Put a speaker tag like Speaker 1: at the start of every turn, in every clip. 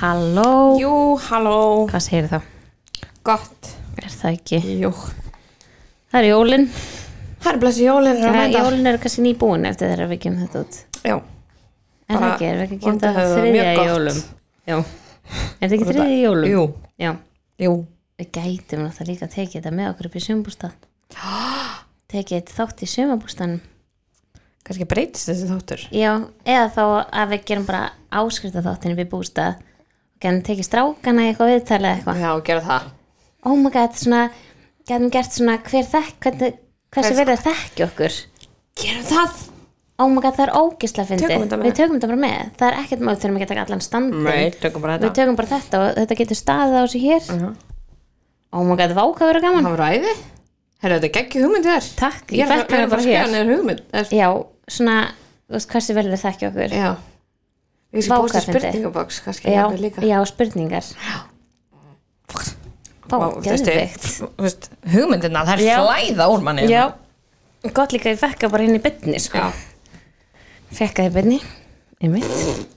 Speaker 1: Halló,
Speaker 2: Jú, halló,
Speaker 1: hvað segir þá?
Speaker 2: gott
Speaker 1: Er það ekki?
Speaker 2: Jú
Speaker 1: Það er jólin
Speaker 2: Það er blessi jólin er að
Speaker 1: Jólin,
Speaker 2: mæta
Speaker 1: Eh, jólin eru kannski nýbúin eftir þegar við kemum þetta út
Speaker 2: Já,
Speaker 1: Er það
Speaker 2: Bara
Speaker 1: ekki, er það ekki
Speaker 2: vonandi
Speaker 1: kemta
Speaker 2: hefur það
Speaker 1: þriðja
Speaker 2: mjög
Speaker 1: í
Speaker 2: gott.
Speaker 1: jólum? Já Er það ekki þriðja í jólum?
Speaker 2: jú,
Speaker 1: Já,
Speaker 2: jú
Speaker 1: við gætum náttúrulega líka að tekið þetta með okkur upp í sumabústað Tekið þetta þátt í sumabústanum
Speaker 2: Kannski breytist þessi þáttur
Speaker 1: Já, eða þá að við gerum bara áskrifta þáttin upp í bústað og gætum tekið strákana í eitthvað viðtalið eitthvað
Speaker 2: Já, gera það
Speaker 1: oh my god, svona getum gert svona hver þekk hvernig, hversu verið að þekki okkur
Speaker 2: Gerum það
Speaker 1: oh my god, það er ógislega fyndið
Speaker 2: Tökum þetta með.
Speaker 1: við tökum þetta bara með, það er ekkert mál þurfum ekki að taka allan standin
Speaker 2: Nei, tökum bara
Speaker 1: við
Speaker 2: þetta
Speaker 1: tökum bara þetta og þetta getur staðið á þessu hér oh my god, váka verið gaman
Speaker 2: Það var æði Herra, þetta er geggju hugmynd þér
Speaker 1: Takk,
Speaker 2: Ég
Speaker 1: ég
Speaker 2: er að
Speaker 1: fekk
Speaker 2: vera
Speaker 1: hana
Speaker 2: að fara
Speaker 1: bara
Speaker 2: að skjá
Speaker 1: hér
Speaker 2: neður hugmynd er,
Speaker 1: já, svona, þú veist hversu verið að þekki okkur
Speaker 2: Já Ég
Speaker 1: Vá,
Speaker 2: skal posta
Speaker 1: hvað fyndið.
Speaker 2: spurningaboks Kannski
Speaker 1: já,
Speaker 2: jafnvel líka
Speaker 1: já, spurningar Vá,
Speaker 2: Vá, þessi-
Speaker 1: geðveikt.
Speaker 2: þú veist, Hugmyndina, það
Speaker 1: Já.
Speaker 2: er flæða úr manni
Speaker 1: Já, gott líka að ég fekka bara henni bytni sko.
Speaker 2: Já.
Speaker 1: Fekka þið bytni einmitt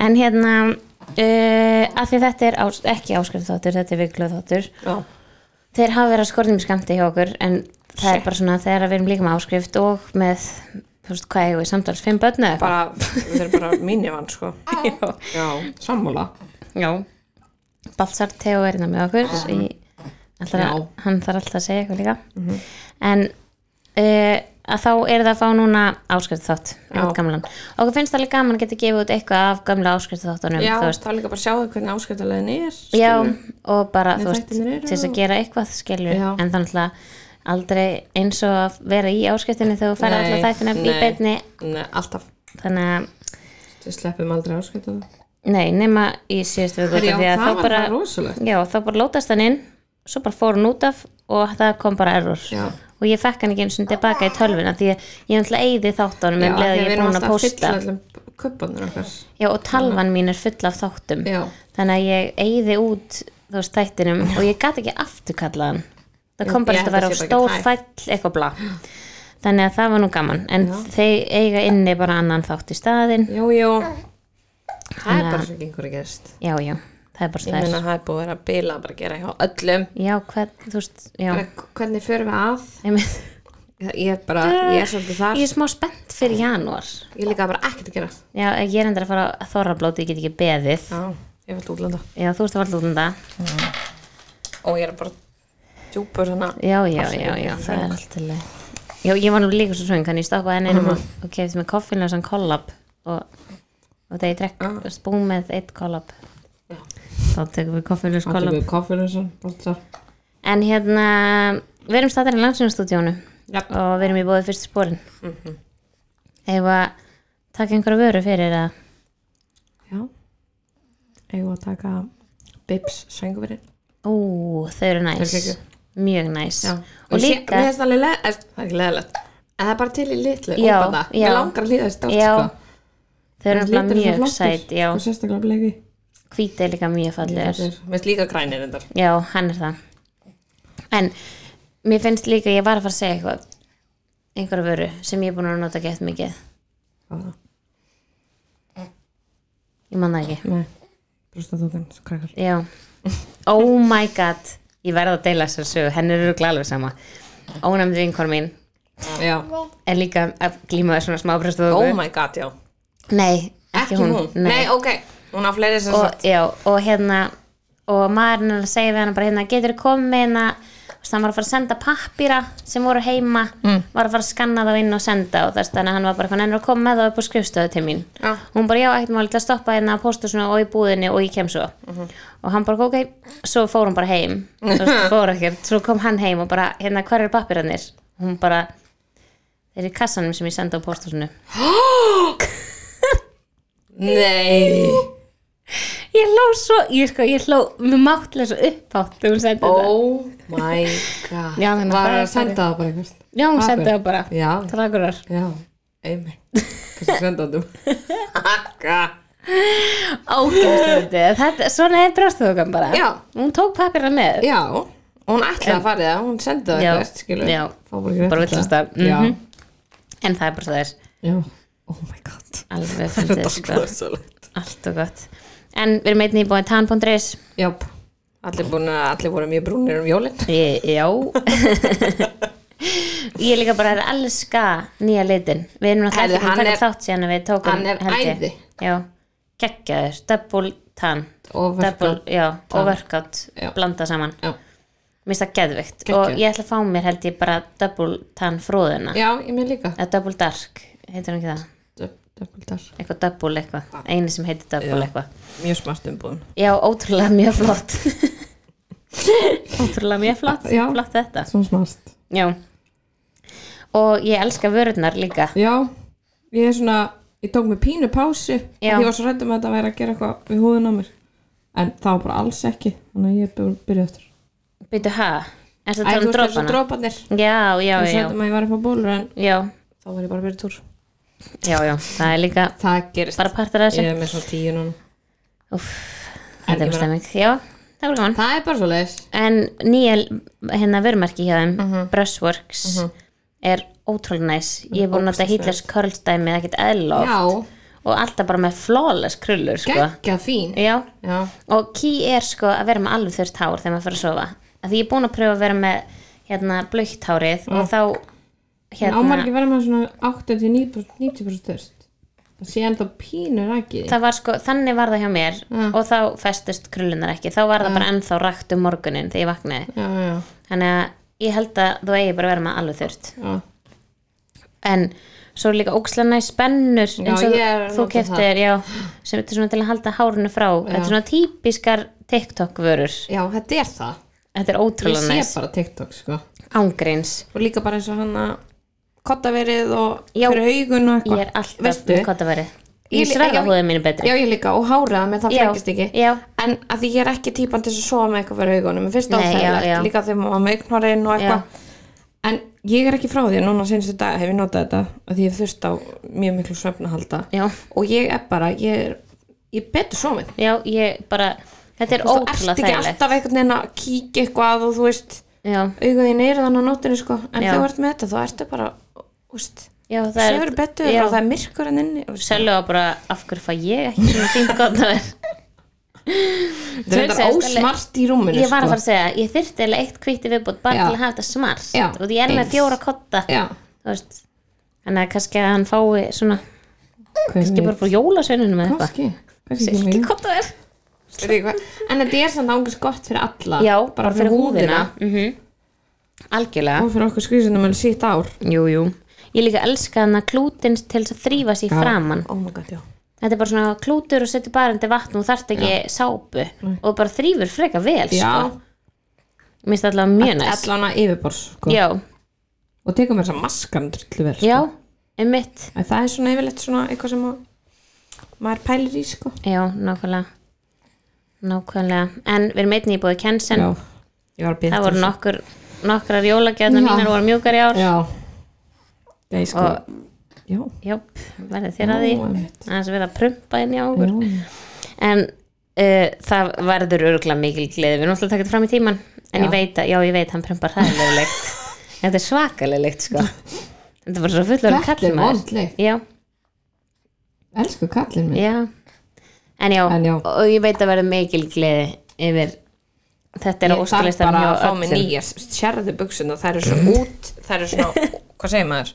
Speaker 1: En hérna uh, að því þetta er ás, ekki áskrifþáttur þetta er vikluþáttur
Speaker 2: Já.
Speaker 1: Þeir hafa verið að skorðum skamti hjá okkur en það er bara svona þegar við erum líka með áskrift og með, þú veist, hvað eigum við samtals fimm börn eða eitthvað
Speaker 2: Bara, þetta er bara mínivan, sko Já, sammála
Speaker 1: Já Balsar Teo er hérna með okkur í, alltaf,
Speaker 2: Já. Mhm.
Speaker 1: hann þarf alltaf að segja eitthvað líka en uh, að þá er það að fá núna áskrift þátt
Speaker 2: Já.
Speaker 1: gamlan. okkur finnst það alveg gaman að geta gefið út eitthvað af gamla áskrift þáttunum
Speaker 2: Já,
Speaker 1: þú veist.
Speaker 2: þá líka bara sjáðu hvernig áskiptalegin er
Speaker 1: Já,
Speaker 2: skilur.
Speaker 1: og bara
Speaker 2: Nei,
Speaker 1: þú veist,
Speaker 2: þættirnir
Speaker 1: til
Speaker 2: eru
Speaker 1: þess að
Speaker 2: og-
Speaker 1: gera eitthvað skilur,
Speaker 2: Já.
Speaker 1: en þannig að aldrei eins og að vera í áskriftinni þegar þú færa
Speaker 2: Nei,
Speaker 1: alltaf þættina í
Speaker 2: nei.
Speaker 1: beinni
Speaker 2: Nei, eh, alltaf
Speaker 1: þannig að,
Speaker 2: Við sleppum aldrei áskiptalegin
Speaker 1: nei, nema í síðustu viku
Speaker 2: Já,
Speaker 1: því að
Speaker 2: það
Speaker 1: þá
Speaker 2: var bara
Speaker 1: bara,
Speaker 2: rosalegt
Speaker 1: já, þá bara lótast hann inn svo bara fór hann út af og það kom bara error
Speaker 2: Já.
Speaker 1: og ég fekk hann ekki eins og tilbaka í tölvuna því að ég ætla eigði þáttunum en leða
Speaker 2: því
Speaker 1: ég er búin að posta
Speaker 2: allum kuppanir okkar
Speaker 1: já, og talvan mín er full af þáttum
Speaker 2: Já,
Speaker 1: þannig að ég eigði út þú veist þættinum og ég gat ekki afturkallaðan það kom
Speaker 2: Ég-
Speaker 1: bara
Speaker 2: ég
Speaker 1: eftir að vera á
Speaker 2: held að sé bara
Speaker 1: stór
Speaker 2: ekki
Speaker 1: fæll eitthvað bla þannig að það var nú gaman en þeir eiga inni bara annan þátt í staðinn
Speaker 2: jú, jú Það er bara svo ekki einhverju gerst
Speaker 1: já já, það er bara
Speaker 2: Ég
Speaker 1: stær
Speaker 2: meina það er búið að vera að bila bara að gera hjá öllum
Speaker 1: já, hvað, þú veist, já
Speaker 2: bara, Hvernig förum við að?
Speaker 1: einmitt.
Speaker 2: Ég er bara, ég er svolítið þar
Speaker 1: ég er smá spennt fyrir janúar
Speaker 2: Ég er líka bara ekkert að gera
Speaker 1: já, ég er endur að fara að þorrablóti, ég get ekki beðið
Speaker 2: Já, ég vil útlanda
Speaker 1: já, þú veist að um fara lútunda
Speaker 2: Og ég er bara djúpur hana
Speaker 1: já, já, já, já, það er alltaf leið já, ég var nú líka svo svöng, þannig ég stoppaði henni einum og-
Speaker 2: Mhm.
Speaker 1: og kefti með koffinlösan kollab og, og það ég drekk uh. spún með eitt kollab
Speaker 2: Ah. Já.
Speaker 1: þá tekum við koffinlös kollab
Speaker 2: koffinu sem Já,
Speaker 1: en hérna, við erum staðar í langsynastúdíónu
Speaker 2: Jafn.
Speaker 1: og við erum í bóðið fyrstu spórin mm
Speaker 2: Mhm.
Speaker 1: -hmm. eða taka einhverja vöru fyrir að
Speaker 2: eigum við að taka Bibs sænguverið
Speaker 1: ú, þau eru næs
Speaker 2: Þau eru geggjuð.
Speaker 1: mjög næs
Speaker 2: Já.
Speaker 1: og
Speaker 2: Ég sé-
Speaker 1: líka
Speaker 2: Mér finnst alveg leð, er, það er ekki leðilegt En það er bara til í litlu
Speaker 1: Já,
Speaker 2: óbanda
Speaker 1: já.
Speaker 2: Mér langar að líða þessi dátt
Speaker 1: Já,
Speaker 2: sko.
Speaker 1: þau eru nefnilega
Speaker 2: Liturinn er
Speaker 1: mjög
Speaker 2: flottur,
Speaker 1: sæt já,
Speaker 2: Og sérstaklega blegi
Speaker 1: hvítið er líka mjög fallegur
Speaker 2: Mér finnst líka grænir endar
Speaker 1: Já, hann er það En mér finnst líka Ég var að fara að segja eitthvað einhverja vöru sem ég er búin að nota gett mikið Ég man það ekki
Speaker 2: Nei, brústatókin, svo krakkar
Speaker 1: Já Oh my god Ég verð að deila þessar sögu, henni eru glalveg sama Ónæmd vinkor mín
Speaker 2: Já,
Speaker 1: er líka að glíma þessuna smábröstu
Speaker 2: oh my god, já
Speaker 1: Nei, ekki, hún,
Speaker 2: Nei. ok, hún á fleiri sem sagt
Speaker 1: og, já, og hérna og maðurinn er að segja við hann bara hérna getur komið með hérna og hann var að fara að senda pappýra sem voru heima var að fara að skanna þá inn og senda og þess þannig að hann var bara eitthvað hann er að koma með þá upp á skrifstöðu til mín
Speaker 2: Já.
Speaker 1: hún bara já, ekkert máli til að stoppa hérna á póstusinu og í búðinni og ég kem svo og hann bara ok, svo fór hún bara heim Þú veist, fór ekkert, svo kom hann heim og bara hérna hver eru pappýranir hún bara, þeir eru í kassanum sem ég senda á póstusinu
Speaker 2: Nei,
Speaker 1: ég hló svo, ég sko, ég hló máttlega svo upphátt þegar hún sendi þetta
Speaker 2: oh my god
Speaker 1: Já, þannig að
Speaker 2: Var
Speaker 1: það er
Speaker 2: að senda það bara einhvers
Speaker 1: Já, hún
Speaker 2: Pappír.
Speaker 1: sendi það bara
Speaker 2: Já,
Speaker 1: Trakurar.
Speaker 2: já, einmitt Hversu senda það
Speaker 1: Ógeðslega þetta, svona er brjóstöðugan bara
Speaker 2: Já.
Speaker 1: Hún tók pappirna með
Speaker 2: Já, hún ætlaði að fara í það, hún sendi það
Speaker 1: Já,
Speaker 2: eitthvað, skilur
Speaker 1: já.
Speaker 2: Fá bara ekki rétt
Speaker 1: Bara
Speaker 2: í það.
Speaker 1: villast það,
Speaker 2: Já,
Speaker 1: mhm. En það er bara svo þess
Speaker 2: já, oh my god
Speaker 1: Alveg
Speaker 2: Þetta
Speaker 1: fyndið
Speaker 2: er
Speaker 1: sko
Speaker 2: rosalegt
Speaker 1: Allt og gott en við erum einnig búin tan.res
Speaker 2: Jáp. Allir, búin, að- allir voru mjög brúnir um jólinn.
Speaker 1: Ég- Já Ég líka bara að elska nýja litin Við erum náttúrulega
Speaker 2: Herðu,
Speaker 1: ekki búin
Speaker 2: hann
Speaker 1: að taka
Speaker 2: er-
Speaker 1: þátt síðan að við tókum
Speaker 2: hann er
Speaker 1: held ég.
Speaker 2: æði.
Speaker 1: Já, geggjaður, double tan
Speaker 2: Og
Speaker 1: double,
Speaker 2: verkað.
Speaker 1: já, og workout
Speaker 2: Já.
Speaker 1: blanda saman,
Speaker 2: Já.
Speaker 1: mér finnst það geðvikt
Speaker 2: Geggjað.
Speaker 1: og ég ætla að fá mér held ég bara double tan fróðuna
Speaker 2: Já, ég með líka.
Speaker 1: eða double dark, heitir hún ekki það
Speaker 2: Döpildar.
Speaker 1: eitthvað double eitthvað,
Speaker 2: Ah.
Speaker 1: einu sem heitir double eitthvað
Speaker 2: Mjög smart umbúðum.
Speaker 1: Já, ótrúlega mjög flott Ótrúlega mjög flott
Speaker 2: Já.
Speaker 1: Flott þetta
Speaker 2: Svo smart.
Speaker 1: Já Og ég elska vörurnar líka
Speaker 2: Já, ég er svona, ég tók mér pínu pásu.
Speaker 1: Já.
Speaker 2: af því Ég var svo rættum að þetta væri að gera eitthvað við húðun á mér. En það var bara alls ekki. Þannig að ég byrja, byrja eftir.
Speaker 1: Byrju, ha? Er það
Speaker 2: Æ,
Speaker 1: tala
Speaker 2: þú
Speaker 1: um
Speaker 2: veist þessu
Speaker 1: dropana?
Speaker 2: droparnir.
Speaker 1: Já, já,
Speaker 2: Ég var svo
Speaker 1: já
Speaker 2: rættum að ég var eitthvað bólur en
Speaker 1: Já,
Speaker 2: þá var ég bara að byrja túr.
Speaker 1: já, já Það er líka
Speaker 2: Það gerist.
Speaker 1: bara partur af þessu
Speaker 2: Ég er með svona tíu núna.
Speaker 1: Úff, þetta
Speaker 2: En ég
Speaker 1: er
Speaker 2: meina-
Speaker 1: stemming Já, það var gaman
Speaker 2: Það er bara svo leiðis.
Speaker 1: En nýja hérna vörumarki hjá þeim Brushworks er ótrúlega næs Ég er búin að nota Hitlers Curls-dæmi ekkert eðlof
Speaker 2: Já,
Speaker 1: og alltaf bara með flawless krullur sko.
Speaker 2: geggja fín.
Speaker 1: Já,
Speaker 2: Já,
Speaker 1: og key er sko að vera með alveg þurft hár þegar maður fyrir að sofa að því ég er búin að pröfa að vera með hérna blöitt hárið og þá
Speaker 2: en ámar
Speaker 1: hérna,
Speaker 2: ekki vera með svona 80-90% þurft. Það sé ennþá pínur ekki.
Speaker 1: það var sko þannig var það hjá mér og þá festust krullunar ekki þá var það bara ennþá rakt um morgunin þegar ég vaknaði
Speaker 2: Já, já,
Speaker 1: þannig að ég held að þú eigi bara að vera með alveg þurft
Speaker 2: já.
Speaker 1: en svo er líka ókslega næ spennur eins og
Speaker 2: ég er að
Speaker 1: þú
Speaker 2: nota
Speaker 1: keftir já, sem þetta er svona til að halda hárinu frá þetta er svona típiskar TikTok vörur
Speaker 2: Já, þetta er það.
Speaker 1: þetta er
Speaker 2: Ég
Speaker 1: ótrúlega
Speaker 2: sé
Speaker 1: næs
Speaker 2: bara TikTok, sko.
Speaker 1: ángríns
Speaker 2: og líka bara eins og hann að kottaverið og
Speaker 1: Já.
Speaker 2: fyrir augun og
Speaker 1: Ég
Speaker 2: eitthvað
Speaker 1: er alltaf
Speaker 2: Veistu?
Speaker 1: með kottaverið.
Speaker 2: Ég
Speaker 1: Ég
Speaker 2: li-
Speaker 1: sverða
Speaker 2: já,
Speaker 1: húðið mínu betri.
Speaker 2: já ég líka og háraða með það
Speaker 1: Já,
Speaker 2: flækist ekki
Speaker 1: já.
Speaker 2: en að því ég er ekki típan til þess að sofa með eitthvað fyrir augunum mér finnst
Speaker 1: Nei,
Speaker 2: það
Speaker 1: já, já.
Speaker 2: óþægilegt líka þegar maður var með augnhárinn og eitthvað en ég er ekki frá því núna senstu dag hef ég notað þetta að því ég hef þurft á mjög miklu svefn að halda
Speaker 1: Já.
Speaker 2: og ég er bara ég er, ég er betur sofin
Speaker 1: Já, ég bara, þetta er
Speaker 2: þú ert
Speaker 1: ótrúlega
Speaker 2: ekki
Speaker 1: þægilegt.
Speaker 2: alltaf einhvern veginn að kíkja eitthvað og þú veist
Speaker 1: Já,
Speaker 2: auguninn er þannig á nóttinu sko en
Speaker 1: Já.
Speaker 2: þú ert með þetta þá ertu bara þú veist,
Speaker 1: já, það er...
Speaker 2: Sefur betur
Speaker 1: já,
Speaker 2: og það er myrkur en inni og það
Speaker 1: Selva bara, af hverju fæ ég ekki svona fínt kottaverið?
Speaker 2: er þetta
Speaker 1: Sel-
Speaker 2: ósmart í rúminu
Speaker 1: Ég var að
Speaker 2: sko.
Speaker 1: fara að segja, ég þyrfti eiginlega eitt kvíti viðbútt bara
Speaker 2: Já.
Speaker 1: til að hafa þetta smart.
Speaker 2: Já,
Speaker 1: Og því ég er
Speaker 2: eins.
Speaker 1: með fjóra kotta,
Speaker 2: Já,
Speaker 1: þú veist. Þannig að kannski að hann fái svona,
Speaker 2: kannski
Speaker 1: ekki bara frá jólasveinunum eða eitthvað.
Speaker 2: kannski, kannski ekki
Speaker 1: Silki
Speaker 2: mjög
Speaker 1: kottaverið.
Speaker 2: Veit ekki hvað. En þetta er samt ángust gott fyrir alla
Speaker 1: Já,
Speaker 2: bara fyrir húðina
Speaker 1: Mhm. Algjörlega.
Speaker 2: og fyrir okkur skrýsundum en sítt ár
Speaker 1: Jú, jú. Ég líka elska hann að klútin til þess að þrýfa sér framann.
Speaker 2: Oh my god, já
Speaker 1: Þetta er bara svona klútur og setur bara undir vatn og þarft ekki sápu og bara þrýfur freka vel,
Speaker 2: Já,
Speaker 1: sko. Mér finnst allavega mjög næst.
Speaker 2: allan að yfirbors sko.
Speaker 1: Já,
Speaker 2: og tekum þess að maskan drullu vel
Speaker 1: já, einmitt.
Speaker 2: En það er svona yfirleitt svona eitthvað sem að, maður pælir í sko
Speaker 1: Já, nákvæmlega. Nákvæmlega. En við erum einnig í búið Kensen.
Speaker 2: Já, ég var að byrja
Speaker 1: Það voru nokkur, nokkrar jólagjörna
Speaker 2: Já.
Speaker 1: mínar voru mjúkar í ár.
Speaker 2: Já, Nei, sko Já,
Speaker 1: Já, verði þér að því.
Speaker 2: Já, einmitt.
Speaker 1: Það er verið að prumpa inn í águr.
Speaker 2: já
Speaker 1: en uh, það verður örgulega mikil gleði við erum alltaf að taka þetta fram í tíman en ég veit að, já ég veit, hann prempar hæðilegt þetta er svakalegilegt sko þetta er bara svo fullur
Speaker 2: Þetta er vond lykt.
Speaker 1: já,
Speaker 2: Elsku kallinn minn
Speaker 1: já en já,
Speaker 2: En já.
Speaker 1: og ég veit að verður mikil gleði yfir þetta er
Speaker 2: Ég þarf
Speaker 1: óskalistan
Speaker 2: bara
Speaker 1: hjá
Speaker 2: að fá mig Mm.
Speaker 1: öllum
Speaker 2: nýja Sérðu buksuna, það eru svona út Það eru svona, hvað segir maður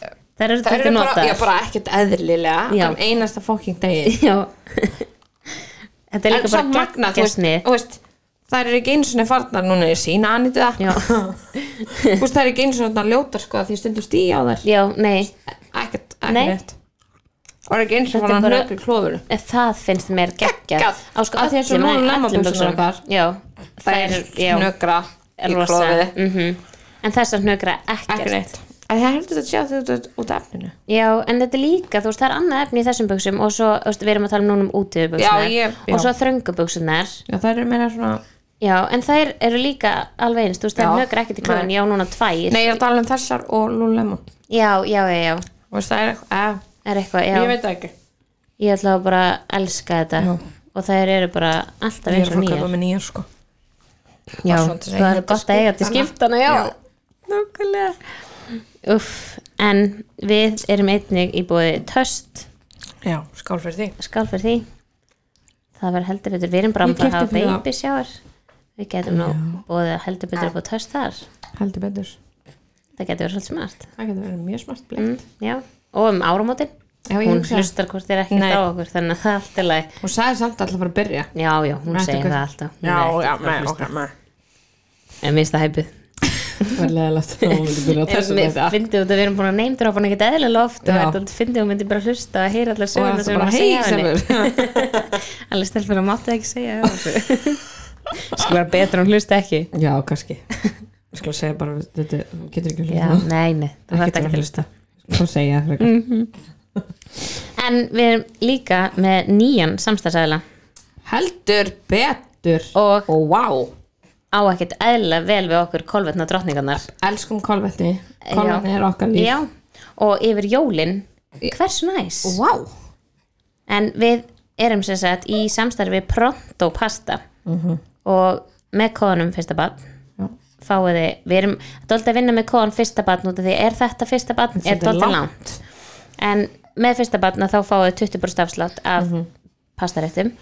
Speaker 1: það eru
Speaker 2: Það
Speaker 1: þetta
Speaker 2: eru bara,
Speaker 1: notað
Speaker 2: já, bara ekkert eðlilega
Speaker 1: Já.
Speaker 2: um einasta fokking degi
Speaker 1: já þetta er
Speaker 2: En
Speaker 1: líka
Speaker 2: samt
Speaker 1: bara
Speaker 2: magna, þú veist,
Speaker 1: geggjasni
Speaker 2: þú veist Það eru ekki einu svona farnar núna í sína anýtu það
Speaker 1: já,
Speaker 2: Þú veist, það eru ekki einu svona ljótar sko því ég stundum stíi á þær
Speaker 1: já, nei
Speaker 2: Ekkert,
Speaker 1: Nei.
Speaker 2: ekkert Það eru ekki einu
Speaker 1: Þetta
Speaker 2: svona
Speaker 1: er
Speaker 2: farnar
Speaker 1: bara-
Speaker 2: hlöku klóður
Speaker 1: En Eh, Það finnst mér geggjað
Speaker 2: Geggjað.
Speaker 1: Á sko
Speaker 2: Af því eins og
Speaker 1: öllum,
Speaker 2: núna
Speaker 1: nei,
Speaker 2: lammabuxurnar
Speaker 1: öllum buxunum.
Speaker 2: okkar.
Speaker 1: Já,
Speaker 2: Það er snögra í
Speaker 1: rosa
Speaker 2: klófið
Speaker 1: mm En þessar hnökra ekkert
Speaker 2: Ekki neitt Það heldur þetta að sjá þetta út af efninu
Speaker 1: Já, en þetta er líka, þú veist, það er annað efni í þessum buxum og svo, þú veist, við erum að tala um núna um útiðubuxunar
Speaker 2: Já, ég- já.
Speaker 1: og svo þröngubuxunar
Speaker 2: Já, það eru meira svona
Speaker 1: Já, en þær eru líka alveg eins, þú veist, það
Speaker 2: Já.
Speaker 1: er hnökra ekkert í klóðin Já, núna tvær
Speaker 2: Nei, ég er að tala um þessar og Lululemon
Speaker 1: Já, já, já, já,
Speaker 2: Þú veist, það er eitthvað,
Speaker 1: er eitthvað, já
Speaker 2: eh, ég veit það ekki
Speaker 1: Ég ætla að bara elska þetta
Speaker 2: Já.
Speaker 1: og þær eru bara alltaf
Speaker 2: Ég
Speaker 1: eins
Speaker 2: er
Speaker 1: og nýjar
Speaker 2: að köpa með nýjar sko
Speaker 1: Já,
Speaker 2: Bara svona til að
Speaker 1: það er
Speaker 2: eiga til
Speaker 1: gott að eiga til skiptana,
Speaker 2: skiptana.
Speaker 1: já.
Speaker 2: Já.
Speaker 1: Nákvæmlega. Uff, en við erum einnig í bóði töst,
Speaker 2: Já, skál fyrir því
Speaker 1: skál fyrir því, það verður heldur betur, við erum bara
Speaker 2: Ég
Speaker 1: að fara að
Speaker 2: keypti fyrir
Speaker 1: hafa
Speaker 2: það.
Speaker 1: baby shower við getum nú bóðið heldur betur upp á töst þar
Speaker 2: heldur betur
Speaker 1: það getur verið svolítið smart
Speaker 2: það getur verið mjög smart blekt
Speaker 1: mm, já, og um áramótin
Speaker 2: Já, ég
Speaker 1: hún
Speaker 2: hugsa það.
Speaker 1: hlustar hvort þér ekki
Speaker 2: Nei.
Speaker 1: á okkur þannig að það er allt í lagi
Speaker 2: hún Mm. sagði samt alltaf að fara að byrja
Speaker 1: já, já, hún
Speaker 2: Þetta
Speaker 1: segir
Speaker 2: er-
Speaker 1: það alltaf hún
Speaker 2: já,
Speaker 1: er
Speaker 2: já,
Speaker 1: ekkert að
Speaker 2: með,
Speaker 1: hlusta.
Speaker 2: ok, með
Speaker 1: en minnst það hæpið
Speaker 2: það var leðilegt að hún myndi byrja á þessu
Speaker 1: Mér
Speaker 2: þetta
Speaker 1: fyndi út að við erum búin að neymdra hann ekkert eðlilega oft
Speaker 2: Já.
Speaker 1: og þetta fyndi hún myndi bara hlusta að heyra allar
Speaker 2: og
Speaker 1: söguna
Speaker 2: það
Speaker 1: sem
Speaker 2: er
Speaker 1: hún
Speaker 2: bara
Speaker 1: var að
Speaker 2: hei
Speaker 1: segja henni allir stelpur að máttu ekki segja þessu sko bara betra hún hlusta ekki
Speaker 2: já, kannski ég skal segja bara, þetta þú getur ekki
Speaker 1: já,
Speaker 2: hlusta
Speaker 1: nei, nei, það þarf ekki að hlusta
Speaker 2: svo segja það frekar.
Speaker 1: en við erum líka með nýjan samstagsæðila
Speaker 2: heldur betur
Speaker 1: og
Speaker 2: og wow
Speaker 1: á ekkert eðlilega vel við okkur kolvetna drottningarnar
Speaker 2: elskum kolvetni kolvetni er okkar líf
Speaker 1: já, og yfir jólin hversu næs
Speaker 2: wow
Speaker 1: en við erum sem sagt í samstarfi Pronto Pasta
Speaker 2: Mhm.
Speaker 1: og með kóðanum fyrsta barn
Speaker 2: Já.
Speaker 1: fáið þið, við erum dóldi að vinna með kóðan fyrsta barn út af því er þetta fyrsta barn, er
Speaker 2: Þetta er
Speaker 1: dóldi
Speaker 2: langt.
Speaker 1: langt en með fyrsta barn að þá fáið þið 20% afslátt af
Speaker 2: Mhm.
Speaker 1: pastaréttum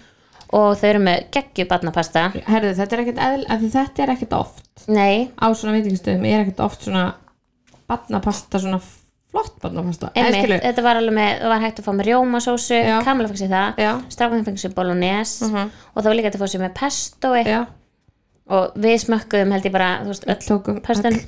Speaker 1: og þau eru með geggju barnapasta
Speaker 2: herðu, þetta er ekkert eðl af því þetta er ekkert oft
Speaker 1: nei,
Speaker 2: á svona veitingastöðum er ekkert oft svona barnapasta, svona flott barnapasta Eða
Speaker 1: einmitt,
Speaker 2: skilur,
Speaker 1: þetta var alveg með það var hægt að fá með rjómasósu,
Speaker 2: Já.
Speaker 1: kamla fengið sér
Speaker 2: Já. Mhm.
Speaker 1: það, strákan fengið sér bolognese og það var líka hægt að fá sér með pesto eitthvað
Speaker 2: já,
Speaker 1: og við smökkuðum held ég bara þú veist, öll
Speaker 2: tókum
Speaker 1: pöstin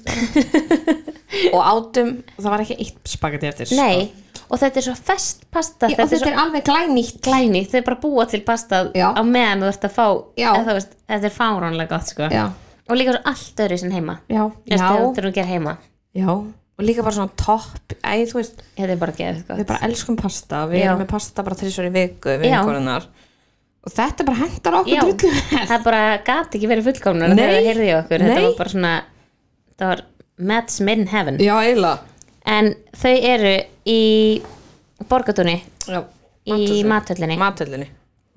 Speaker 2: og átum, það var ekki eitt spagetti eftir
Speaker 1: nei, og þetta er svo fest pasta
Speaker 2: Já,
Speaker 1: þetta
Speaker 2: og
Speaker 1: er svo
Speaker 2: þetta er alveg glænýtt
Speaker 1: glæni, þau bara búa til pasta
Speaker 2: Já.
Speaker 1: á meðan þú ert að fá
Speaker 2: Já.
Speaker 1: eða, þú veist, þetta er fáránlega gott sko.
Speaker 2: já,
Speaker 1: og líka svo allt öðru sem heima
Speaker 2: já,
Speaker 1: Eftir
Speaker 2: já,
Speaker 1: að þú ger heima
Speaker 2: já og líka bara svona topp, ei, þú veist
Speaker 1: þetta er bara sko. geðið
Speaker 2: við
Speaker 1: gott
Speaker 2: bara elskum pasta, við
Speaker 1: Já.
Speaker 2: erum með pasta bara þrísvar í viku, við
Speaker 1: Já.
Speaker 2: einhverjunar og þetta bara hendar
Speaker 1: Já,
Speaker 2: okkur drullu
Speaker 1: það bara gat ekki verið fullkomnar
Speaker 2: Nei.
Speaker 1: þegar það heyrði í okkur þetta
Speaker 2: Nei.
Speaker 1: var bara svona það var match made in heaven
Speaker 2: já, eiginlega
Speaker 1: en þau eru í borgatúni
Speaker 2: já,
Speaker 1: í
Speaker 2: Matthúsinu.
Speaker 1: mathöllinni
Speaker 2: mathöllinni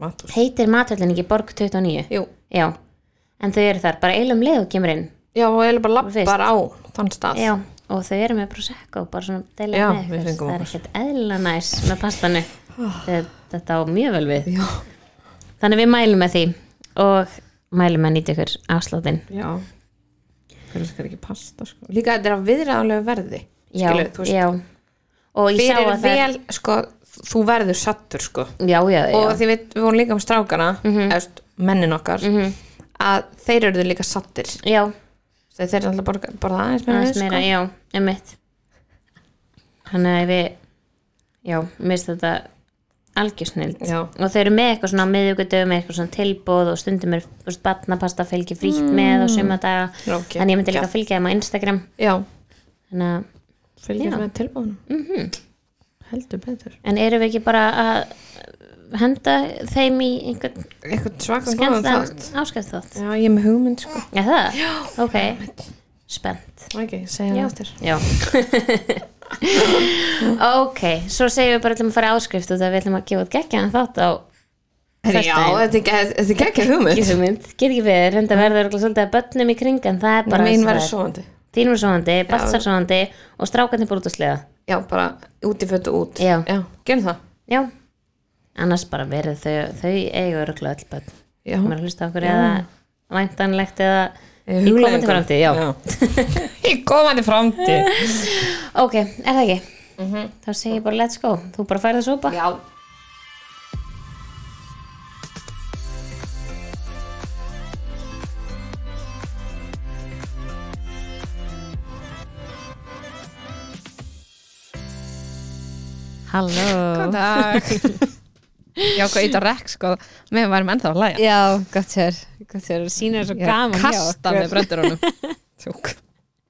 Speaker 2: Matús,
Speaker 1: heitir mathöllinni ekki borg 29
Speaker 2: jú
Speaker 1: Já, en þau eru þar bara eilum leið og kemur inn
Speaker 2: Já, og eiginlega bara
Speaker 1: Fyrst.
Speaker 2: lappar á þann stað.
Speaker 1: Já, og þau eru með prosecco bara svona deila
Speaker 2: Já,
Speaker 1: með
Speaker 2: við
Speaker 1: ykkur.
Speaker 2: fengum
Speaker 1: það er
Speaker 2: okkur. Ah.
Speaker 1: ekkert eðla næs með pastanu Þau- þetta á mjög vel við
Speaker 2: Já.
Speaker 1: þannig að við mælum með því og mælum með að nýta ykkur afsláttin
Speaker 2: Já. Hver elskar ekki pasta, sko. Líka þetta er á viðræðanlegu verði.
Speaker 1: já,
Speaker 2: skilurðu, þú veist,
Speaker 1: já og ég sá
Speaker 2: fyrir
Speaker 1: að það
Speaker 2: vel, sko, þú verður sattur, sko.
Speaker 1: já, já, já, Mhm.
Speaker 2: Og því við, við vorum líka um strákana, mm -hmm. mennin okkar, að þeir eru líka sattir.
Speaker 1: já,
Speaker 2: Þeir, þeir eru alltaf bara, bara aðeins meira,
Speaker 1: aðeins meira,
Speaker 2: sko.
Speaker 1: já, emmitt þannig að við já, mist þetta algjörsnild
Speaker 2: Já.
Speaker 1: og þau eru með eitthvað svona miðugudögu með eitthvað svona tilbúð og stundum er þú veist, batnapasta fylgir frítt með
Speaker 2: Mm.
Speaker 1: og suma daga
Speaker 2: Rókja.
Speaker 1: en ég myndi líka að fylgja þeim á Instagram
Speaker 2: Já.
Speaker 1: þannig að,
Speaker 2: Fylgjast með tilbúinu. Mm
Speaker 1: Mhm.
Speaker 2: -hmm. Heldur betur.
Speaker 1: en erum við ekki bara að henda þeim í einhvern
Speaker 2: Eitthvað svakar góðan þátt.
Speaker 1: skemmtan áskæft þátt
Speaker 2: Já, ég er með hugmynd, sko.
Speaker 1: Já það? Já. Ok, spennt
Speaker 2: Ok, segja það eftir.
Speaker 1: Já Ok, svo segjum við bara ætlum að fara í áskrift og það við ætlum að gefa út geggjaðan þátt á
Speaker 2: Herri, Já,
Speaker 1: Föstudaginn.
Speaker 2: þetta er ge- þetta er geggja hugmynd.
Speaker 1: Gísumynd, get ekki við, reynda verður örugglega svolítið að börnum í kring en það er bara
Speaker 2: Mín
Speaker 1: eins og það
Speaker 2: verður
Speaker 1: er.
Speaker 2: svoandi.
Speaker 1: Þín var svoðandi, Baltasar svoðandi og strákarnir bara út að sleða.
Speaker 2: Já, bara út í fötu út.
Speaker 1: Já.
Speaker 2: Já, gerum það.
Speaker 1: Já. Annars bara verið þau, þau eigu öruglega öll bönn.
Speaker 2: Já.
Speaker 1: Mér að hlusta á okkur eða væntanlegt eða
Speaker 2: Ég
Speaker 1: í
Speaker 2: hugleiðingar.
Speaker 1: komandi framtíð, já.
Speaker 2: Í komandi framtíð.
Speaker 1: Ok, er það ekki? Þá segi ég bara let's go. Þú bara færð að sopa.
Speaker 2: Já.
Speaker 3: Halló
Speaker 4: dag Já, hvað ít á rekk sko Mér varum ennþá að læja
Speaker 3: Já, gott sér, gott sér og sínir svo gaman hjá
Speaker 4: Kasta með brendurunum Tjók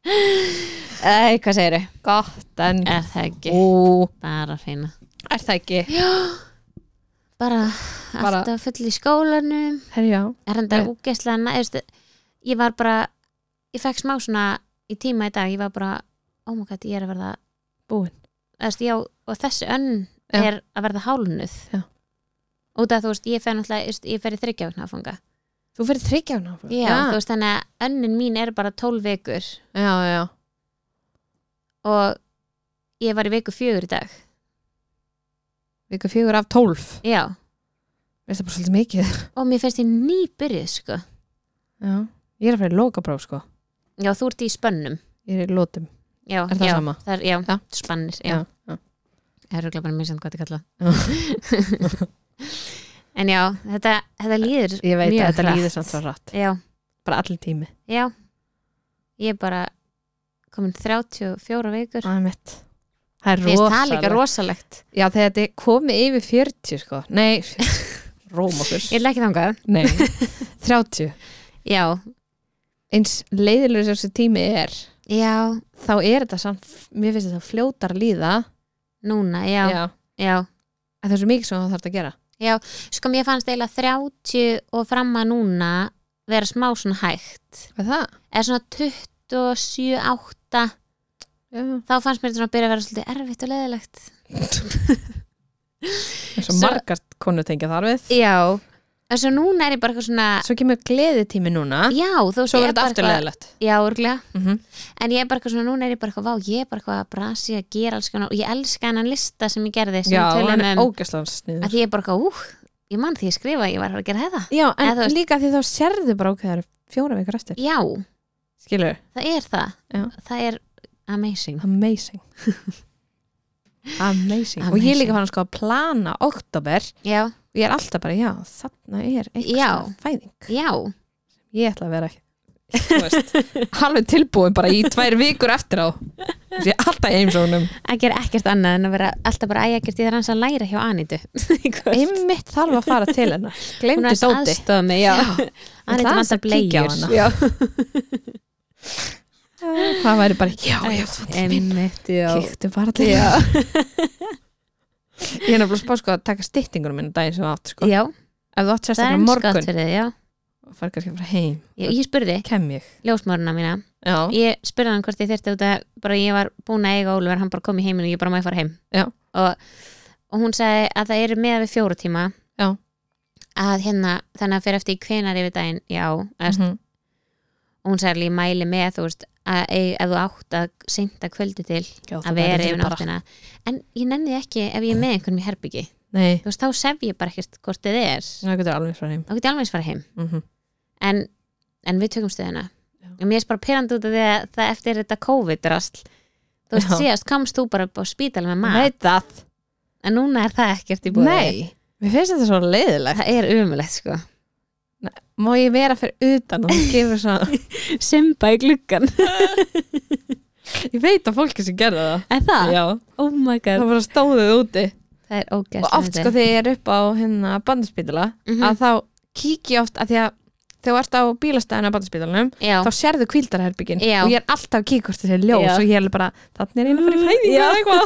Speaker 3: Æ, hvað segir þau?
Speaker 4: Gott en
Speaker 1: Er það ekki?
Speaker 4: Ú,
Speaker 1: Bara fína.
Speaker 4: er það ekki?
Speaker 1: Bara, Eh.
Speaker 4: Bara-
Speaker 1: alltaf full í skólanum.
Speaker 4: Herjá
Speaker 1: Er þetta úgeðslega næst? Ég var bara, ég fekk smá svona í tíma í dag. Ég var bara, oh my god, ég er að verða
Speaker 4: Búin
Speaker 1: Æst, já, og þessi önn
Speaker 4: Já.
Speaker 1: er að verða hálnuð
Speaker 4: Já.
Speaker 1: út af þú veist, ég fer náttúrulega þú veist, ég fer í þryggja vikna áfanga
Speaker 4: Þú fyrir tryggja hana
Speaker 1: já, þú veist, þannig að önnin mín er bara 12 vikur
Speaker 4: já, já
Speaker 1: og ég var í viku fjögur í dag
Speaker 4: Viku fjögur af tólf
Speaker 1: já,
Speaker 2: Mér finnst það bara svolítið mikið
Speaker 1: og mér finnst ég nýbyrjuð sko
Speaker 2: Já. Ég er að fara í lokapróf sko
Speaker 1: já, þú ert í spönnum
Speaker 2: Ég er í lótum
Speaker 1: já,
Speaker 2: Er það
Speaker 1: já,
Speaker 2: sama?
Speaker 1: þar, já,
Speaker 2: Já.
Speaker 1: spannir já.
Speaker 2: Já, já.
Speaker 1: Það er rúglega bara mér sem hvað þetta kalla En já, þetta, þetta líður
Speaker 2: Ég veit
Speaker 1: mjög
Speaker 2: að þetta
Speaker 1: hratt.
Speaker 2: líður samt svo rætt
Speaker 1: Já,
Speaker 2: Bara allir tími
Speaker 1: já Ég er bara komin 34 vikur
Speaker 2: Það er mitt Það er
Speaker 1: Mér finnst það líka
Speaker 2: rosalegt.
Speaker 1: rosalegt
Speaker 2: Já, þegar þetta er komið yfir 40 sko. Nei, róm okkur
Speaker 1: Ég er ekki þangað
Speaker 2: Nei, 30
Speaker 1: Já,
Speaker 2: Eins leiðilegur sem þessi tími er
Speaker 1: já,
Speaker 2: þá er þetta samt, mér finnst þetta fljótar að líða
Speaker 1: núna, já, já.
Speaker 2: En það er svo mikið sem það þarf að gera
Speaker 1: Sko mér fannst eiginlega 30 og fram að núna vera smá svona hægt
Speaker 2: Er það?
Speaker 1: eða svona 27, 8
Speaker 2: Já,
Speaker 1: þá fannst mér þetta svona að byrja að vera svolítið erfitt og leðilegt
Speaker 2: eins og
Speaker 1: Svo-
Speaker 2: margar konu tengja þar við
Speaker 1: Já, en svo núna er ég bara eitthvað svona
Speaker 2: Svo kemur gleðitími núna
Speaker 1: Já, þú veist,
Speaker 2: Svo
Speaker 1: ég
Speaker 2: verður
Speaker 1: bara
Speaker 2: þetta aftur
Speaker 1: eitthvað- Mhm.
Speaker 2: leðilegt
Speaker 1: Já, örglega,
Speaker 2: mm -hmm.
Speaker 1: en ég er bara eitthvað svona núna er ég bara eitthvað, vá, ég er bara eitthvað að brasi að gera alls konar og ég elska hennan lista sem ég gerði sem
Speaker 2: Já,
Speaker 1: við
Speaker 2: hann er
Speaker 1: tölum um,
Speaker 2: ógæslan
Speaker 1: að
Speaker 2: sniður
Speaker 1: því ég er bara eitthvað, úh, ég man því ég skrifa að ég var að fara að gera þetta
Speaker 2: Já, en
Speaker 1: Eða þú veist-
Speaker 2: líka því þá sérðu bara okkur það eru fjóra veikar eftir
Speaker 1: Já,
Speaker 2: Skilur,
Speaker 1: það er það,
Speaker 2: Já.
Speaker 1: það er amazing
Speaker 2: amazing Amazing Og ég er
Speaker 1: Amazing.
Speaker 2: líka fann að sko að plana oktober
Speaker 1: Já,
Speaker 2: og ég er alltaf bara, já, þarna er
Speaker 1: Já.
Speaker 2: eitthvað fæðing
Speaker 1: já,
Speaker 2: Ég ætla að vera þú veist, halveg tilbúin bara í tvær vikur eftir á Þessi ég er alltaf í heimsóknum
Speaker 1: að gera ekkert annað en að vera alltaf bara æg ekkert í þar hans að læra hjá Anitu Hún
Speaker 2: Einmitt þarf að fara til hennar
Speaker 1: er
Speaker 2: Gleimdu
Speaker 1: hans
Speaker 2: dóti
Speaker 1: aðstofa mig, já Anitu vantar
Speaker 2: ætla aðeins að kíkja á
Speaker 1: bleigjur
Speaker 2: hana.
Speaker 1: Já,
Speaker 2: Það væri bara, já, já,
Speaker 1: einmitt, já
Speaker 2: kíktu bara til hennar Ég er náttúrulega að spá sko að taka styttingunum minna daginn sem þú átt sko
Speaker 1: Já,
Speaker 2: Ef þú átt
Speaker 1: það er
Speaker 2: sérstaklega
Speaker 1: eins gott
Speaker 2: morgun
Speaker 1: fyrir þig, já
Speaker 2: og fara kannski bara heim,
Speaker 1: Ég, ég spurði
Speaker 2: kem ég
Speaker 1: ljósmáruna mína
Speaker 2: Já,
Speaker 1: ég spurði hann hvort ég þyrfti út að bara ég var búin að eiga Ólfur, hann bara kom í heiminn og ég bara má ég fara heim
Speaker 2: Já.
Speaker 1: og, og hún sagði að það eru með við fjóra tíma
Speaker 2: Já.
Speaker 1: að hérna, þannig að fyrir eftir í hvenar yfir daginn, já mm.
Speaker 2: mhm,
Speaker 1: og hún sagði alveg, ég mæli með, þú veist að, ef, ef þú átt að synda kvöldi til
Speaker 2: já það
Speaker 1: að
Speaker 2: væri
Speaker 1: vera
Speaker 2: til
Speaker 1: yfir
Speaker 2: bara.
Speaker 1: náttina en ég nenni því ekki ef ég er með einhvern í herbyggi
Speaker 2: Nei,
Speaker 1: þú veist, þá sef ég bara ekkert hvort þið er
Speaker 2: það getur alveg frá heim
Speaker 1: þá get ég alveg eins fara heim
Speaker 2: Mhm.
Speaker 1: en, en við tökum stöðuna
Speaker 2: Já.
Speaker 1: og mér er bara pyrrandi út af því að það eftir þetta COVID-rast þú veist,
Speaker 2: Já.
Speaker 1: síðast kamst þú bara upp á spítal með
Speaker 2: Ég
Speaker 1: mat
Speaker 2: Veit það
Speaker 1: en núna er það ekkert í búið
Speaker 2: Nei, mér finnst þetta svo leiðilegt
Speaker 1: það er umulegt sko
Speaker 2: Má ég vera fyrir utan og hún gefur svona
Speaker 1: Simba í gluggan,
Speaker 2: Ég veit að fólki sem gerða það
Speaker 1: er það?
Speaker 2: Já,
Speaker 1: Oh my god
Speaker 2: það bara stóðuð úti
Speaker 1: Það er ógæst
Speaker 2: Og oft sko þegar ég er upp á hérna bandaspítala
Speaker 1: Mhm.
Speaker 2: að þá kík ég oft að því að þegar þú ert á bílastæðinu á bandaspítalanum
Speaker 1: Já,
Speaker 2: þá sérðu kvildarherbyggin
Speaker 1: Já.
Speaker 2: og ég er alltaf að kíkast þessi ljós
Speaker 1: Já. Mm,
Speaker 2: og ég er bara, þannig er ég að fara í fæðingu eða eitthvað,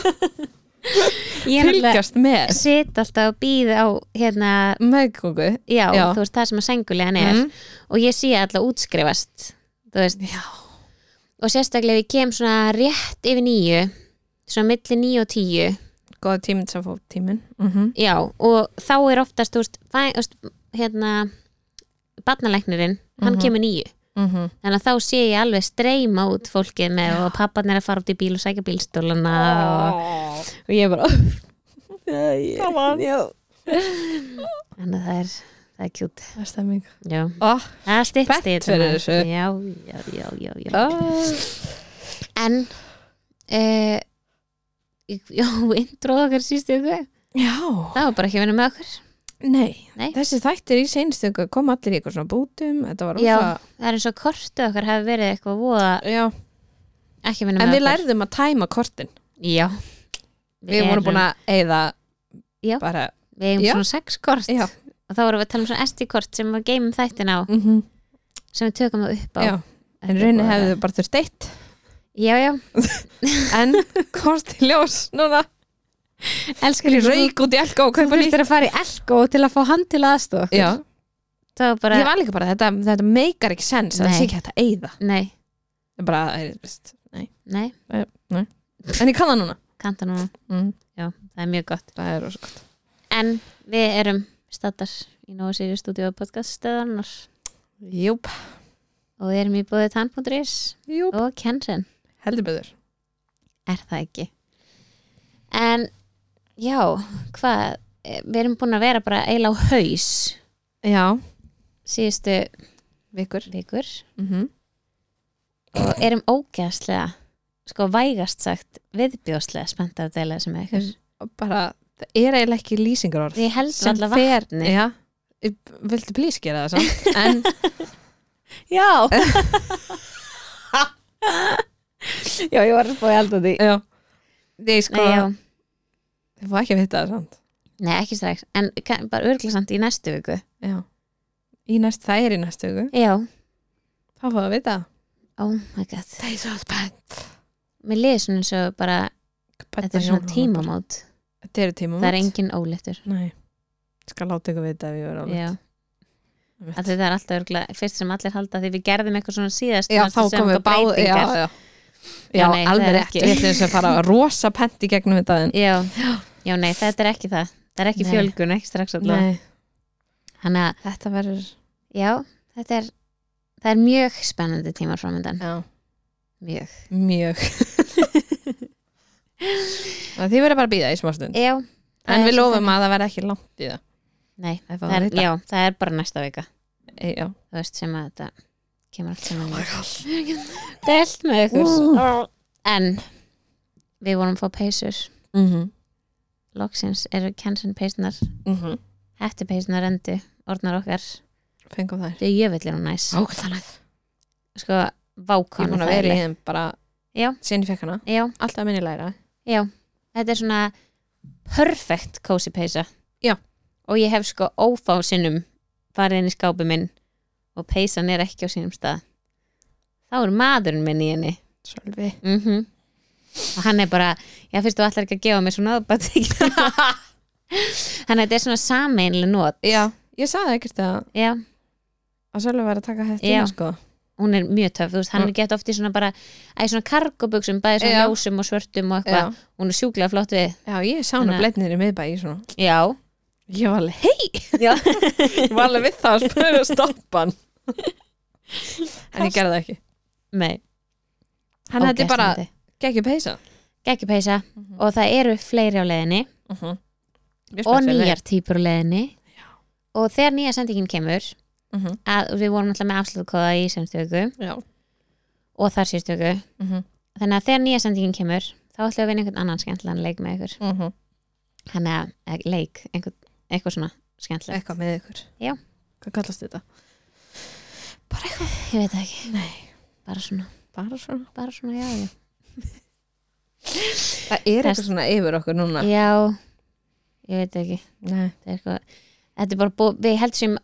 Speaker 1: ég er alltaf
Speaker 2: fylgjast með
Speaker 1: sitt alltaf og býð á hérna
Speaker 2: meðgóku
Speaker 1: já,
Speaker 2: Já.
Speaker 1: þú veist það sem að sengulegan er
Speaker 2: Mhm.
Speaker 1: og ég sé alltaf útskrifast þú veist
Speaker 2: Já.
Speaker 1: og sérstaklega ef ég kem svona rétt yfir nýju svona milli nýju og tíu
Speaker 2: góða tíminn sem fór tíminn mm -hmm.
Speaker 1: Já, og þá er oftast, þú veist, fæ, þú veist hérna, barnalæknirinn, hann kemur nýju.
Speaker 2: Mm -hmm.
Speaker 1: Þannig að þá sé ég alveg streyma út fólkið með og pappan er að fara út í bíl og sækja bílstólana og, og ég er bara,
Speaker 2: það
Speaker 1: þannig að það er, það er kjút.
Speaker 2: er stemming
Speaker 1: Já,
Speaker 2: oh.
Speaker 1: það er stitt
Speaker 2: Spennt
Speaker 1: stitt.
Speaker 2: fyrir þessu.
Speaker 1: Já, já, já, já, já.
Speaker 2: Oh.
Speaker 1: En, uh, já, introð okkar sístu ykkur,
Speaker 2: já,
Speaker 1: það var bara ekki að vinna með okkur.
Speaker 2: nei.
Speaker 1: Nei.
Speaker 2: þessi þættir í seinstöku kom allir í eitthvað svona bútum þetta var
Speaker 1: Já,
Speaker 2: rosa-
Speaker 1: það er eins og kortu okkar hafi verið eitthvað voða
Speaker 2: já.
Speaker 1: ekki að vinna
Speaker 2: en
Speaker 1: með
Speaker 2: við
Speaker 1: okkur.
Speaker 2: lærðum að tæma kortin
Speaker 1: Já
Speaker 2: við vorum búin að eyða
Speaker 1: Já.
Speaker 2: bara
Speaker 1: Við eigum
Speaker 2: Já.
Speaker 1: svona sex kort
Speaker 2: Já.
Speaker 1: og þá vorum við að tala um svona SD-kort sem við geymum þættin á
Speaker 2: mm -hmm.
Speaker 1: sem við tökum það upp á
Speaker 2: já.
Speaker 1: Þetta
Speaker 2: en
Speaker 1: er
Speaker 2: raunin
Speaker 1: búið að-
Speaker 2: hefðu bara þurft eitt
Speaker 1: Já, já,
Speaker 2: en komst í ljós núna
Speaker 1: elskar
Speaker 2: í rauk út í elka og
Speaker 1: Þú
Speaker 2: kaupa nýtt
Speaker 1: þurftir að fara í elko til að fá hann til aðstof
Speaker 2: já,
Speaker 1: Það var bara,
Speaker 2: ég var líka bara þetta, þetta meikar ekki sens að
Speaker 1: Nei.
Speaker 2: það sé ekki hægt að eyða
Speaker 1: nei,
Speaker 2: Ég bara, eh, veist, nei.
Speaker 1: nei,
Speaker 2: en ég kann það núna
Speaker 1: kanta nú Já, það er mjög gott
Speaker 2: það er rosa gott
Speaker 1: En við erum staddar í Nóa Sirius stúdíu og podcast stöðarnar
Speaker 2: júp,
Speaker 1: og við erum í búið tann.is
Speaker 2: júp,
Speaker 1: og Kensen
Speaker 2: heldur betur
Speaker 1: er það ekki en já, hvað við erum búin að vera bara eila á haus
Speaker 2: já,
Speaker 1: síðustu
Speaker 2: vikur
Speaker 1: vikur
Speaker 2: mm
Speaker 1: og erum ógæðslega sko vægast sagt viðbjóðslega spennt að deila þessu með ykkur
Speaker 2: og bara, það er eiginlega ekki lýsingar orð
Speaker 1: Ég held
Speaker 2: Sem
Speaker 1: varla
Speaker 2: fer-
Speaker 1: vatni.
Speaker 2: já, viltu plís gera það samt en
Speaker 1: Já Já, ég var spóið alltaf því
Speaker 2: já, ég sko
Speaker 1: Nei, já,
Speaker 2: ég var ekki að vita það samt
Speaker 1: nei, ekki strax En ka- bara örglasamt í næstu viku
Speaker 2: já. í næst, það er í næstu viku
Speaker 1: Já,
Speaker 2: þá fáum við að vita
Speaker 1: oh my god
Speaker 2: það er svo spennt
Speaker 1: Mér liði svona eins og bara Þetta er svona tímamót
Speaker 2: þetta eru tímamót
Speaker 1: Það er engin óléttur
Speaker 2: Nei, ég skal láta ykkur vita ef ég verið
Speaker 1: Já,
Speaker 2: álegt.
Speaker 1: Af því það er alltaf örgla Fyrst sem allir halda því við gerðum eitthvað svona síðast
Speaker 2: Já,
Speaker 1: manstu,
Speaker 2: þá
Speaker 1: sem
Speaker 2: komum við
Speaker 1: eitthvað
Speaker 2: báð, já,
Speaker 1: breytingar.
Speaker 2: já.
Speaker 1: Já,
Speaker 2: Já,
Speaker 1: nei, það
Speaker 2: alveg
Speaker 1: er
Speaker 2: rétt,
Speaker 1: ekki.
Speaker 2: við ætlum þess að fara rosa pent í gegnum þetta en
Speaker 1: Já, já, nei, þetta er ekki það Það er ekki
Speaker 2: Nei.
Speaker 1: fjölgun, ekki strax allavega
Speaker 2: Nei,
Speaker 1: Þannig að,
Speaker 2: þetta verður
Speaker 1: já, þetta er Það er mjög spennandi tímar framöndan
Speaker 2: já,
Speaker 1: Mjög
Speaker 2: mjög Það þið verður bara að býða í smá stund
Speaker 1: Já, það
Speaker 2: En
Speaker 1: er
Speaker 2: við
Speaker 1: svo
Speaker 2: lofum
Speaker 1: þannig.
Speaker 2: að það verður ekki langt í það
Speaker 1: Nei,
Speaker 2: Ef
Speaker 1: það
Speaker 2: það
Speaker 1: er,
Speaker 2: er þetta
Speaker 1: já, það er bara næsta vika
Speaker 2: E, já.
Speaker 1: Þú veist sem að þetta kemur allt saman oh Delt með ykkur En við vorum að fá peysur
Speaker 2: Mm
Speaker 1: Mhm.
Speaker 2: -hmm.
Speaker 1: Loksins eru kensin peysnar
Speaker 2: Mm -hmm.
Speaker 1: Hætti peysnar endu, orðnar okkar
Speaker 2: Fengum þær
Speaker 1: Þetta er jöfellin og næs
Speaker 2: Ógæðanætt
Speaker 1: Sko,
Speaker 2: Ég er
Speaker 1: vákan
Speaker 2: búin að vera í hérna. þeim bara
Speaker 1: Já.
Speaker 2: Sinni fekk hana,
Speaker 1: Já,
Speaker 2: alltaf minni læra
Speaker 1: já, þetta er svona perfect cozy peysa
Speaker 2: Já.
Speaker 1: Og ég hef sko ófá sinnum farið inn í skápi minn og peysan er ekki á sínum stað Þá er maðurinn minn í henni
Speaker 2: Sölvi
Speaker 1: mm
Speaker 2: Mhm.
Speaker 1: og hann er bara já fyrst þú allar ekki að gefa mér svona bara tekið hana." þannig að þetta er svona sameinlega nót
Speaker 2: Já, ég sagði ekkert að,
Speaker 1: já,
Speaker 2: að Sölvi var að taka þetta
Speaker 1: Já.
Speaker 2: inn sko.
Speaker 1: hún er mjög töf veist, hann er gett oft í svona bara að svona kargobuxum, bæði svona
Speaker 2: Mm. Já.
Speaker 1: ljósum og svörtum og
Speaker 2: Já.
Speaker 1: eitthvað, hún er sjúklega flott við
Speaker 2: Já, ég sá hana
Speaker 1: Þannig að-
Speaker 2: blendinir í miðbæ í svona
Speaker 1: já,
Speaker 2: Ég var alveg, hei,
Speaker 1: já.
Speaker 2: ég var alveg við það að spöðu að stoppa hann En ég gerði það ekki
Speaker 1: nei,
Speaker 2: Hann okay, hætti bara, Mhm. gekk ég peysa
Speaker 1: geggjum peysa og það eru fleiri á leiðinni
Speaker 2: uh -huh.
Speaker 1: Mhm. og nýjar típur á leiðinni og þegar nýja sendingin kemur
Speaker 2: Mhm.
Speaker 1: að við vorum alltaf með afslutkóða í semstöku
Speaker 2: Já,
Speaker 1: og þar sérstöku
Speaker 2: uh -huh.
Speaker 1: þannig að þegar nýja sendingin kemur þá ætlum við að vinna einhvern annan skemmtilegan leik með ykkur
Speaker 2: Uh -huh.
Speaker 1: hann er eh, leik, einhvern, eitthvað svona skemmtilegt
Speaker 2: eitthvað með ykkur
Speaker 1: Já.
Speaker 2: Hvað kallast þetta?
Speaker 1: ég veit það ekki, nei bara svona,
Speaker 2: Bara svona
Speaker 1: bara svona, já, já
Speaker 2: Það er
Speaker 1: Þess-
Speaker 2: eitthvað svona yfir okkur núna
Speaker 1: já, ég veit það ekki það
Speaker 2: Nei.
Speaker 1: er eitthvað, þetta er bara búið, við held sem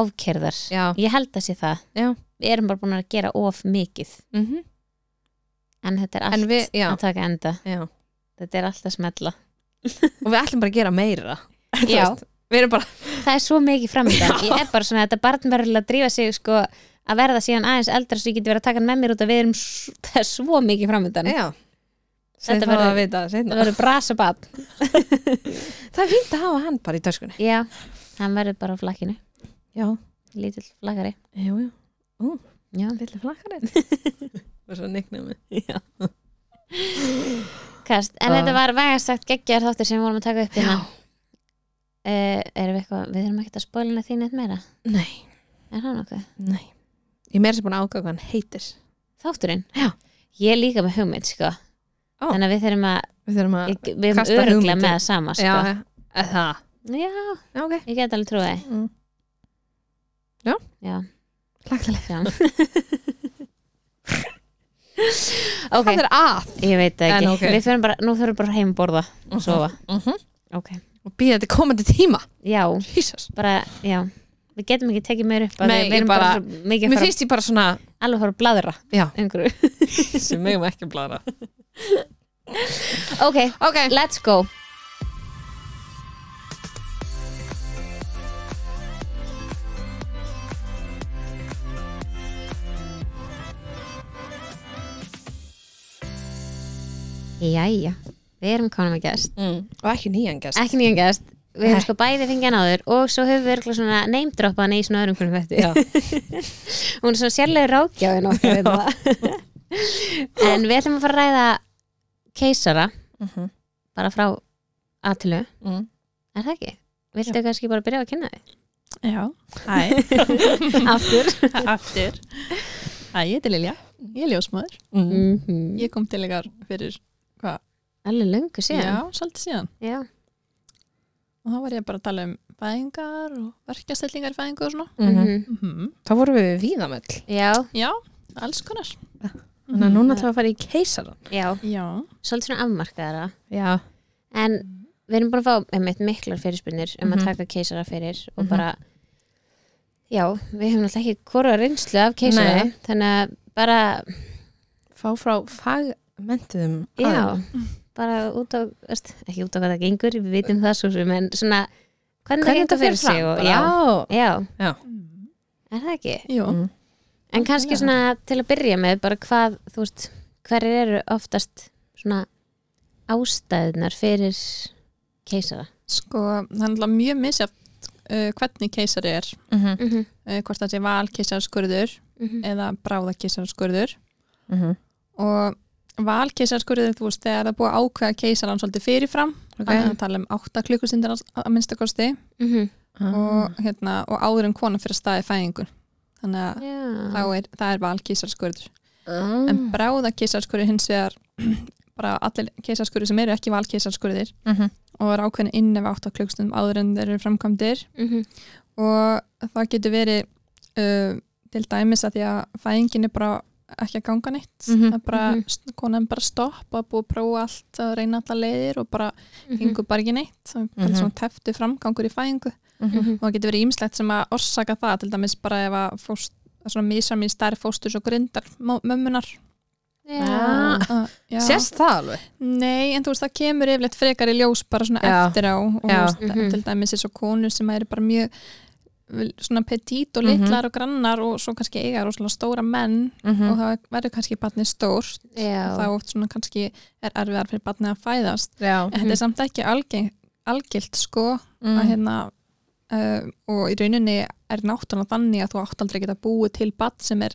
Speaker 1: ofkerðar,
Speaker 2: Já,
Speaker 1: ég held að sé það
Speaker 2: Já.
Speaker 1: við erum bara búin að gera of mikið
Speaker 2: mm
Speaker 1: en þetta er
Speaker 2: En
Speaker 1: allt
Speaker 2: við- já.
Speaker 1: að taka enda
Speaker 2: já
Speaker 1: þetta er allt að smetla
Speaker 2: Og við ætlum bara að gera meira Þú
Speaker 1: Já.
Speaker 2: veist, Við erum bara
Speaker 1: það er svo mikið framöndan ég er bara svona, þetta barn verður að drífa sig sko, að verða síðan aðeins eldra svo ég geti verið að taka hann með mér út að við erum s- það er svo mikið framöndan
Speaker 2: Já
Speaker 1: Þetta
Speaker 2: Þetta verður
Speaker 1: verður-
Speaker 2: að vita það seinna.
Speaker 1: það verður brasa barn
Speaker 2: Það er fínt að hafa hann bara í töskunni
Speaker 1: já, hann verður bara á flakkinu
Speaker 2: Já,
Speaker 1: lítill flakkari
Speaker 2: jú, jú
Speaker 1: já.
Speaker 2: Lilli flakkarinn Og svo niknaði mig
Speaker 1: Kast, en
Speaker 2: Ah.
Speaker 1: þetta var vægast sagt geggjar þáttir sem við vorum að taka upp hérna uh, erum við eitthvað, við erum ekkert að spólina þín eitt meira,
Speaker 2: Nei,
Speaker 1: er hann okkur
Speaker 2: nei Ég er meira sem búin að ákvæða hvað hann heitir
Speaker 1: þátturinn,
Speaker 2: Já.
Speaker 1: ég er líka með hugmynd sko.
Speaker 2: Ó.
Speaker 1: þannig að við þurfum að
Speaker 2: Við þurfum að
Speaker 1: ég- við erum
Speaker 2: Kasta
Speaker 1: öruglega
Speaker 2: hugmyndum.
Speaker 1: með það sama sko.
Speaker 2: Já, eða það
Speaker 1: já,
Speaker 2: Já, ok
Speaker 1: ég get alveg trúið því.
Speaker 2: Mm. Já.
Speaker 1: já
Speaker 2: Flakkarinn
Speaker 1: Já. ok,
Speaker 2: Hvað er að?
Speaker 1: ég veit það ekki
Speaker 2: En ok.
Speaker 1: Við fyrir bara, nú þurfum bara heim að borða og sofa
Speaker 2: Mhm.
Speaker 1: Ok,
Speaker 2: Og býða þetta komandi tíma
Speaker 1: já,
Speaker 2: Jesus
Speaker 1: bara, já Við getum ekki tekið meir upp að
Speaker 2: Nei,
Speaker 1: við
Speaker 2: ég
Speaker 1: erum bara,
Speaker 2: bara-
Speaker 1: bara svo mikið að
Speaker 2: Mér
Speaker 1: fara,
Speaker 2: finnst ég bara svona
Speaker 1: alveg að fara að bladra
Speaker 2: Já
Speaker 1: einhverju.
Speaker 2: Sem megum ekki að blara
Speaker 1: Ok,
Speaker 2: Ok
Speaker 1: let's go Jæja, við erum konum að gest
Speaker 2: mm. Og ekki nýjan gæst
Speaker 1: ekki nýjan gæst við höfum
Speaker 2: Nei.
Speaker 1: sko bæði fengið hann áður og svo höfum við örgulega svona neymdroppa hann í svona öðrum hvernig
Speaker 2: Já.
Speaker 1: þetta hún er svona sérlega rákjáin okkar við það. en við ætlum að fara að ræða keisara
Speaker 2: Mhm.
Speaker 1: bara frá aðtilu,
Speaker 2: mm.
Speaker 1: er það ekki? viltu kannski bara byrja að kynna þig?
Speaker 3: Já, hæ,
Speaker 1: Aftur
Speaker 3: aftur Æ, ég heiti Lilja, ég er ljósmaður
Speaker 2: mm.
Speaker 1: mm
Speaker 3: Ég kom til ykkar fyrir,
Speaker 1: Alveg löngu síðan
Speaker 3: já, svolítið síðan
Speaker 1: Já,
Speaker 3: og þá var ég bara að tala um fæðingar og verkjastellingar í fæðingu og svona
Speaker 1: mm
Speaker 2: Mhm.
Speaker 1: -hmm.
Speaker 3: -hmm.
Speaker 2: Þá vorum við við víðamöll
Speaker 1: já,
Speaker 3: Já, alls konar Mhm.
Speaker 2: Þannig að núna ætlum við að fara í keisaran
Speaker 1: já.
Speaker 3: Já,
Speaker 1: svolítið svona afmarkaðara
Speaker 2: Já,
Speaker 1: en við erum búin að fá einmitt miklar fyrirspunir um
Speaker 2: Mhm.
Speaker 1: að taka keisara fyrir og bara já, við hefum alltaf ekki korra reynslu af keisara
Speaker 2: Nei.
Speaker 1: þannig að bara,
Speaker 2: fá frá fagmentuðum
Speaker 1: já
Speaker 2: Mm.
Speaker 1: bara út á, veist, ekki út á hvað það gengur við vitum það svo sem, en svona hvernig,
Speaker 2: Hvernig þetta fyrir
Speaker 1: sig
Speaker 2: fram
Speaker 1: og,
Speaker 2: bara?
Speaker 1: já, já,
Speaker 2: Já.
Speaker 1: er það ekki
Speaker 3: jú,
Speaker 2: Mm.
Speaker 1: en kannski svona til að byrja með bara hvað, þú veist, hverjir eru oftast svona ástæðunar fyrir keisara
Speaker 3: sko, það er náttúrulega mjög misjafn uh, hvernig keisari er
Speaker 2: Mhm,
Speaker 1: mm -hmm.
Speaker 3: uh, hvort það sé val keisaraskurður
Speaker 1: Mm.
Speaker 3: eða bráða keisaraskurður
Speaker 2: mhm.
Speaker 3: og val keisaraskurður, þú veist, þegar það er búið að ákveða keisaran svolítið fyrirfram þannig að tala um 8 klukkustundir að að minnsta kosti
Speaker 2: Ah.
Speaker 3: og, hérna, og áður en konan fyrir að staði fæðingu þannig að
Speaker 1: já
Speaker 3: þá er, það er val keisaraskurður
Speaker 2: Mhm.
Speaker 3: en bráða keisaraskurður hins vegar bara allir keisaraskurður sem eru ekki val keisaraskurðir
Speaker 2: Mhm.
Speaker 3: og er ákveðin inn ef 8 klukkustundum áður en þeir eru framkvæmdir
Speaker 1: Mhm.
Speaker 3: og það getur verið uh, til dæmis að því að fæðingin er bara ekki að ganga neitt mm
Speaker 2: Mhm.
Speaker 3: -hmm. bara, mm -hmm. konan bara stoppa búið að prófa allt að reyna alla leiðir og bara
Speaker 1: mhm.
Speaker 3: gengur bara ekki neitt það er bara
Speaker 2: Mhm.
Speaker 3: svona teftu framgangur í fæðingu
Speaker 1: Mhm.
Speaker 3: og það getur verið ímslegt sem að orsaka það til dæmis bara ef að fóst, svona mísamín stærri fóstus og grindar mó- mömmunar
Speaker 1: Já.
Speaker 3: uh, já.
Speaker 2: Sérst það alveg?
Speaker 3: Nei, en þú veist, það kemur yfirleitt frekar í ljós bara svona
Speaker 2: Já.
Speaker 3: eftir á og þú
Speaker 2: Já.
Speaker 3: veist,
Speaker 1: Mhm.
Speaker 3: til dæmis eins og konur sem eru bara mjög vel, svona petit og litlar og grannar og svo kannski eiga rosalega stóra menn
Speaker 2: Mhm.
Speaker 3: og þá verður kannski barnið stórt
Speaker 1: Já.
Speaker 3: og þá oft svona kannski er erfiðar fyrir barnið að fæðast
Speaker 2: Já
Speaker 3: en þetta er samt ekki algeng, algilt sko að
Speaker 2: Mhm.
Speaker 3: hérna uh, og í rauninni er náttúrulega þannig að þú átt aldrei að geta búið til barn sem er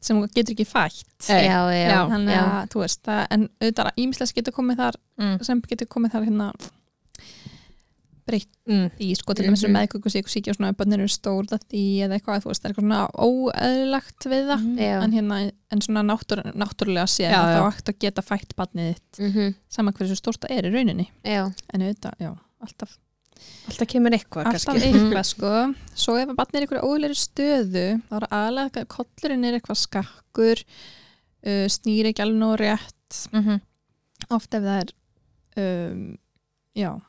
Speaker 3: sem þú getur ekki fætt
Speaker 2: Nei.
Speaker 1: já, já,
Speaker 3: þannig
Speaker 1: já.
Speaker 3: að þú veist það, en auðvitað að ímislega getur komið þar
Speaker 2: Mm.
Speaker 3: sem getur komið þar hérna breytt
Speaker 2: Mm.
Speaker 3: í sko til dæmis mm -hmm. meðköku sík og síkja og svona að bönnir eru stórt að því eða eitthvað þú veist, það er eitthvað svona óöðlagt við það
Speaker 2: Mhm.
Speaker 1: Já.
Speaker 3: en hérna, en svona náttúr, náttúrulega séð
Speaker 2: Já,
Speaker 3: að
Speaker 2: já.
Speaker 3: þá ætti að geta fætt barnið þitt
Speaker 1: Mhm.
Speaker 3: saman hversu stórt það er í rauninni
Speaker 1: já,
Speaker 3: en auðvitað, já, alltaf
Speaker 2: Alltaf kemur eitthvað
Speaker 3: alltaf
Speaker 2: kannski Mhm.
Speaker 3: eitthvað sko svo ef að barnið er í einhverju ólegri stöðu þá er aðlega, kollurinn er eitthvað skakkur uh, snýr ekki alveg nóg rétt
Speaker 2: Mhm.
Speaker 3: oft ef það er um, já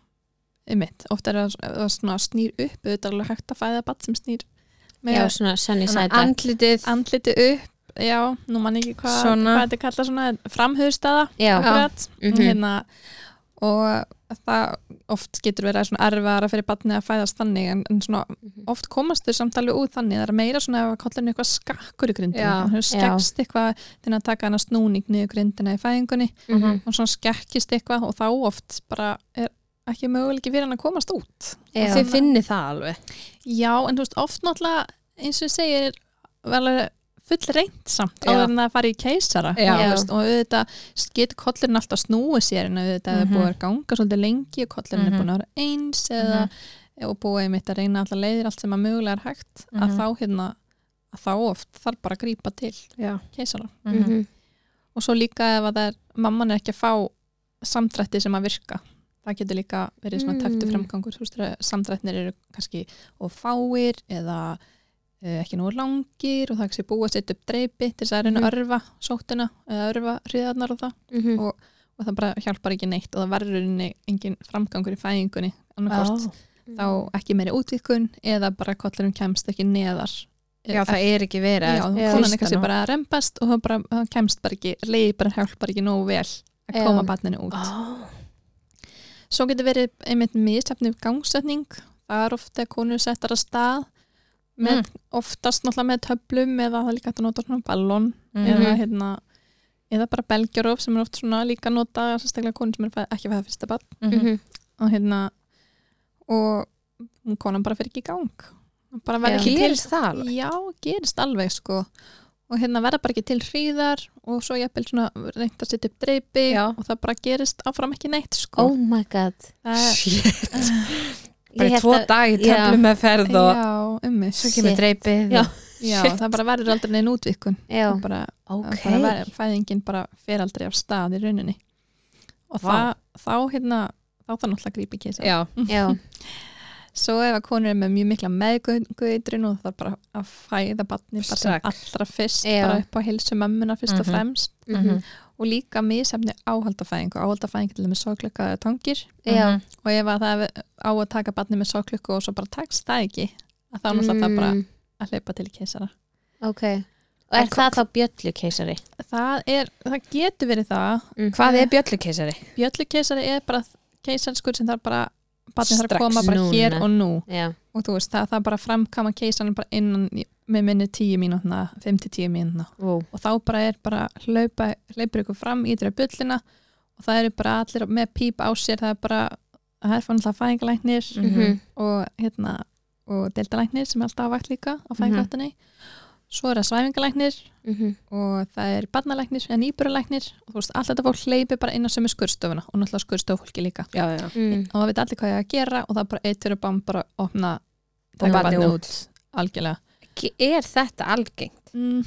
Speaker 3: einmitt, oft er það, það svona snýr upp auðvitað er alveg hægt að fæða barn sem snýr með
Speaker 1: já, svona sunny side
Speaker 2: Þannig
Speaker 1: up
Speaker 2: að Andlitið
Speaker 3: andliti upp já, nú mann ekki hvað
Speaker 2: Svona.
Speaker 3: hvað þetta kalla svona framhauðstaða
Speaker 1: já,
Speaker 3: akkurat
Speaker 1: Mhm.
Speaker 3: hérna, og það oft getur verið svona erfara fyrir barnið að fæðast þannig en, en svona
Speaker 1: Mhm.
Speaker 3: oft komast þau samt alveg út þannig það er meira svona ef að kollinu eitthvað skakkur í grindina
Speaker 2: Já,
Speaker 3: þannig að skekkst eitthvað til að taka hana snúning niður grindina í fæðingunni
Speaker 1: Mhm.
Speaker 3: og svona skekkist eitthvað og þá oft bara er ekki möguleiki fyrir hann að komast út
Speaker 1: já,
Speaker 2: Þið finnið það alveg
Speaker 3: Já, en þú veist, oft náttúrulega eins og ég segir, vel full reynd samt,
Speaker 2: Já.
Speaker 3: áður en það fari í keisara
Speaker 2: Já.
Speaker 3: og, þú veist, og auðvitað getur kollurinn alltaf snúið sér en auðvitað mm -hmm. er búið að ganga svolítið lengi og kollurinn er búin að vera eins eða, og búið einmitt að reyna alltaf leiðir allt sem að mögulega er hægt að þá hérna, að þá oft þarf bara að grípa til
Speaker 2: Já.
Speaker 3: keisara
Speaker 1: Mhm.
Speaker 3: og svo líka ef að það er, mamman er ekki að fá samdrætti sem að virka það getur líka verið svona
Speaker 1: Mm.
Speaker 3: teftu framgangur þú veist, þegar samdrættinir eru kannski og fáir eða eh, ekki nógu langir og það er kannski búið að setja upp dreipi til þess að reyna að
Speaker 2: Mm.
Speaker 3: örfa sótuna eða örfa hriðarnar og það
Speaker 1: Mhm.
Speaker 3: og það bara hjálpar ekki neitt og það verður í rauninni engin framgangur í fæðingunni annarkort þá ekki meiri útvikun eða bara kollurum kemst ekki neðar eh,
Speaker 2: Já, það er ekki verið
Speaker 3: Já,
Speaker 2: að
Speaker 3: já,
Speaker 1: Já.
Speaker 3: konan
Speaker 2: Þrýsta
Speaker 3: er kannski
Speaker 2: nú.
Speaker 3: bara að rempast og það bara það kemst bara ekki, leiði bara hjálpar ekki nógu vel að
Speaker 1: Já.
Speaker 3: koma barninu út. Svo getur verið einmitt misjafni gangsetning, það er ofta að konur settar að stað með, oftast náttúrulega með töflum eða það er líka hægt að nota svona ballon
Speaker 2: Mhm.
Speaker 3: eða hérna eða bara belgjarof sem er oft svona líka nota sérstaklega konur sem er fæ- ekki að fæða fyrsta barn
Speaker 1: Mhm.
Speaker 3: og hérna og konan bara fyrir ekki í gang bara verður
Speaker 1: Já.
Speaker 3: ekki til
Speaker 2: Gerist það alveg
Speaker 3: Já, gerist alveg sko og hérna verða bara ekki til hríðar og svo jafnvel svona reynt að setja upp dreipi
Speaker 2: Já.
Speaker 3: og það bara gerist áfram ekki neitt sko
Speaker 1: oh my god
Speaker 3: það,
Speaker 2: Shit bara í tvo dag í töflu með ferð og
Speaker 3: Já, ummis.
Speaker 2: svo kemur
Speaker 1: Shit.
Speaker 2: dreipið
Speaker 1: Já.
Speaker 2: og-
Speaker 3: Já,
Speaker 2: Shit.
Speaker 3: það bara verður aldrei neina útvikun.
Speaker 1: Já,
Speaker 3: Það bara,
Speaker 2: ok,
Speaker 3: okay. bara ver, fæðingin bara fer aldrei af stað í rauninni. Og það, þá hérna, þá þarf náttúrulega að grípa í keisar.
Speaker 2: já,
Speaker 1: já,
Speaker 3: Svo ef að konur er með mjög mikla meðgöðitrun og það bara að fæða batni bara sem
Speaker 2: Strax.
Speaker 3: allra fyrst,
Speaker 1: Já.
Speaker 3: bara upp á heilsu mömmuna fyrst og
Speaker 2: Mhm.
Speaker 3: fremst.
Speaker 1: mm -hmm.
Speaker 3: Og líka misefni áhaldafæðingu. Áhaldafæðingu til þeim er sorglökaða tangir.
Speaker 1: já,
Speaker 2: Mhm.
Speaker 3: og ef að það er á að taka barni með sóklukku og svo bara takst það ekki að þá er náttúrulega það bara
Speaker 1: Mm,
Speaker 3: að hleypa til keisara
Speaker 1: ok Og er það þá bjöllu keisari?
Speaker 3: það, er, það getur verið það
Speaker 1: Mm.
Speaker 2: hvað er bjöllukeisari?
Speaker 3: bjöllu keisari er bara keisarskur sem þarf bara barni þarf
Speaker 2: Strax
Speaker 3: að koma bara
Speaker 1: núna.
Speaker 3: hér og nú
Speaker 1: Já,
Speaker 3: og þú veist það, það bara framkama keisarin bara innan í- með minni 10 mínútna 5-10 mínútna
Speaker 1: Vó.
Speaker 3: og þá bara er bara hlaupa, hleypur ykkur fram ítir að bjöllina og það eru bara allir með píp á sér það er bara, það er fannilega fæðingalæknir
Speaker 1: Mhm.
Speaker 3: og hérna og deildalæknir sem er alltaf á vakt líka á fæðingaráttinni svo er það svæfingalæknir
Speaker 1: Mhm.
Speaker 3: og það er barnalæknir eða nýburalæknir og þú veist, allt þetta fólk hleypi bara inn á sömu skurstofuna og náttúrulega skurstofólki líka
Speaker 2: já, já,
Speaker 1: Mm.
Speaker 3: og það veit allir hvað ég á að gera og það er bara eitt fyrir bann bara að opna
Speaker 2: og
Speaker 3: taka
Speaker 2: batni
Speaker 3: barnið
Speaker 2: út
Speaker 3: algjörlega
Speaker 2: er þetta algengt?
Speaker 3: mm.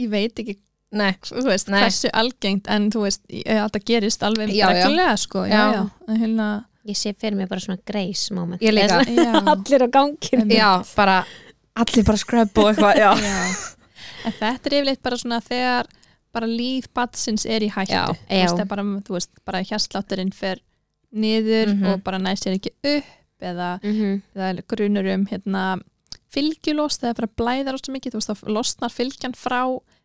Speaker 3: ég veit ekki
Speaker 2: nei,
Speaker 3: þú veist,
Speaker 2: Nei.
Speaker 3: hversu algengt en þú veist, ég- þetta gerist alveg
Speaker 2: Já, já.
Speaker 3: reglulega sko, já,
Speaker 2: Já.
Speaker 3: já, en hérna
Speaker 1: Ég sé fyrir mig bara svona grace moment
Speaker 2: ég líka
Speaker 3: já,
Speaker 1: Allir á gangin
Speaker 3: einmitt.
Speaker 2: já, bara allir bara skröp og eitthvað já.
Speaker 3: en þetta er yfirleitt bara svona þegar bara líf batsins er í hættu
Speaker 2: Já,
Speaker 3: þú veist,
Speaker 1: já.
Speaker 3: það er bara, þú veist, bara hérslátturinn fer niður
Speaker 2: Mhm.
Speaker 3: og bara næst sér ekki upp eða
Speaker 1: mm
Speaker 3: það er grunur um hérna, fylgjulost, það er bara blæðar rosa mikið, þú veist, þá losnar fylgjan frá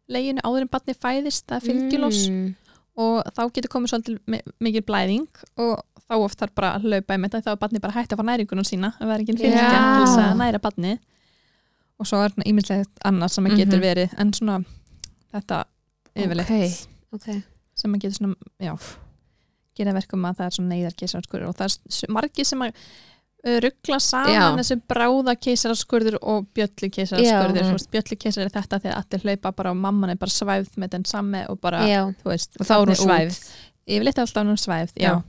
Speaker 3: leginu áður en batni fæðist það er fylgjulost
Speaker 1: mm.
Speaker 3: og þá getur komið svolítið mi- mikil blæðing og þá oft þarf bara að laupa í þetta þá er barnið bara hægt að fá næringunum sína ef það er ekki fylgja
Speaker 2: Já.
Speaker 3: til þess að næra barnið og svo er ímyndilegt annað sem að getur
Speaker 2: Mhm.
Speaker 3: verið en svona þetta yfirleitt
Speaker 2: Ok.
Speaker 1: Ok,
Speaker 3: sem að getur svona, já gera verkum að það er svona neyðar keisaraskurður og það er s- margir sem að ruggla
Speaker 2: Já.
Speaker 3: saman þessu bráða keisaraskurður og bjöllu keisaraskurður
Speaker 2: Já.
Speaker 3: Þú veist, bjöllu keisar er þetta þegar allir hlaupa bara og mamman er bara svæfð með þenn samme og bara,
Speaker 1: já,
Speaker 3: þú veist,
Speaker 2: og þá er hún
Speaker 3: barnið út
Speaker 2: svæfð
Speaker 3: yfirleitt er alltaf núna svæfð, já.
Speaker 2: Já.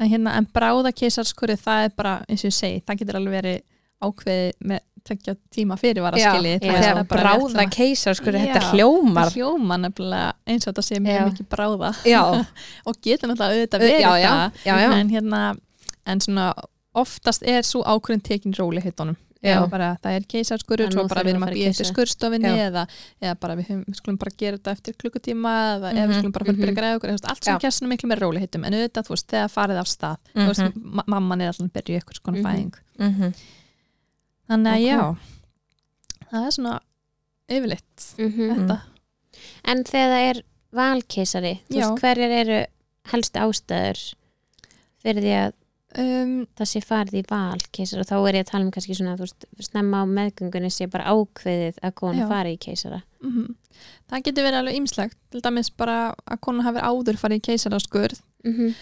Speaker 3: En, hérna, en bráða keisarskuri, það er bara, eins og ég segi, það getur alveg verið ákveðið með tökja tíma fyrirvara
Speaker 1: já.
Speaker 3: skilið. Þú veist, það
Speaker 2: þegar
Speaker 3: er bara við
Speaker 2: bráða
Speaker 3: ætlum að-
Speaker 2: keisar skur, sko, þetta
Speaker 3: Já.
Speaker 2: hljómar
Speaker 3: Það hljóma nefnilega eins og þetta sé mjög
Speaker 1: Já.
Speaker 3: mikið bráða
Speaker 2: já,
Speaker 3: og getur náttúrulega auðvitað verið
Speaker 2: já, já,
Speaker 3: það.
Speaker 2: já, já.
Speaker 3: En, hérna, en svona oftast er svo ákveðin tekin róli hittunum.
Speaker 2: Já.
Speaker 3: Bara, það er keisarskurur,
Speaker 1: Að
Speaker 3: svo
Speaker 1: nú
Speaker 3: bara
Speaker 1: þurfum
Speaker 3: við erum
Speaker 1: að
Speaker 3: að
Speaker 1: fara í
Speaker 3: býja eftir
Speaker 1: keisara.
Speaker 3: skurstofinni
Speaker 2: Já.
Speaker 3: eða, eða bara við, höfum- við skulum bara gera þetta eftir klukkutíma eða mm við skulum bara fara að byrja að græða okkur þú veist, allt sem
Speaker 2: Mhm, Já.
Speaker 3: kjæst svona miklu með róli hittum en auðvitað, þú veist, þegar farið af stað mm veist, ma mamman er alltaf að byrja í eitthvað skona
Speaker 1: Mhm.
Speaker 3: fæðing
Speaker 2: Mhm.
Speaker 3: þannig að
Speaker 2: Ok.
Speaker 3: já það er svona yfirleitt
Speaker 1: mhm
Speaker 3: þetta
Speaker 1: En þegar það er valkeisari þú
Speaker 3: Já.
Speaker 1: veist, Hverjar eru helst ástæður fyrir því að
Speaker 3: um,
Speaker 1: það sé farið í valkeisara og þá er ég að tala um kannski svona þú veist, snemma á meðgöngunni sé bara ákveðið að
Speaker 3: Já.
Speaker 1: konu fari í keisara
Speaker 3: mhm. það getur verið alveg ýmslegt til dæmis bara að konan hafi áður farið í keisaraskurð
Speaker 1: mhm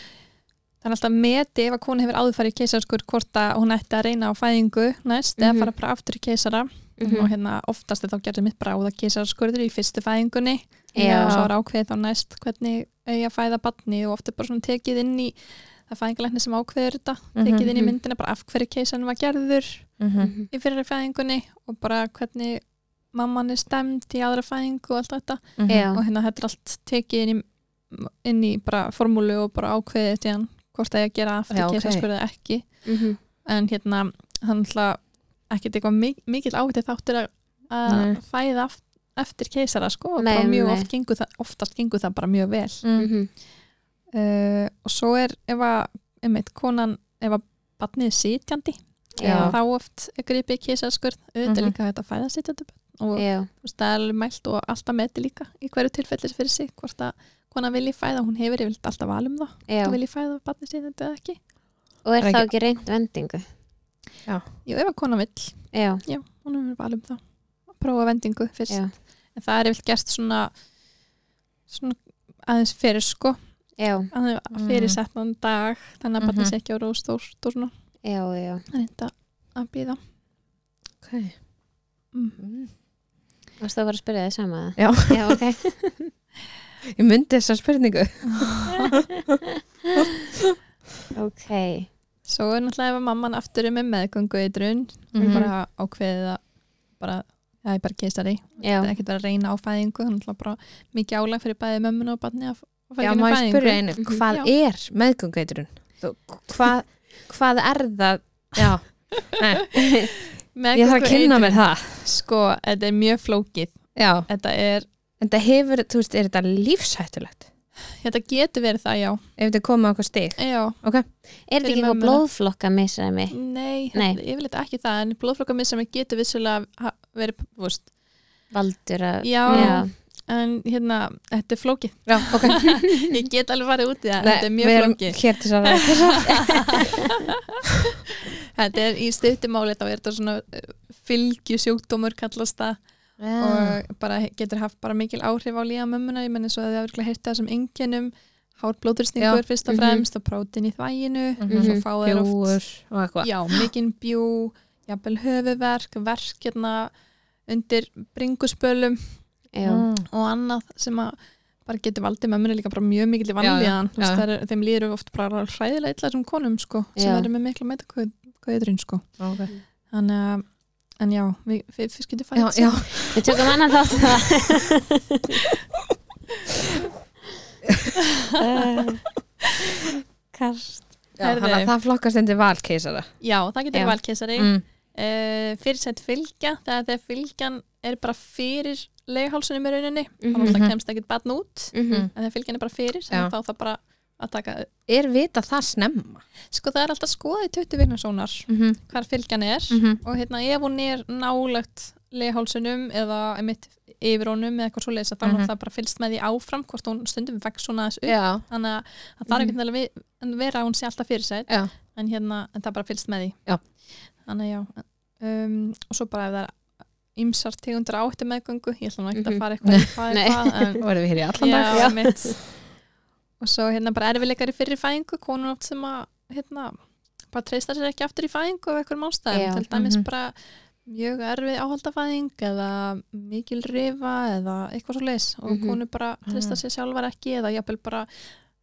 Speaker 3: Það er alltaf meti ef að konu hefur áður farið í keisarskur hvort að hún ætti að reyna á fæðingu næst eða
Speaker 1: Mhm.
Speaker 3: fara bara aftur í keisara og
Speaker 1: mhm,
Speaker 3: hérna oftast er þá gerði mitt bráða keisarskurður í fyrstu fæðingunni og svo
Speaker 1: Já,
Speaker 3: er ákveðið þá næst hvernig eigi að fæða batni og oft er bara svona tekið inn í það er fæðingalækni sem ákveður þetta tekið inn í
Speaker 1: Mhm.
Speaker 3: myndina bara af hverju keisarinn var gerður
Speaker 2: Mhm.
Speaker 1: mhm,
Speaker 3: í fyrri fæðingunni og bara hvernig mamman er stemd í aðra fæðingu og allt þetta
Speaker 2: Mhm.
Speaker 1: já,
Speaker 3: og hérna þetta er allt tekið inn í, inn í bara formúlu og bara ákveðið til hann hvort það er að gera aftur
Speaker 2: Já,
Speaker 3: ja,
Speaker 2: ok.
Speaker 3: keisaraskurðið ekki
Speaker 1: mhm
Speaker 3: en hérna hann ætla ekkert eitthvað mik mikill áhætti þáttur að- að
Speaker 2: Nei.
Speaker 3: fæða aft- eftir keisara sko og
Speaker 1: Nei,
Speaker 3: bara mjög
Speaker 1: nei.
Speaker 3: oft gengur það, oftast gengur það bara mjög vel
Speaker 1: mhm,
Speaker 3: uh, og svo er ef að einmitt, konan, ef að batnið er sitjandi
Speaker 1: Já.
Speaker 3: þá oft er gripið keisaraskurð auðvitað
Speaker 2: Mhm.
Speaker 3: líka hægt að fæða sitjandi börn og þú
Speaker 1: Já,
Speaker 3: veist, það er alveg mælt og alltaf meti líka í hverju tilfellis fyrir sig hvort að konan vilji fæða, hún hefur yfirleitt alltaf val um það,
Speaker 1: já
Speaker 3: þú vilji fæða batnið sitjandi eða ekki,
Speaker 1: Og er
Speaker 2: Það er
Speaker 1: þá ekki reynd vendingu
Speaker 3: jú ef að konan vill
Speaker 1: Já,
Speaker 3: Já, hún hefur val um það að prófa vendingu fyrst
Speaker 1: Já.
Speaker 3: en það er yfirleitt gert svona, svona aðeins fyrir sko
Speaker 1: já,
Speaker 3: aðeins
Speaker 2: Mm.
Speaker 3: fyrir setnan dag þannig að
Speaker 2: Mhm.
Speaker 3: barnið sé ekki á róðstórt og svona
Speaker 1: já, já
Speaker 3: það er þetta að býða
Speaker 2: ok
Speaker 3: mm.
Speaker 2: Mhm.
Speaker 1: Varst það að fara að spyrja þig sama það?
Speaker 2: Já.
Speaker 1: Já, ok
Speaker 2: ég myndi þessa spurningu
Speaker 1: Ok
Speaker 3: Svo er náttúrulega ef að mamman aftur er með meðgöngu eitrun mm
Speaker 5: Mhm.
Speaker 3: bara ákveðið að bara, það er bara keistari
Speaker 1: já,
Speaker 3: það er ekkert verið að reyna á fæðingu það er náttúrulega bara mikið álag fyrir bæði mömmun og barni að að fara í
Speaker 2: Já,
Speaker 3: gegnum
Speaker 2: maður
Speaker 3: fæðingu
Speaker 2: spurði einu, hvað
Speaker 3: Já.
Speaker 2: er meðgöngveiturinn? Hvað, hvað er það? Já,
Speaker 3: Meðgöngu
Speaker 2: ég þarf að kynna
Speaker 3: eitrun,
Speaker 2: mér það.
Speaker 3: sko, þetta er mjög flókið
Speaker 2: Já,
Speaker 3: þetta, er,
Speaker 2: en það hefur, þú veist, er þetta lífshættulegt?
Speaker 3: þetta getur verið það, já,
Speaker 2: Ef þetta komið á eitthvað stig?
Speaker 3: já.
Speaker 1: er þetta
Speaker 3: Fyrir
Speaker 1: ekki eitthvað
Speaker 3: mömmuna.
Speaker 1: blóðflokka misræmi?
Speaker 3: Nei,
Speaker 1: Nei.
Speaker 3: þetta- yfirleitt ekki það en blóðflokkamisemi getur vissulega ha- verið, þú veist,
Speaker 1: Valdur að
Speaker 3: já,
Speaker 1: já.
Speaker 3: en hérna, þetta er flókið
Speaker 2: Já, ok.
Speaker 3: ég get alveg farið út í það, þetta er
Speaker 2: við
Speaker 3: mjög
Speaker 2: erum
Speaker 3: flókið
Speaker 2: hér til þess að ræða.
Speaker 3: þetta er í stuttumáli þá er þetta svona fylgju sjúkdómur kallast það
Speaker 2: Ah,
Speaker 3: og bara getur haft bara mikil áhrif á líða mömmuna, ég menn eins og að þið hafa heyrt það sem enginnum, hárblóðurstingur fyrst og
Speaker 1: Mhm.
Speaker 3: fremst og prótin í þvæginu og svo
Speaker 1: Mhm.
Speaker 3: fá þeir oft
Speaker 2: Bjúur og eitthvað.
Speaker 3: já, mikinn bjú, jafnvel höfuverk verk hérna undir bringuspölum
Speaker 1: Já.
Speaker 2: Mm.
Speaker 3: og annað sem að bara getur valdið mömmunni líka bara mjög mikil í vanlíðan,
Speaker 2: já,
Speaker 3: Þú veist,
Speaker 2: já.
Speaker 3: þær eru- þeim líður oft bara hræðilega illa þessum konum sko, sem
Speaker 1: Já.
Speaker 3: eru með mikla metakauðurinn sko.
Speaker 2: Ok.
Speaker 3: þannig að en já, við, við fyrst getum
Speaker 2: Já,
Speaker 3: fætt
Speaker 2: já.
Speaker 1: Við tökum annan þátt um það. Kast.
Speaker 2: Já, þannig að
Speaker 3: Herðu.
Speaker 2: það flokkast undir valkeisara.
Speaker 3: Já, það getur
Speaker 1: Já.
Speaker 3: já. valkesari mm.
Speaker 2: Mm.
Speaker 3: uh, fyrirsætt fylgja, það er þegar fylgjan er bara fyrir legahálsunum í rauninni, mm
Speaker 1: Mhm.
Speaker 3: -hmm. þannig að kemst ekkert batn út
Speaker 1: Mhm.
Speaker 3: en þegar fylgjan er bara fyrir,
Speaker 2: Já.
Speaker 3: þannig þá það bara að taka,
Speaker 2: Er vita það snemma?
Speaker 3: sko það er alltaf skoðað í 20 viknarsónar hvar fylgjan er
Speaker 2: Mhm.
Speaker 3: og hérna ef hún er nálagt legahálsunum eða einmitt yfir honum eða eitthvað svoleiðis að þá
Speaker 2: Mhm.
Speaker 3: mm bara fylgst með því áfram hvort hún stundum vex svona aðeins upp
Speaker 2: Já.
Speaker 3: þannig að að það er ekkert mm -hmm. vera að hún sé alltaf fyrir sér
Speaker 2: Já.
Speaker 3: en hérna, en það bara fylgst með því
Speaker 2: Já.
Speaker 3: þannig að já um, og svo bara ef það er ymsar tegundur áhættu meðgöngu ég ætla nú ekki
Speaker 1: Mhm.
Speaker 3: að fara eitthvað í hvað
Speaker 1: Nei.
Speaker 3: er hvað en,
Speaker 2: Nú erum við hér í allan dag.
Speaker 3: já, mitt og svo hérna bara erfileikar í fyrir fæðingu konur oft sem að hérna, bara treysta sér ekki aftur í fæðingu af einhverjum
Speaker 1: Já.
Speaker 3: ástæðum, til dæmis
Speaker 2: Mhm.
Speaker 3: bara mjög erfið áhaldafæðing eða mikil rifa eða eitthvað svo leis og
Speaker 1: Mhm.
Speaker 3: konur bara treysta sér sjálfar ekki eða jafnvel bara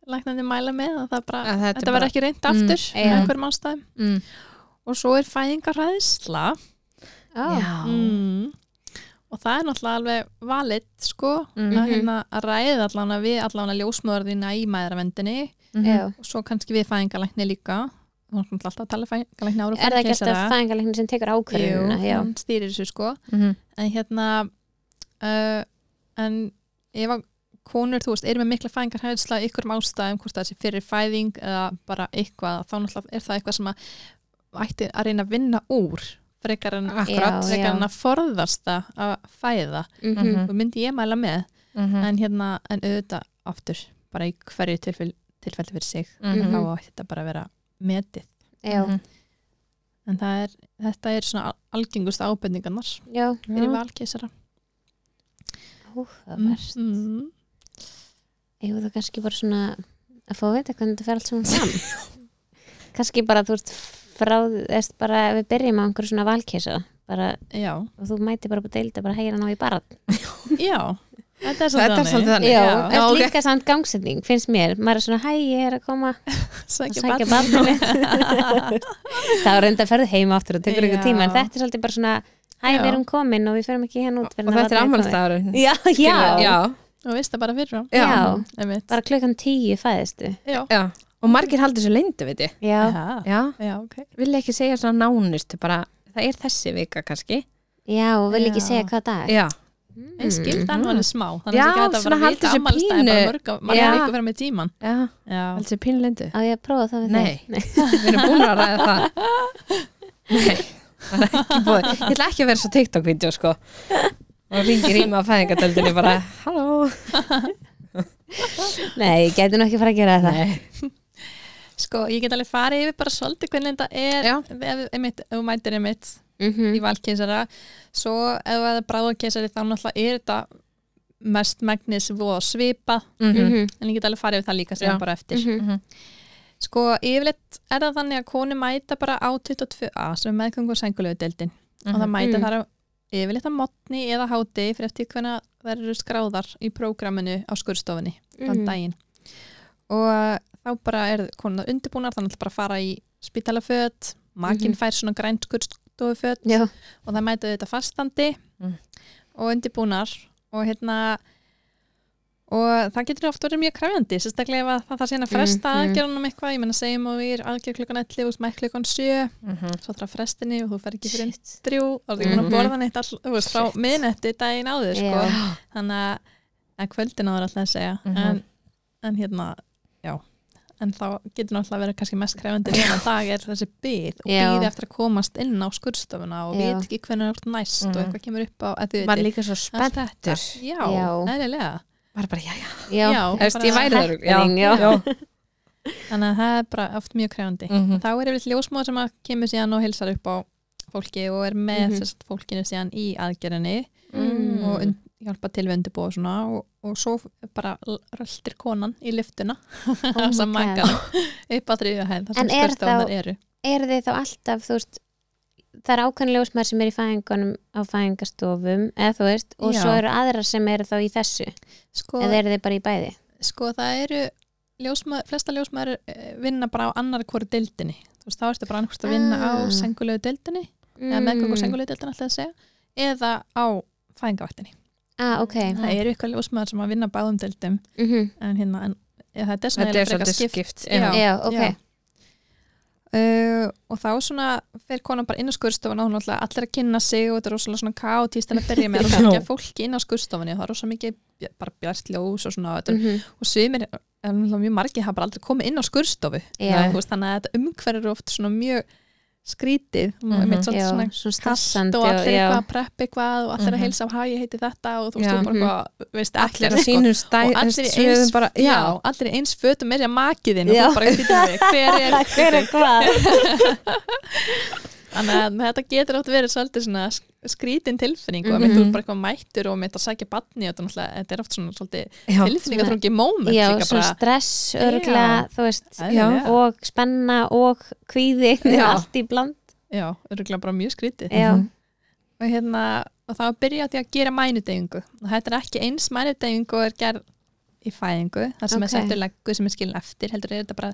Speaker 3: læknandi mæla með að það bara,
Speaker 2: Að þetta er
Speaker 3: þetta
Speaker 2: bara-
Speaker 3: verður ekki reynd
Speaker 2: Mm,
Speaker 3: aftur
Speaker 1: já.
Speaker 3: af einhverjum ástæðum
Speaker 2: Mm.
Speaker 3: og svo er fæðingarræðisla
Speaker 1: Já.
Speaker 3: mm. og það er náttúrulega alveg valitt sko
Speaker 2: Mhm.
Speaker 3: að, hérna, að ræða allan við allan að ljósmöðurðina í mæðravendinni
Speaker 1: Já.
Speaker 3: og svo kannski við fæðingalækni líka þú erum alltaf að tala fæðingalækni ára
Speaker 1: Er það ekki alltaf fæðingarleiknir sem tekur ákvörðununa? Já.
Speaker 3: hann stýrir þessu sko
Speaker 2: Mhm.
Speaker 3: en hérna uh, en ef að konur, þú veist, eru með mikla fæðingar hæðisla ykkur um ástæðum, hvort það sé fyrir fæðing eða bara eitthvað, þá náttúrulega er það eitthvað sem að ætti að reyna að vinna úr frekar en,
Speaker 2: Akkurat.
Speaker 1: Já,
Speaker 3: frekar en að forðast það að fæða
Speaker 1: Mm
Speaker 2: Mhm.
Speaker 3: og myndi ég mæla með en hérna, en auðvitað aftur bara í hverju tilfell, tilfelli fyrir sig
Speaker 1: Mhm.
Speaker 3: þá á þetta bara að vera metið
Speaker 1: Já.
Speaker 2: Mhm.
Speaker 3: Mhm. en það er, þetta er svona al- algengust ábendingarnar
Speaker 1: Já.
Speaker 3: fyrir valkeisara
Speaker 1: Áhugaverð.
Speaker 3: mm.
Speaker 1: Ég þú kannski bara svona að fá að vita hvernig þetta fer allt saman fram. kannski bara þú ert frá, eðst bara ef við byrjum á einhverju svona valkesa bara,
Speaker 3: já,
Speaker 1: og þú mæti bara på deildi bara heyra ná í barð.
Speaker 3: já þetta er
Speaker 2: Þetta er svolítið þannig.
Speaker 1: Já,
Speaker 3: Já,
Speaker 1: já
Speaker 2: ok.
Speaker 1: líka samt gangsetning, finnst mér. Maður er svona, hæ, ég er að koma að
Speaker 3: sækja
Speaker 1: sækja
Speaker 3: barn
Speaker 1: barnið mitt. það er reynda að ferðu heima aftur og tekur ykkur
Speaker 3: Já.
Speaker 1: tíma, en þetta er svolítið bara svona, hæ,
Speaker 3: Já.
Speaker 1: við erum komin og við förum ekki hérna út. fyrr en
Speaker 2: Og
Speaker 1: að
Speaker 2: þetta
Speaker 1: barnið
Speaker 2: er
Speaker 1: komið.
Speaker 2: ammælstafurinn.
Speaker 1: Já, já,
Speaker 2: Já.
Speaker 3: og veist það bara fyrir fram
Speaker 1: Já.
Speaker 3: einmitt.
Speaker 1: bara klukkan tíu fæðistu.
Speaker 3: já.
Speaker 2: Já. Og margir haldur þessu leyndu, veit ég.
Speaker 1: Já,
Speaker 3: Já.
Speaker 2: Já.
Speaker 3: já, ok
Speaker 2: Vilja ekki segja svona nánustu, bara það er þessi vika kannski.
Speaker 1: já, og vil ekki
Speaker 3: Já.
Speaker 1: segja hvað dag.
Speaker 2: Já.
Speaker 1: Mm.
Speaker 3: en skildan var alveg smá þannig
Speaker 2: Já,
Speaker 3: að þetta
Speaker 2: svona
Speaker 3: bara að
Speaker 2: halda
Speaker 3: vita
Speaker 2: þessu
Speaker 3: ammálstæði bara
Speaker 2: pínu.
Speaker 3: mörg
Speaker 2: Já.
Speaker 3: marga viku fyrir með tíman
Speaker 2: Já.
Speaker 3: já,
Speaker 2: Haldur þessu pínu leyndu.
Speaker 1: Á ég að prófa það við
Speaker 2: Nei.
Speaker 1: þig? Nei.
Speaker 2: Við erum búin að ræða það. Nei. Það er ekki búið. Ég ætla ekki að vera svo TikTok-vídeó, sko. Og ringir í mig á fæðingadöldinni bara, halló.
Speaker 1: Nei, ég gæti nú ekki fara að gera það.
Speaker 2: Nei.
Speaker 3: sko, ég get alveg farið yfir bara svolítið hvernig þetta er
Speaker 2: Já.
Speaker 3: ef, einmitt, ef þú mætir einmitt
Speaker 1: Mhm.
Speaker 3: í valkeisara svo ef það er bráðakeisari þá náttúrulega er þetta mest megnis voða svipa
Speaker 1: Mhm.
Speaker 3: en ég get alveg farið yfir það líka sem
Speaker 2: Já.
Speaker 3: bara eftir
Speaker 1: Mhm.
Speaker 3: sko yfirleitt er það þannig að konu mæta bara á 22a sem er meðgöngu og sængulegu deildin og það mæta
Speaker 1: Mm.
Speaker 3: þar á yfirleitt að motni eða háti fyrir eftir hvernig þær eru skráðar í prógraminu á skurstofunni þann
Speaker 1: Mhm.
Speaker 3: daginn og þá bara er konuna undirbúnar þannig að bara fara í spítalaföt, makinn fær svona grænt skurstofuföt
Speaker 5: Já.
Speaker 3: og það mæta þetta fastandi
Speaker 2: Mm.
Speaker 3: og undirbúnar og hérna og það getur oft verið mjög krefjandi sérstaklega ef að það þarf síðan að fresta
Speaker 1: mm.
Speaker 3: mm, aðgerðunum eitthvað, ég menna segjum og við er aðgerð klukkan 11 og smæk klukkan 7 svo þarf að frestinni og þú fer ekki fyrir
Speaker 1: Shit.
Speaker 3: þrjú og það er
Speaker 1: Mhm.
Speaker 3: ekki búin að borða neitt all, þú veist, frá miðnetti daginn áður sko.
Speaker 1: Já. Mhm.
Speaker 3: þannig að- að kvöldin áður alltaf að segja en, en hérna, já en þá getur náttúrulega verið kannski mest krefandi þegar dag er þessi byð og
Speaker 1: Já.
Speaker 3: byð eftir að komast inn á skurðstofuna og
Speaker 1: Já.
Speaker 3: veit ekki hvernig er næst og
Speaker 2: Mhm.
Speaker 3: eitthvað kemur upp á að þið
Speaker 2: Var
Speaker 3: veitir,
Speaker 2: líka svo
Speaker 3: allt
Speaker 2: spennt
Speaker 3: þetta. Já,
Speaker 1: Já.
Speaker 3: eðlilega
Speaker 2: Var bara, já, já,
Speaker 1: já, já.
Speaker 3: Já,
Speaker 2: Eftir, ég
Speaker 3: bara-
Speaker 2: væri það örugglega.
Speaker 1: happening, já.
Speaker 3: þannig að það er bara oft mjög krefandi
Speaker 2: Mhm.
Speaker 3: þá er yfirleitt ljósmóð sem að kemur síðan og hilsar upp á fólki og er með mm
Speaker 1: Mhm. Mm.
Speaker 3: -hmm. fólkinu síðan í aðgerðinni og und, hjálpa til við undirbúa og svona og, og svo bara l- röltir konan í lyftuna
Speaker 1: Oh my
Speaker 3: sem
Speaker 1: God.
Speaker 3: mækar upp að þriðja hæð
Speaker 1: En
Speaker 3: þar sem
Speaker 1: er
Speaker 3: skurðstofunar
Speaker 1: þá-
Speaker 3: eru
Speaker 1: eru þið þá alltaf þú veist það er ákveðinlega smær sem er í fæðingunum á fæðingastofum eða þú veist og
Speaker 3: Já.
Speaker 1: svo eru aðrar sem eru þá í þessu
Speaker 3: sko,
Speaker 1: eða eru þið bara í bæði
Speaker 3: sko það eru ljósmaður, flesta ljósmaður eh, vinna bara á annar hvori deildinni þú veist þá ertu bara annarkvist að vinna á
Speaker 1: Ah. Mm.
Speaker 3: sengulegu deildinni eða meðgöngu sengulegu deildinni alltaf að segja eða á fæðingavaktinni
Speaker 1: ah, ok
Speaker 3: það eru eitthvað ljósmaður sem að vinna á báðum deildum
Speaker 1: mm
Speaker 3: en hérna en, ja, þetta er svona
Speaker 2: Þetta er
Speaker 3: eiginlega frekar
Speaker 2: svolítið
Speaker 3: skipt.
Speaker 2: skipt
Speaker 3: Já.
Speaker 1: já, ok
Speaker 3: Já. Uh, og þá svona fer konan bara inn á skurðstofan og hún alltaf allir að kynna sig og þetta er rosalega svona kaotist en að byrja með rosalega mikið af fólki inn á skurðstofunni og það er rosalega mikið bj- bara bjart ljós og svona mm.
Speaker 1: Mm -hmm.
Speaker 3: og svimir, en mjög margir hafa bara aldrei komið inn á skurðstofu
Speaker 1: Já.
Speaker 3: Þú veist, þannig að þetta umhverfur eru oft svona mjög skrítið mm
Speaker 2: Mhm.
Speaker 3: -hmm. mitt
Speaker 1: já,
Speaker 3: svona
Speaker 1: svona
Speaker 3: kast
Speaker 1: stressandi
Speaker 3: og allir
Speaker 1: já,
Speaker 3: eitthvað að preppa eitthvað og allir
Speaker 2: Mhm.
Speaker 3: að heilsa á hæ, ég heiti þetta og þú veist
Speaker 2: Já.
Speaker 3: þú bara
Speaker 1: Mhm.
Speaker 3: eitthvað, veist
Speaker 2: Allir á
Speaker 3: sko
Speaker 2: sínum stæð
Speaker 3: og allir í eins,
Speaker 2: bara,
Speaker 3: já.
Speaker 2: já,
Speaker 3: allir í eins fötum er ég að makiðin
Speaker 5: Já.
Speaker 3: og þú bara fyrir mig, hver er
Speaker 1: hver er hvað
Speaker 3: þannig að þetta getur átt verið svolítið svona sk- skrítin tilfinning og að
Speaker 1: Mhm.
Speaker 3: mitt þú ert bara eitthvað mættur og mitt að sækja batni og þetta er náttúrulega- þetta er oft svona svolítið
Speaker 2: já,
Speaker 3: tilfinningatrungi moment
Speaker 1: já,
Speaker 3: líka
Speaker 1: svona
Speaker 3: bara
Speaker 1: stress örgla,
Speaker 3: Já.
Speaker 1: þú veist
Speaker 3: Eðlilega.
Speaker 1: og spenna og kvíði
Speaker 2: Já.
Speaker 1: allt í bland
Speaker 3: já, örgulega bara mjög skrítið
Speaker 1: já,
Speaker 3: og hérna, og þá byrja á því að gera mænudegingu og þetta er ekki eins mænudegingu og er gerð í fæðingu það sem
Speaker 1: Ok.
Speaker 3: er settur leggu sem er skilin eftir heldur er þetta bara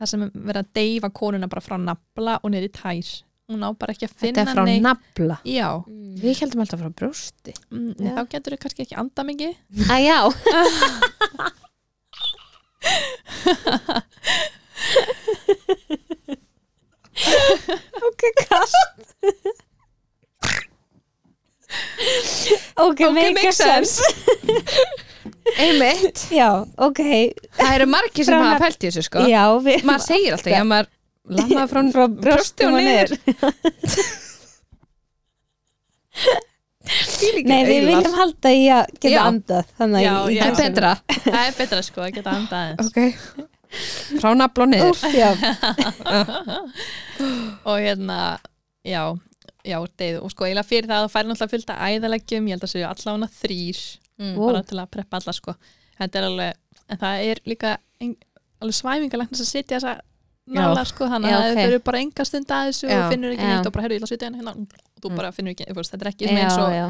Speaker 3: það sem verið að deyfa konuna bara frá nafla og niður í tær hún á bara ekki að finna
Speaker 2: þetta er frá
Speaker 3: neitt-
Speaker 2: nafla
Speaker 3: já,
Speaker 1: Mhm.
Speaker 2: Við heldum alltaf frá brjósti
Speaker 3: mm,
Speaker 1: Já.
Speaker 3: þá getur þau kannski ekki anda mikið
Speaker 1: að já ok, kast ok, make, a sense
Speaker 2: Einmitt,
Speaker 1: já, ok
Speaker 2: það eru margir sem
Speaker 1: Frá
Speaker 2: hafa
Speaker 1: nafn-
Speaker 2: pælt í þessu sko
Speaker 1: já, við
Speaker 2: Maður segir alltaf, já, maður lammaði frá, frá brjósti og niður Þvílíkir
Speaker 1: Nei, við
Speaker 2: englar.
Speaker 1: viljum halda í að geta
Speaker 2: Já.
Speaker 1: andað þannig
Speaker 3: Já,
Speaker 1: að ég-
Speaker 3: já.
Speaker 2: En betra
Speaker 3: það er betra sko að geta anda aðeins
Speaker 2: Ok Frá nafla og niður
Speaker 1: Úff, já.
Speaker 3: og hérna, já já, deyð, og sko eiginlega fyrir það þú færi náttúrulega fullt af æðaleggjum, ég held að séu allavega þrýr, bara
Speaker 1: Vó.
Speaker 3: til að preppa alla sko, þetta er alveg en það er líka ein, alveg svæmingalagn að setja þessa nála sko þannig
Speaker 1: Já,
Speaker 3: að
Speaker 1: ok.
Speaker 3: þau eru bara enga stund að þessu
Speaker 2: Já,
Speaker 3: og finnur ekki
Speaker 1: já.
Speaker 3: neitt og bara heyrðu ég ætla að setja henni hérna og þú bara finnur ekki, þú veist, þetta er ekki svona eins
Speaker 1: já,
Speaker 3: og
Speaker 1: já.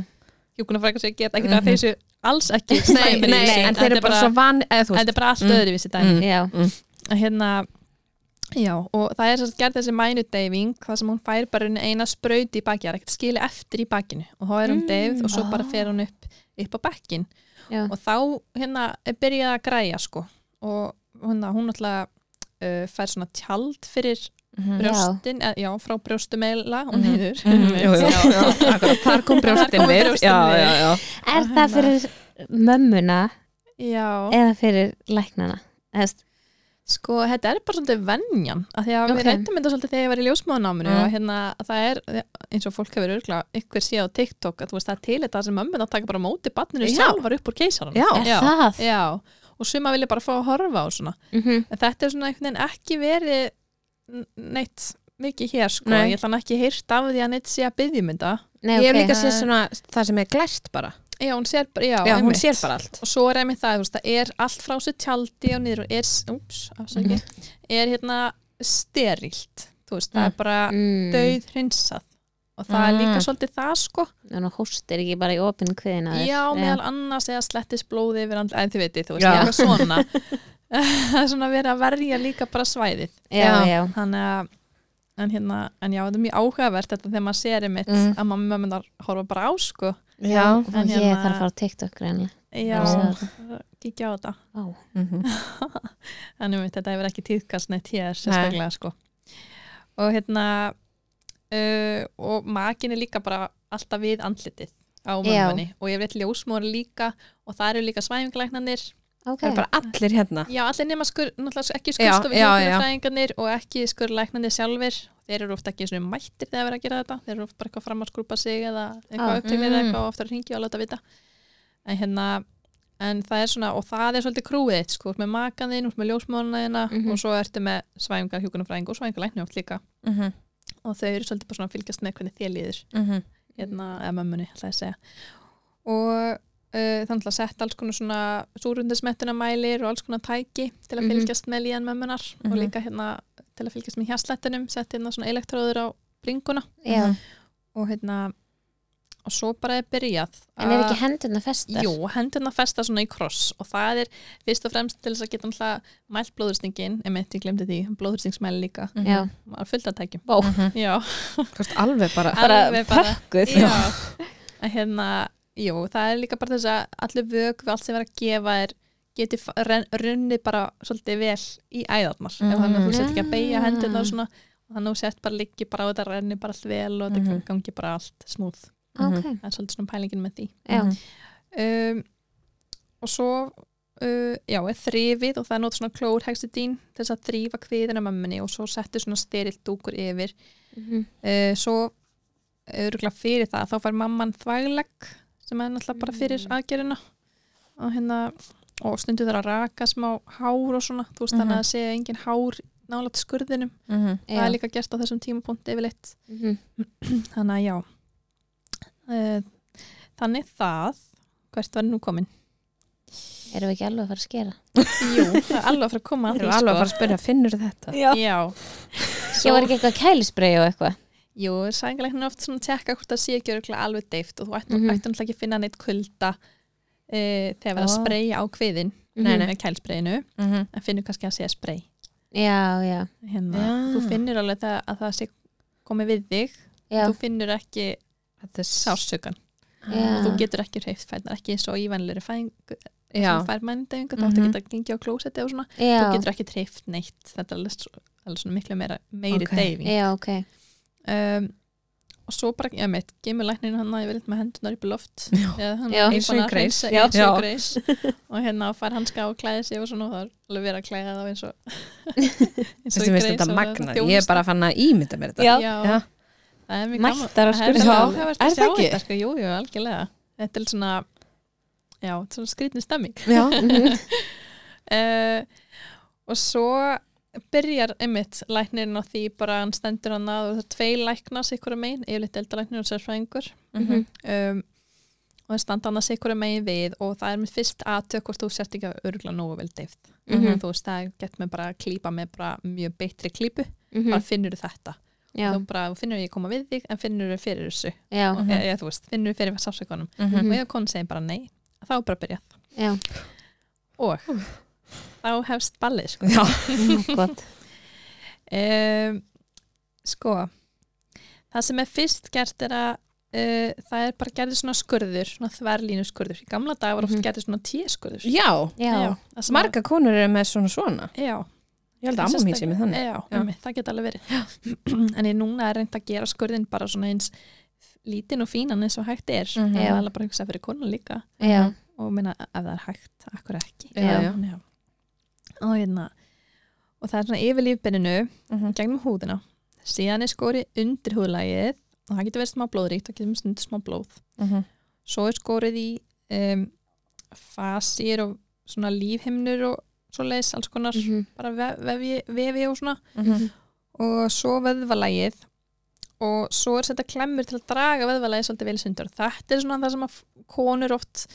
Speaker 3: hjúkunarfrækar sér geta ekkert að þessu alls ekki
Speaker 2: Nei,
Speaker 3: slæmir í
Speaker 2: nei,
Speaker 3: þessu.
Speaker 2: en þeir eru
Speaker 3: Þetta er
Speaker 2: bara svo van eða þú
Speaker 3: þetta
Speaker 2: veist
Speaker 3: er bara allt öðru vissi dæmi
Speaker 2: Mm.
Speaker 1: já.
Speaker 3: að hérna já, og það er sérst gerð þessi mænudeyfing það sem hún fær bara einu- eina spraut í baki það er ekkert skili eftir í bakinu og þá er
Speaker 2: Mm,
Speaker 3: hún deyfð og svo bara fer hún upp upp á bekkin
Speaker 1: Já.
Speaker 3: og þá hérna er byrjað að græja sko og hérna, hún alltaf uh, fær svona tjald fyrir
Speaker 2: Mhm.
Speaker 3: brjóstin, já, já frá brjóstumela og niður
Speaker 2: Jú, jú, já, akkurat, Mhm. Þar kom brjóstin
Speaker 3: kom
Speaker 2: við
Speaker 3: brjóstin
Speaker 2: Já,
Speaker 3: við.
Speaker 2: já, já
Speaker 1: Er það fyrir mömmuna
Speaker 3: já,
Speaker 1: eða fyrir læknana? Eðast,
Speaker 3: Sko, þetta er bara svolítið venjan að því að
Speaker 1: Ok.
Speaker 3: við reyndum þetta svolítið þegar ég var í ljósmáðunáminu
Speaker 2: Mm.
Speaker 3: og hérna að það er, eins og fólk hefur örgla ykkur síða á TikTok að þú veist það er til þetta sem mömmin að taka bara á móti barninu
Speaker 2: Já.
Speaker 3: sjálfar upp úr keisaran
Speaker 2: Já.
Speaker 1: er það?
Speaker 3: Já, og suma vilja bara fá að horfa á svona
Speaker 1: Mm
Speaker 3: en þetta er svona einhvern veginn ekki verið n- neitt mikið hér sko
Speaker 2: Nei.
Speaker 3: ég ætla hann ekki heyrt af því að neitt sé að byggjum þetta
Speaker 1: Nei,
Speaker 2: Ég hef
Speaker 1: ok.
Speaker 2: líka séð svona það sem er glært bara
Speaker 3: Já, hún sér bara, já,
Speaker 2: Já, hún
Speaker 3: einmitt.
Speaker 2: sér bara allt
Speaker 3: og svo er einmitt það, þú veist, það er allt frá sér tjaldi og niður og er, úps, afsaki, er hérna sterilt, þú veist, það er bara
Speaker 1: Mm.
Speaker 3: dauð hreinsað og það er líka
Speaker 2: Mm.
Speaker 3: svolítið það sko
Speaker 1: Þannig að hóstir ekki bara í opinn kviðina þér.
Speaker 3: já, meðal annars eða slettist blóði yfir andli, en þið veitir, þú veist,
Speaker 2: Já.
Speaker 3: eitthvað svona það er svona verið að verja líka bara svæðið
Speaker 1: Já, já.
Speaker 3: þannig að en hérna, en já, þetta er mjög áhugavert þetta þegar maður sér einmitt
Speaker 2: Mm.
Speaker 3: að mamma mömmunar horfa bara á sko
Speaker 2: já,
Speaker 1: og
Speaker 3: En
Speaker 1: ég
Speaker 3: hérna-
Speaker 1: þarf að fara á TikTok greinlega
Speaker 3: já,
Speaker 1: Já.
Speaker 3: kíkja á þetta
Speaker 1: Vá.
Speaker 3: en um þetta hefur ekki tíðkast neitt hér sérstaklega sko og hérna uh, og makin er líka bara alltaf við andlitið á mömmunni og ég veit ljósmóri líka og það eru líka svæfingalæknanir
Speaker 1: ok,
Speaker 2: það er bara allir hérna
Speaker 3: já, allir nema skur, náttúrulega ekki
Speaker 2: Já,
Speaker 3: skurstofu
Speaker 2: já, já.
Speaker 3: hjúkunarfræðingarnir og ekki skurlæknanir sjálfir þeir eru ofta ekki einu sinni mættir þegar verið að gera þetta þeir eru ofta bara eitthvað fram að skrúpa sig eða eitthvað
Speaker 1: Ah,
Speaker 3: upptöknir
Speaker 2: mm.
Speaker 3: eða eitthvað og ofta að ringja og láta vita en hérna en það er svona, og það er svolítið krúið þitt, sko, þú ert með makan þinn, þú ert með ljósmónaðina
Speaker 1: Mhm.
Speaker 3: og svo ertu með svæfingar hjúkunarfræðing og svæfingarlækni oft líka
Speaker 2: mm -hmm.
Speaker 3: og þau eru svolítið bara svona að fylgjast með hvernig þér líður
Speaker 2: Mm -hmm.
Speaker 3: hérna, eða mömmunni, ætla ég að segja og uh, þannig að setja alls konar svona súrundismettunamælir og alls konar tæki til að
Speaker 1: Mhm.
Speaker 3: fylgjast með líðan mömmunar og
Speaker 2: Mhm.
Speaker 3: líka hérna til að fylgjast með hjarslettunum setja hérna svona elektróður á bringuna
Speaker 1: já
Speaker 3: og hérna og svo bara er byrjað
Speaker 1: en er
Speaker 3: að-
Speaker 1: ekki hendurna festar?
Speaker 3: Jú, hendurna festa svona í kross og það er fyrst og fremst til þess að geta náttúrulega mælt blóðurstingin, emitt, ég glemdi því blóðurstingsmæli líka,
Speaker 1: já,
Speaker 3: maður fullt að tækjum
Speaker 1: Mm. Vá.
Speaker 3: Já,
Speaker 2: mhm. alveg bara
Speaker 3: alveg bara
Speaker 2: pakkuð
Speaker 3: Já, að hérna, jú, það er líka bara þess að allir vög við allt sem verið að gefa er geti fa- ren- runnið bara svolítið vel í æðarnar mm. ef þannig að þú sett ekki að beigja hendurnar og svona og þannig að þú sett bara liggi bara og þetta renni bara allt vel og þetta
Speaker 2: Mhm.
Speaker 3: gangi bara allt smúð
Speaker 1: ok,
Speaker 3: það er svolítið svona pælingin með því
Speaker 1: já
Speaker 2: Mhm,
Speaker 3: um, og svo uh, já, er þrifið og það er nót svona klórhexidín til þess að þrýfa kviðina mamminni og svo settu svona sterilt dúkur yfir
Speaker 1: Mhm.
Speaker 3: uh, svo öruglega fyrir það þá fær mamman þvæglegg sem er náttúrulega bara fyrir aðgerina og hérna og stundu þar að raka smá hár og svona þú veist þannig að það sé engin hár nálægt skurðinum,
Speaker 2: mhm.
Speaker 3: það er
Speaker 1: já,
Speaker 3: líka gert á þessum tímapunkti yfirleitt,
Speaker 1: Mhm.
Speaker 3: þannig að já uh, þannig það hvert var ég nú komin?
Speaker 1: erum við ekki alveg að fara að skera?
Speaker 3: Jú, það er alveg að fara að koma að
Speaker 2: Þeir
Speaker 3: því
Speaker 2: eru alveg að fara að spyrja, finnur þetta?
Speaker 3: sko. Já,
Speaker 1: ég var ekki eitthvað kælisbrei og eitthvað
Speaker 3: jú, sængarleiknir oft svona tekka hvort það sé ekki örugglega alveg deift og þú ætti mm
Speaker 1: Mhm.
Speaker 3: -hmm. náttúrulega ekki að finna neitt kulda e, þegar verið að
Speaker 2: Ó. Mhm.
Speaker 3: spreja á kviðin
Speaker 1: Nei,
Speaker 3: með kælspreinu, en finnur kannski að sé sprey
Speaker 1: já, já,
Speaker 3: hérna,
Speaker 2: Já.
Speaker 3: þú finnur alveg það, að það sé komið við þig,
Speaker 1: já,
Speaker 3: þú finnur ekki
Speaker 2: Þetta er
Speaker 3: sársökan,
Speaker 1: já.
Speaker 3: þú getur ekki hreift fætnar, ekki eins og ívanlegri fæðing
Speaker 2: Já,
Speaker 3: sem fær mændæfingu, þá áttu
Speaker 2: Mhm.
Speaker 3: að geta að gengja á klósetti og svona,
Speaker 1: já.
Speaker 3: þú getur ekki hreift neitt, þetta er alveg, svo- alveg svona miklu meira, meiri
Speaker 2: Ok.
Speaker 3: deyfing
Speaker 1: já, ok
Speaker 3: um, og svo bara, já meitt, gemur læknirinn hann að ég vil með hendunar upp í loft eða hann
Speaker 1: Já.
Speaker 3: er
Speaker 2: Eins og
Speaker 3: búinn
Speaker 2: í
Speaker 3: að
Speaker 2: Grace.
Speaker 3: hreinsa-
Speaker 2: Já.
Speaker 3: eins og
Speaker 2: Já.
Speaker 3: í greis og hérna fær hanska og klæði sig og svona og það er alveg verið að klæða þá eins og eins
Speaker 2: þessi finnst þetta magna, ég er bara fann að ímynda mér þetta.
Speaker 3: já.
Speaker 2: Já.
Speaker 3: það er mjög
Speaker 1: Mættar á
Speaker 3: það er
Speaker 1: skurðstofu.
Speaker 3: alveg verið
Speaker 2: sko. Er
Speaker 3: að sjá
Speaker 2: það ekki?
Speaker 3: þetta sko, jú, jú, algjörlega þetta er svona já, þetta er svona skrýtni stemming
Speaker 2: Já.
Speaker 3: uh, og svo byrjar einmitt læknirinn á því bara að hann stendur hann að og það er tvei læknas ykkur að megin, yfirleitt eldalæknir og sérfræðingur
Speaker 1: Mhm.
Speaker 3: um, og það standa annars ykkur megin við og það er mér fyrst aðtök hvort þú sért ekki að örgla nógu vel deyft
Speaker 1: Mhm.
Speaker 3: þú veist það er gett með bara að klípa með bara mjög beittri klípu, bara
Speaker 1: Mhm.
Speaker 3: finnur þetta
Speaker 1: já, Mhm.
Speaker 3: þú bara þú finnur ég koma við þig en finnur þau fyrir þessu
Speaker 1: já,
Speaker 3: og, eða, þú veist, finnur þau fyrir sásökunum
Speaker 2: Mhm.
Speaker 3: og ef konun segir bara nei, þá er bara að byrja
Speaker 1: já
Speaker 3: og þá hefst ballið sko
Speaker 2: Já.
Speaker 1: Nú, Mhm. gott.
Speaker 3: um, sko það sem er fyrst gert er að uh, það er bara gerðið svona skurður svona þverlínu skurður, í gamla dag var oft
Speaker 1: Mhm.
Speaker 3: gerðið svona tískurður
Speaker 2: Já,
Speaker 1: já,
Speaker 3: það sem
Speaker 2: marga konur eru með svona svona.
Speaker 3: að- já,
Speaker 2: Ég held að amma mín sé með þannig.
Speaker 3: já, einmitt, það geta alveg verið en ég núna er reynd að gera skurðin bara svona eins lítinn og fínan eins og hægt er
Speaker 2: Mhm.
Speaker 3: það er alveg bara að hugsa fyrir konun líka
Speaker 1: já,
Speaker 3: og minna ef það er hægt, akkur ekki
Speaker 1: Já.
Speaker 3: Já. og hérna og það er svona yfir lífbenninu
Speaker 2: Mhm.
Speaker 3: gegnum húðina síðan er skorið undir húðlagið og það getur verið smá blóðríkt og getur stundur smá blóð
Speaker 2: Mhm.
Speaker 3: svo er skorið í um, fasir og svona lífhimnur og svo leis alls konar
Speaker 1: Mhm.
Speaker 3: bara vef, vefi, vefi og svona
Speaker 2: Mhm.
Speaker 3: og svo vöðvalagið og svo er þetta klemmur til að draga vöðvalagið svolítið vel í sundur þetta er svona það sem að f- konur oft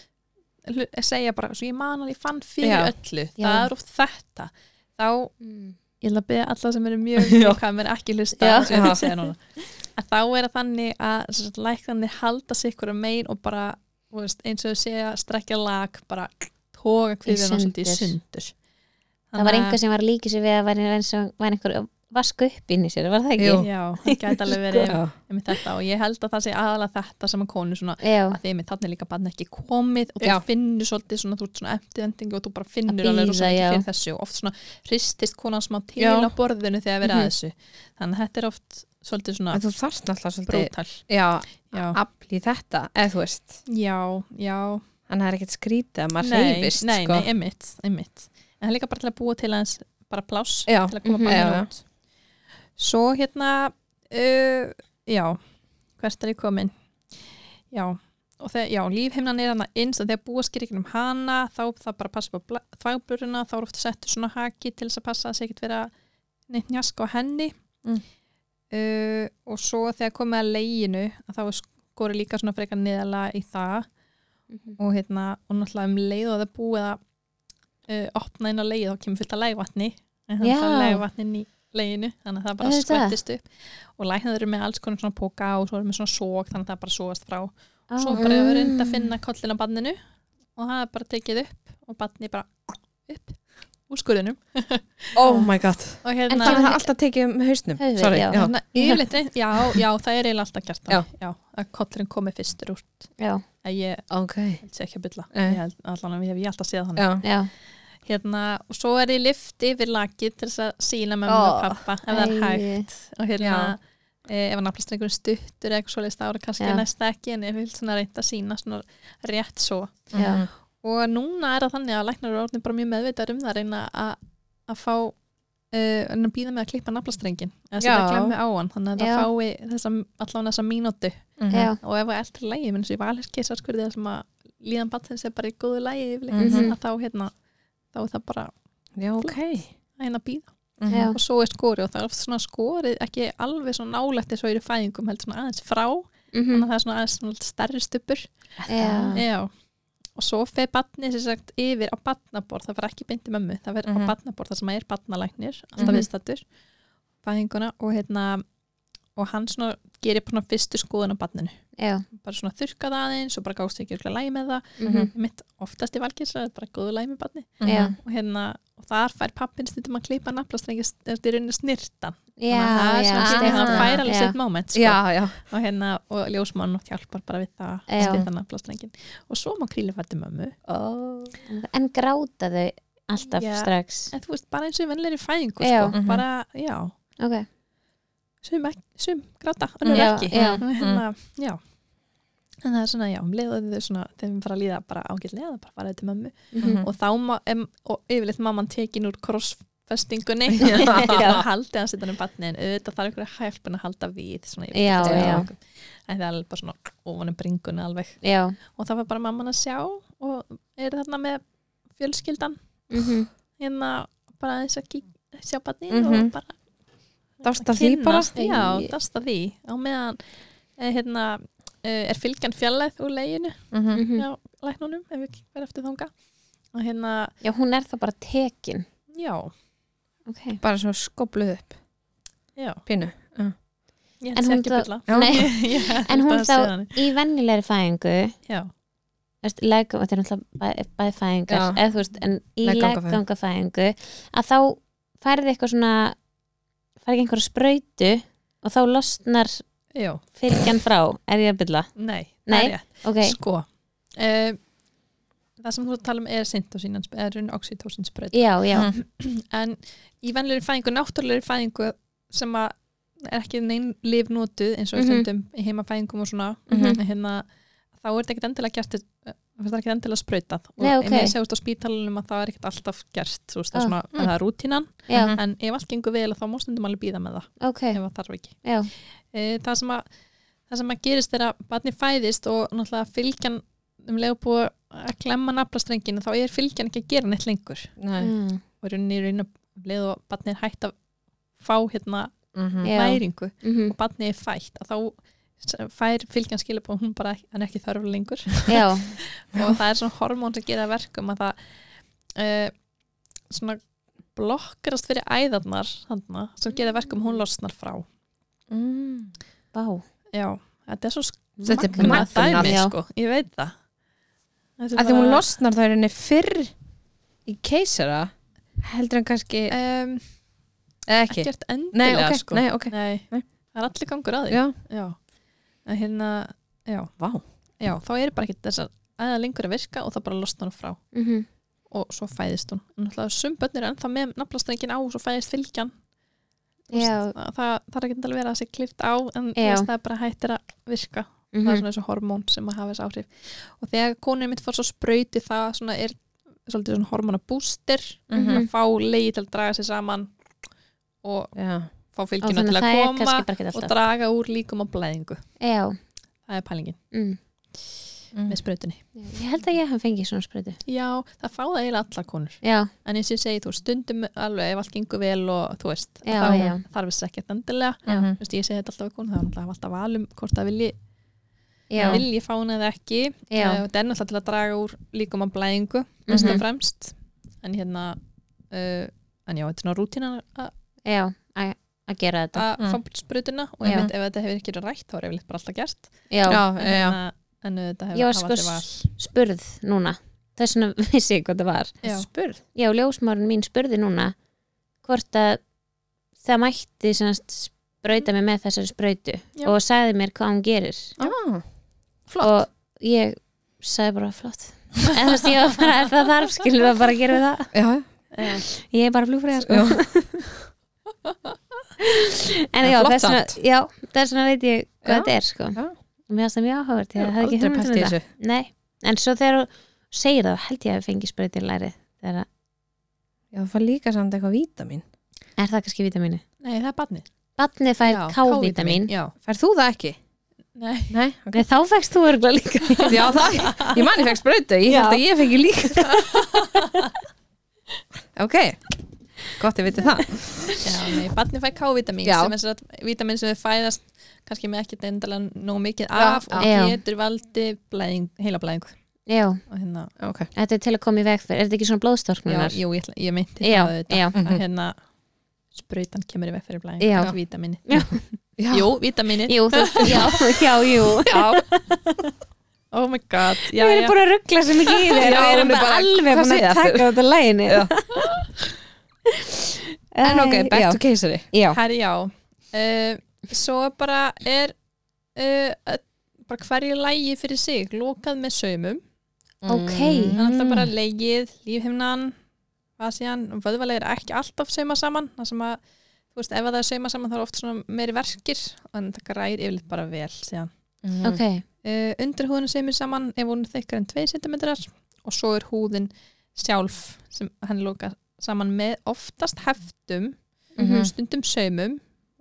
Speaker 3: hlu- segja bara, svo ég man að ég fann fyrir
Speaker 2: Já.
Speaker 3: öllu,
Speaker 1: Já.
Speaker 3: það er oft þetta þá
Speaker 1: Mm.
Speaker 3: ég ætla að beða alla sem eru mjög um
Speaker 2: Já.
Speaker 3: hvað er ekki hlusta
Speaker 2: Já.
Speaker 3: á það sem ég er að segja núna. að þá er það þannig að læknandi halda sig ykkur að megin og bara þú veist, eins og þau segja strekja lag bara tóka kviðin og svolítið í
Speaker 1: sundur.
Speaker 3: sundur
Speaker 1: það var einhver sem var að líka sér við að væri eins og væri einhver
Speaker 5: vaska upp inn í sér, var það ekki?
Speaker 2: Jú.
Speaker 3: Já, það gæti alveg verið
Speaker 2: Já.
Speaker 3: einmitt þetta og ég held að það sé aðalega þetta sem að konu svona
Speaker 5: Já.
Speaker 3: að því einmitt þannig líka barn ekki komið og þú
Speaker 2: Já.
Speaker 3: finnur svolítið svona, þú ert svona eftirvendingu og þú bara
Speaker 5: Að
Speaker 3: finnur alveg
Speaker 5: bíða,
Speaker 3: rosa mikið
Speaker 5: já.
Speaker 3: fyrir þessu og oft svona hristist konan smá til
Speaker 2: Já.
Speaker 3: á borðinu þegar verið að þessu þannig að þetta er oft svolítið svona
Speaker 2: En þú þarft náttúrulega svolítið
Speaker 3: brútal
Speaker 2: já,
Speaker 3: Já,
Speaker 2: afl í þetta, eða þú veist
Speaker 3: já, já
Speaker 2: en það er ekkert skrítið að maður
Speaker 3: Nei,
Speaker 2: reyfist
Speaker 3: nei,
Speaker 2: sko.
Speaker 3: nei, einmitt, einmitt en það er líka bara til að búa til aðeins bara pláss
Speaker 2: Já.
Speaker 3: til að koma
Speaker 2: Mhm.
Speaker 3: bara
Speaker 2: Já, já.
Speaker 3: út Svo hérna uh, já, hvert er ég komin Já, og þegar, já, lífhimnan er hana eins og þegar búa skýrikinn um hana þá það bara passa upp á þvægburuna þá er ofta settur svona haki til þess að passa að það sé ekkert vera neitt njask á henni
Speaker 2: Mm.
Speaker 3: uh, og svo þegar komið að leginu að þá er skori líka svona frekar niðalega í það og hérna og náttúrulega um leið og það er búið að uh, opna inn á leið og kemur fullt af lægvatni en þannig
Speaker 5: Já.
Speaker 3: að lægvatni inn í leiðinu þannig að það bara
Speaker 5: Auðvitað.
Speaker 3: skvettist upp og læknar eru með alls konar svona póka og svo eru með svona sók þannig að það bara sóast frá og
Speaker 1: Ah.
Speaker 3: svo bara hefur reynd að finna kollin á banninu og það er bara tekið upp og banni bara upp úr skurðinum
Speaker 2: oh my god
Speaker 3: og
Speaker 1: En
Speaker 3: hérna
Speaker 2: það
Speaker 1: kemur
Speaker 2: er alltaf tekið um hausnum
Speaker 1: Höfuðið,
Speaker 2: Sorry,
Speaker 1: já.
Speaker 2: já. Mhm.
Speaker 3: Þarna yfirleitt reynd- já, já, það er eiginlega alltaf gert
Speaker 2: Já.
Speaker 3: það. já, að kollurinn komi fyrstur úr
Speaker 1: já,
Speaker 3: að ég
Speaker 2: ok
Speaker 3: held sér ekki að bylla
Speaker 2: Nei.
Speaker 3: ég held, allan að ég hef ég alltaf séð þannig
Speaker 2: já.
Speaker 1: já,
Speaker 3: hérna, og svo er ég lift yfir lakið til þess að sína mömmu og pappa ef það
Speaker 1: æi.
Speaker 3: er hægt og hérna,
Speaker 2: Já.
Speaker 3: e, ef hann aflast einhverjum stuttur eða eitthvað svoleiðist ára kannski
Speaker 1: Já.
Speaker 3: næsta ekki en ég vil svona reynda að sína svona rétt svo
Speaker 1: já,
Speaker 2: Mhm.
Speaker 3: og núna er það þannig að læknar eru orðin bara mjög meðvitað um það að reyna að að fá Uh, en að býða með að klippa naflastrengin eða sem
Speaker 2: Já.
Speaker 3: það glemmi á hann þannig að
Speaker 1: Já.
Speaker 3: það fái þessa, allan þessa mínútu
Speaker 2: Mhm.
Speaker 1: já,
Speaker 3: og ef það er allt í lægi, eins og ég var alveg kissa skurði það sem að líðan batnsins er bara í góðu lægi yfirleitt,
Speaker 1: Mhm.
Speaker 3: að þá hérna þá er það bara
Speaker 2: já, ok
Speaker 3: að hérna býða
Speaker 2: Mhm.
Speaker 1: Já.
Speaker 3: og svo er skori og það er oft svona skorið ekki alveg svona nálægt eins og eru fæðingum heldur svona aðeins frá þannig
Speaker 1: mhm,
Speaker 3: að það er svona aðeins svona stærri stupur
Speaker 1: já,
Speaker 3: já og svo fer batni sem sagt yfir á batnaborð það verður ekki beinti mömmu, það verður
Speaker 2: Mhm.
Speaker 3: á batnaborð það sem er batnalæknir, alltaf
Speaker 2: Mhm.
Speaker 3: viðstattur fæðinguna og hérna og hann svona gerir bara svona fyrstu skoðun á batninu,
Speaker 1: já,
Speaker 3: bara svona þurrka það aðeins og bara gást ekki örgulega lægi með það
Speaker 1: mhm,
Speaker 3: mitt oftast í valkins er bara góðu lægi með batni
Speaker 2: Mhm.
Speaker 1: já,
Speaker 3: og hérna og þar fær pappin stundum að klippa naflastrengi eftir rauninni snirtan
Speaker 1: já,
Speaker 3: þannig að það er
Speaker 1: Ah, já,
Speaker 3: svona
Speaker 1: já,
Speaker 3: stundum hann fær alveg
Speaker 1: já,
Speaker 3: sitt moment sko.
Speaker 2: já, já,
Speaker 3: og hérna og ljósmann og hjálpar bara við það að
Speaker 1: Já. Ah.
Speaker 3: styrta naflastrengin og svo má kríli fætti mömmu
Speaker 1: En gráta þau alltaf
Speaker 3: Já.
Speaker 1: strax
Speaker 3: en þú veist bara eins og vennleiri fæðingu
Speaker 1: Já.
Speaker 3: sko.
Speaker 2: Mhm.
Speaker 3: bara, já,
Speaker 1: Ok,
Speaker 3: sum, ek- sum gráta, önnur
Speaker 1: Já, Mhm.
Speaker 3: ekki
Speaker 1: já.
Speaker 3: Og hérna, já en það er svona, já, um leiðu þau svona þeim fara að líða bara ágætlega, það bara faraði til mömmu
Speaker 1: mhm,
Speaker 2: Mm.
Speaker 3: og þá ma, em, og yfirleitt mamman tekin úr krossfestingunni
Speaker 1: Já.
Speaker 3: og haldið að setja hann um batni en auðvitað þarf einhverja hjálpun að halda við svona, yfirleitt
Speaker 1: Já,
Speaker 3: þessum
Speaker 1: já.
Speaker 3: æfingum. en það er alveg bara svona ofanum bringunni alveg
Speaker 1: já,
Speaker 3: og það var bara mamman að sjá og er þarna með fjölskyldan
Speaker 1: mhm,
Speaker 3: hérna bara aðeins að kík, sjá batni
Speaker 2: Mhm.
Speaker 3: og bara
Speaker 2: Dást að því bara
Speaker 3: kynnast, já, dasta því á meðan eh, hérna eh, er fylgjan fjallæð úr leginu
Speaker 2: Mhm.
Speaker 1: mhm
Speaker 3: hjá læknunum ef við verðum eftir þanga og hérna,
Speaker 1: Já, hún er þá bara tekin
Speaker 3: já,
Speaker 1: Ok,
Speaker 2: bara svona skobluð upp
Speaker 3: já
Speaker 2: pínu
Speaker 3: Ég
Speaker 1: En
Speaker 3: held sér
Speaker 1: hún
Speaker 3: ekki
Speaker 1: þá-
Speaker 3: bylla.
Speaker 2: Já.
Speaker 1: Nei,
Speaker 3: Ég held
Speaker 1: en hún
Speaker 3: að sé
Speaker 1: þá
Speaker 3: þannig.
Speaker 1: í venjulegri fæðingu
Speaker 3: Já,
Speaker 1: veist, leggum, þetta er náttúrulega bæði fæðingar
Speaker 2: Já.
Speaker 1: eða þú veist, en í
Speaker 2: Leggangafæðing.
Speaker 1: leggangafæðingu að þá færði eitthvað svona færði einhverja sprautu og þá losnar
Speaker 3: já,
Speaker 1: fylgjan frá, er ég að bylla
Speaker 3: nei,
Speaker 1: Nei,
Speaker 3: það er rétt.
Speaker 1: ok,
Speaker 3: Sko, uh, það sem þú ert að tala um er syntosínan, er raun oxytosin spröð.
Speaker 1: já, já
Speaker 2: Mm.
Speaker 3: En í venlegri fæðingu, náttúrulegri fæðingu sem að er ekki neinn lif notuð eins og mm
Speaker 1: Mhm.
Speaker 3: stundum í heimafæðingum og svona,
Speaker 1: Mhm.
Speaker 3: hérna, þá er þetta ekkert endilega gert eh, það er ekkert endilega sprautað og
Speaker 1: Nei, ok.
Speaker 3: en ég segist á spítalunum að það er ekkert alltaf gert þú veist, það er
Speaker 1: Ah,
Speaker 3: svona, það er rútínan
Speaker 1: já,
Speaker 2: Mhm.
Speaker 3: en ef allt gengur vel þá má stundum alveg býða með það
Speaker 1: ok,
Speaker 3: ef það þarf ekki
Speaker 1: já,
Speaker 3: e, það sem að það sem að gerist þegar að barni fæðist og náttúrulega fylgjan um leið og búið að klemma naflastrenginu þá er fylgjan ekki að gera neitt lengur
Speaker 2: Nei.
Speaker 1: Mm,
Speaker 3: og er unni í raun að um leið og barni er hægt að fá hérna
Speaker 2: Mhm.
Speaker 1: já
Speaker 3: næringu
Speaker 1: mhm,
Speaker 3: og barni er fætt að þá fær fylgjan skilabóð hún bara hann er ekki þörf lengur
Speaker 1: já,
Speaker 3: og það er svona hormón sem gera verkum að það uh, svona blokkarast fyrir æðarnar þarna, sem gera verkum að hún losnar frá
Speaker 2: Mm.
Speaker 1: bá
Speaker 3: já, þetta er svo
Speaker 2: Þetta er
Speaker 3: magnað
Speaker 2: magnað,
Speaker 3: dæmi,
Speaker 1: já.
Speaker 3: sko, ég veit það Þetta er
Speaker 2: að því hún
Speaker 3: bara-
Speaker 2: losnar það er henni fyrr í keisara heldur en kannski
Speaker 3: Em,
Speaker 2: Eða ekki?
Speaker 3: ekkert
Speaker 2: Nei,
Speaker 3: endilega
Speaker 2: ok,
Speaker 3: sko.
Speaker 2: nei, ok.
Speaker 3: Nei.
Speaker 2: Nei.
Speaker 3: það er allir gangur að því
Speaker 2: Já,
Speaker 3: Já. en hérna já,
Speaker 2: vá.
Speaker 3: já, þá er bara ekki þessar aðeins lengur að virka og það bara losnar hún frá
Speaker 1: mm -hmm.
Speaker 3: og svo fæðist hún Náttúrulega sum börn eru ennþá með naflastrengin á og svo fæðist fylgjan Þú veist,
Speaker 1: Já.
Speaker 3: það, það það er ekki að vera að sé klift á en þú
Speaker 1: Já.
Speaker 3: veist, það er bara hættir að virka það
Speaker 1: Mhm.
Speaker 3: er svona þessu hormón sem að hafa þessu áhrif og þegar konur mitt fór svo sprauti það svona er svolítið svona hormonabústir
Speaker 1: Mhm.
Speaker 3: að fá leiði til að draga sér saman og
Speaker 2: Já.
Speaker 3: fá
Speaker 1: Á,
Speaker 3: fylgjuna
Speaker 1: þannig
Speaker 3: til
Speaker 1: að
Speaker 3: að
Speaker 1: það er
Speaker 3: koma
Speaker 1: kannski bara ekki
Speaker 3: og
Speaker 1: alltaf
Speaker 3: draga úr líkum á blæðingu
Speaker 1: já,
Speaker 3: það er pælingin
Speaker 1: mm.
Speaker 2: Mhm.
Speaker 1: Mhm.
Speaker 3: með sprautinni
Speaker 1: ég held að ég hef fengið svona sprötu
Speaker 3: já, það fá það eiginlega allar konur
Speaker 1: já,
Speaker 3: en eins og ég segi, þú veist, stundum alveg ef allt gengur vel og þú veist
Speaker 1: Já,
Speaker 3: þá
Speaker 1: já.
Speaker 3: þarf þess ekkert endilega
Speaker 1: Já.
Speaker 3: Þú veist, ég segi þetta alltaf við konur, það er náttúrulega alltaf valum hvort það vilji,
Speaker 1: já, Mhm.
Speaker 3: vilji fá hana eða ekki
Speaker 1: Já.
Speaker 3: Eh, og þetta er náttúrulega til að draga úr líkum á blæðingu, mest
Speaker 1: Mhm.
Speaker 3: og fremst en hérna uh, en já, þetta er svona rútínan að
Speaker 1: já að að gera þetta
Speaker 3: að fá sprutina og
Speaker 1: Mm. Já.
Speaker 3: einmitt, ef þetta hefur ekki verið rætt þá er yfirleitt bara alltaf gert
Speaker 1: já,
Speaker 2: Já,
Speaker 3: en,
Speaker 2: já.
Speaker 3: hérna, en þetta
Speaker 1: ég
Speaker 3: hefur
Speaker 1: var
Speaker 3: hafa
Speaker 1: sko
Speaker 3: allir val.
Speaker 1: spurð núna þess vegna vissi ég hvað það var
Speaker 3: Já.
Speaker 1: spurð? já, ljósmárun mín spurði núna hvort að það mætti semast sprauta mig með þessari sprautu
Speaker 3: Já.
Speaker 1: og sagði mér hvað hún gerir
Speaker 2: Já.
Speaker 1: og ég sagði bara flott en þú veist ég var bara ef það þarf skilur það bara gerum við það
Speaker 2: Já.
Speaker 1: ég er bara flugfræða sko en
Speaker 2: En
Speaker 1: já,
Speaker 2: flott
Speaker 1: þess vegna
Speaker 2: samt.
Speaker 1: já, þess vegna veit ég hvað
Speaker 2: Já.
Speaker 1: þetta er sko
Speaker 2: Já.
Speaker 1: og mér finnst það mjög áhugavert ég
Speaker 2: Já,
Speaker 1: hafði ekki
Speaker 2: aldrei
Speaker 1: hugmynd
Speaker 2: pælt í
Speaker 1: um þetta nei, en svo þegar þú segir það þá held ég að fengi sprautir læri þegar að,
Speaker 2: Já, það var líka samt eitthvað vítamin.
Speaker 1: er það kannski vitamínu?
Speaker 3: Nei, það er barnið.
Speaker 1: Batni fær
Speaker 3: Já,
Speaker 1: K-vitamin
Speaker 3: Já.
Speaker 2: Færð þú það ekki?
Speaker 3: Nei,
Speaker 2: Nei, ok.
Speaker 1: Nei, þá fækst þú örgulega líka
Speaker 2: Já, það, ég manni fekk sprautu, ég held að ég fengi líka það. ok, gott ég viti það.
Speaker 3: já, nei, barnið fær K-vitamin
Speaker 2: Já.
Speaker 3: sem er sér vitamin sem við fæðast kannski með ekkert endalega nóg mikið af og
Speaker 1: Já.
Speaker 3: getur valdi blæðing, heila blæðingu
Speaker 1: já,
Speaker 3: og hérna,
Speaker 2: Ok.
Speaker 1: þetta er til að koma í veg fyrir er þetta ekki svona
Speaker 3: já,
Speaker 1: blóðstorknunar?
Speaker 3: jú, ég, ætla- ég meinti
Speaker 1: já,
Speaker 3: það auðvitað
Speaker 1: já,
Speaker 3: að hérna sprautan kemur í veg fyrir blæðingu,
Speaker 1: Já.
Speaker 3: ekki vítamini
Speaker 1: Já.
Speaker 2: Já.
Speaker 3: Jú, vítamini
Speaker 1: jú, þú, já, já, jú
Speaker 3: Oh my god, já,
Speaker 1: við
Speaker 3: já.
Speaker 1: erum búin að ruggla sem ekki í þér
Speaker 2: Já,
Speaker 1: við erum
Speaker 2: hún er
Speaker 1: bara,
Speaker 2: bara,
Speaker 1: alveg
Speaker 2: hvað
Speaker 1: búin
Speaker 2: segir
Speaker 1: að
Speaker 2: aftur?
Speaker 1: taka þetta læginni
Speaker 2: Já. En ok, back
Speaker 1: já,
Speaker 2: to keisari.
Speaker 1: já.
Speaker 3: Herri, já. Uh, svo bara er uh, öll- bara hverju lægi fyrir sig lokað með saumum.
Speaker 1: ok
Speaker 3: Mm. Þannig að það bara legið, lífhimnan, vasían og vöðvalegir er ekki alltaf sauma saman. Það sem að, þú veist, ef það er sauma saman þá er oft svona meiri verkir en það græðir yfirleitt bara vel síðan.
Speaker 2: Mm.
Speaker 1: ok,
Speaker 3: Uh, undir húðinu saumur saman ef hún er þykkar en 2 cm og svo er húðin sjálf sem hann lokað saman með oftast heftum
Speaker 1: Mhm.
Speaker 2: Mhm. mm-hmm.
Speaker 3: stundum saumum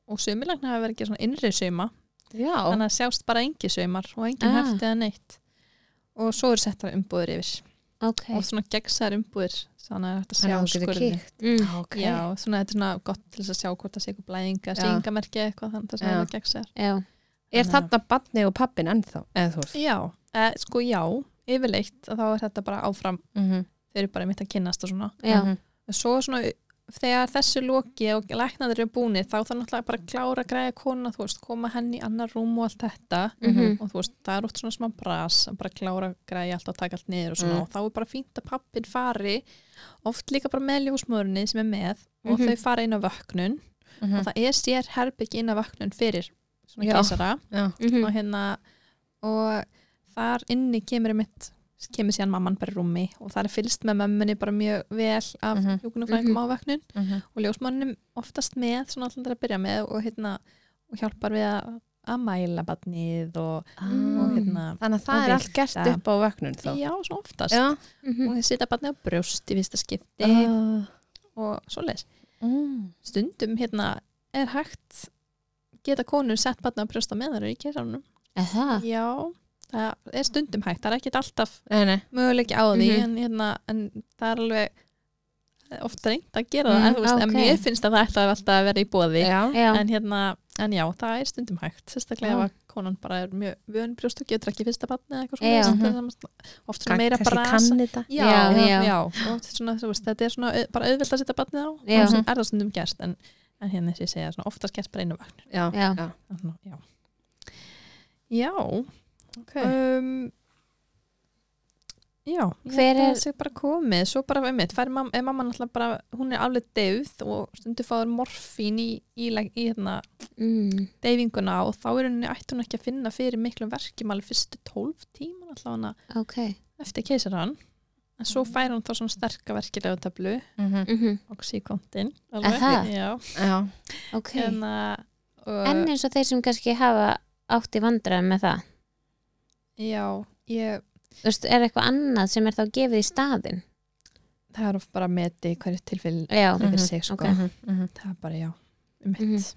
Speaker 3: og saumilagnar hafa verið að gera svona innri sauma
Speaker 2: Já.
Speaker 3: þannig að sjást bara engi saumar og engin
Speaker 1: Ah.
Speaker 3: ah. hefti eða neitt og svo eru settar umbúðir yfir
Speaker 1: ok
Speaker 3: og svona gegnsæðar umbúðir þannig að þetta
Speaker 2: Þannig að hún
Speaker 3: sjá
Speaker 2: getur
Speaker 3: skurðin
Speaker 1: mm.
Speaker 2: Ok.
Speaker 3: Já, svona þetta er svona gott til þess að sjá hvort það sé eitthvað blæðinga,
Speaker 2: Já.
Speaker 3: sýngamerki eða eitthvað þannig að það
Speaker 2: Já.
Speaker 3: er það gegnsæðar
Speaker 1: já,
Speaker 2: Er þarna badni og pappin ennþá? Eða þú veist?
Speaker 3: Já, e, sko já, yfirleitt að þá er þetta bara áfram,
Speaker 2: Mm -hmm.
Speaker 3: þeir eru bara mitt að kynnast og svona
Speaker 2: Mhm.
Speaker 1: já,
Speaker 3: svo svona þegar þessu loki og læknaður eru búinir þá þá náttúrulega bara að klára að græða kona þú veist, koma henni í annar rúm og allt þetta
Speaker 2: Mm.
Speaker 1: Mhm.
Speaker 3: og þú veist, það er oft svona smá bras að bara klára að græða allt og taka allt niður og svona
Speaker 2: Mm.
Speaker 3: og þá er bara fínt að pappin fari oft líka bara með ljósmörunni sem er með og
Speaker 1: Mhm.
Speaker 3: þau fara inn á vöknun og það er sér herbyggi inn á vöknun fyrir svona
Speaker 2: Mm. Já. Mm.
Speaker 3: keisara
Speaker 2: Já.
Speaker 1: mhm,
Speaker 3: og hérna og þar inni kemur mitt kemur síðan mamman bara í rúmi og það er fylst með mömmunni bara mjög vel af
Speaker 2: Mhm.
Speaker 3: hjúkunarfræðingum á vöknun
Speaker 2: Mm -hmm.
Speaker 3: og ljósmanninum oftast með svona alltaf að byrja með og, hérna, og hjálpar við að, að mæla badnið og,
Speaker 2: Ah.
Speaker 3: og
Speaker 2: Mm.
Speaker 3: hérna
Speaker 2: Þannig að það
Speaker 3: Og
Speaker 2: er allt gert
Speaker 3: vigta.
Speaker 2: upp á vögnun þá.
Speaker 3: já, svo oftast
Speaker 2: Já.
Speaker 1: mhm.
Speaker 3: og þið setja badnið á brjóst í fyrsta skipti
Speaker 2: Ah.
Speaker 3: og svoleiðis
Speaker 2: Mm.
Speaker 3: stundum hérna er hægt geta konur sett badnið á brjóst á meðan þær eru í kérsanum
Speaker 1: Er það?
Speaker 3: já, það er stundum hægt það er ekkit alltaf
Speaker 2: Nei, nei.
Speaker 3: möguleiki á því
Speaker 1: Mhm.
Speaker 3: en, hérna, en það er alveg eh, oft reynd að gera það
Speaker 1: Mm,
Speaker 3: en, þú veist, en
Speaker 1: ok.
Speaker 3: mér finnst að það ætlaði alltaf að vera í bóði
Speaker 2: Já.
Speaker 1: Já,
Speaker 3: en hérna, en já, það er stundum hægt sérstaklega ef að konan bara er mjög vön brjóst og getur ekki fyrsta batni eða eitthvað
Speaker 1: Já.
Speaker 3: svona mm -hmm. oft svona meira
Speaker 2: Kannski
Speaker 3: bara
Speaker 2: kann þetta.
Speaker 3: já,
Speaker 1: Já,
Speaker 3: já,
Speaker 1: já.
Speaker 3: já, Oft svona, þú veist, þetta er svona au- bara auðvelt að setja batnið á
Speaker 1: Já.
Speaker 3: og sem er það stundum gerst en, en hérna eins og ég segja, svona, oftast gerst bara einu vagn
Speaker 2: Já.
Speaker 1: já,
Speaker 3: já, já
Speaker 2: Ok.
Speaker 3: um, Já, ég
Speaker 1: Hver
Speaker 3: held að
Speaker 1: er-
Speaker 3: það sé bara komið svo bara einmitt, fær mam, er mamma náttúrulega bara hún er alveg deyfð og stundur fáður morfín í, í, í, í hérna
Speaker 1: mm.
Speaker 3: deyfinguna og þá er henni ætti hún ekki að finna fyrir miklum verkjum alveg fyrstu 12 tíma allavega
Speaker 1: ok
Speaker 3: eftir keisaran en svo fær hún þá svona sterka verkilega töflu
Speaker 1: mm
Speaker 3: oxykontin
Speaker 1: Aha.
Speaker 2: Mhm, Já.
Speaker 1: ok
Speaker 3: hérna, og,
Speaker 1: en eins og þeir sem kannski hafa átt í vandræðum með það
Speaker 3: já, ég,
Speaker 1: Þú veist, er eitthvað annað sem er þá gefið í staðin
Speaker 3: það er oft bara að meti hverju tilfell
Speaker 1: já,
Speaker 3: fyrir sig sko.
Speaker 1: Mhm, ok.
Speaker 2: Mhm,
Speaker 3: það er bara já, um mitt
Speaker 1: Mhm.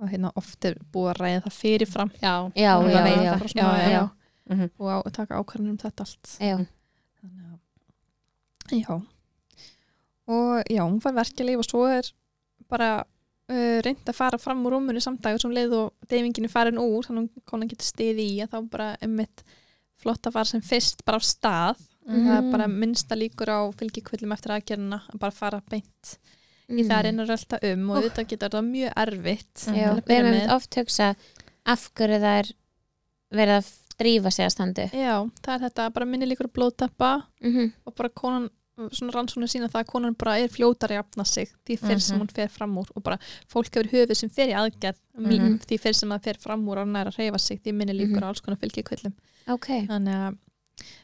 Speaker 3: og hérna oft er búið að ræða það fyrirfram
Speaker 2: Já.
Speaker 1: já,
Speaker 3: Hún
Speaker 1: já,
Speaker 3: veit
Speaker 1: já,
Speaker 3: það bara svona,
Speaker 1: já, já.
Speaker 2: Mhm.
Speaker 3: og á, taka ákvarðanir um þetta allt
Speaker 1: já.
Speaker 3: Þannig að- Já og já, hún fær verkjalið og svo er bara uh, reynd að fara fram úr rúmunu samdagur sem leið og deyfingin er farin úr þannig að konan getur stiði í að þá bara einmitt flott að fara sem fyrst bara á stað það er
Speaker 2: Mm.
Speaker 1: Mhm.
Speaker 3: bara minnsta líkur á fylgikvöllum eftir aðgerðina að bara fara beint
Speaker 1: Mhm.
Speaker 3: í það að reyna að rölda um og auðvitað getur það mjög erfitt
Speaker 1: Já,
Speaker 3: til að
Speaker 1: við
Speaker 3: byrja
Speaker 1: erum
Speaker 3: með.
Speaker 1: einmitt oft hugsa af hverju það er verið að drífa sig að standu
Speaker 3: Já, það er þetta bara minni líkur á blóðtappa
Speaker 1: mm -hmm.
Speaker 3: og bara konan svona rannsóknir sína það að konan bara er fljótar að jafna sig því fyrir sem hún fer fram úr og bara fólk hefur höfuð sem fer í aðgerð
Speaker 1: Mhm.
Speaker 3: því fyrir sem það fer fram úr og nær að reyfa sig því minni líkur á alls konar fylgikvillum
Speaker 1: ok,
Speaker 3: þannig að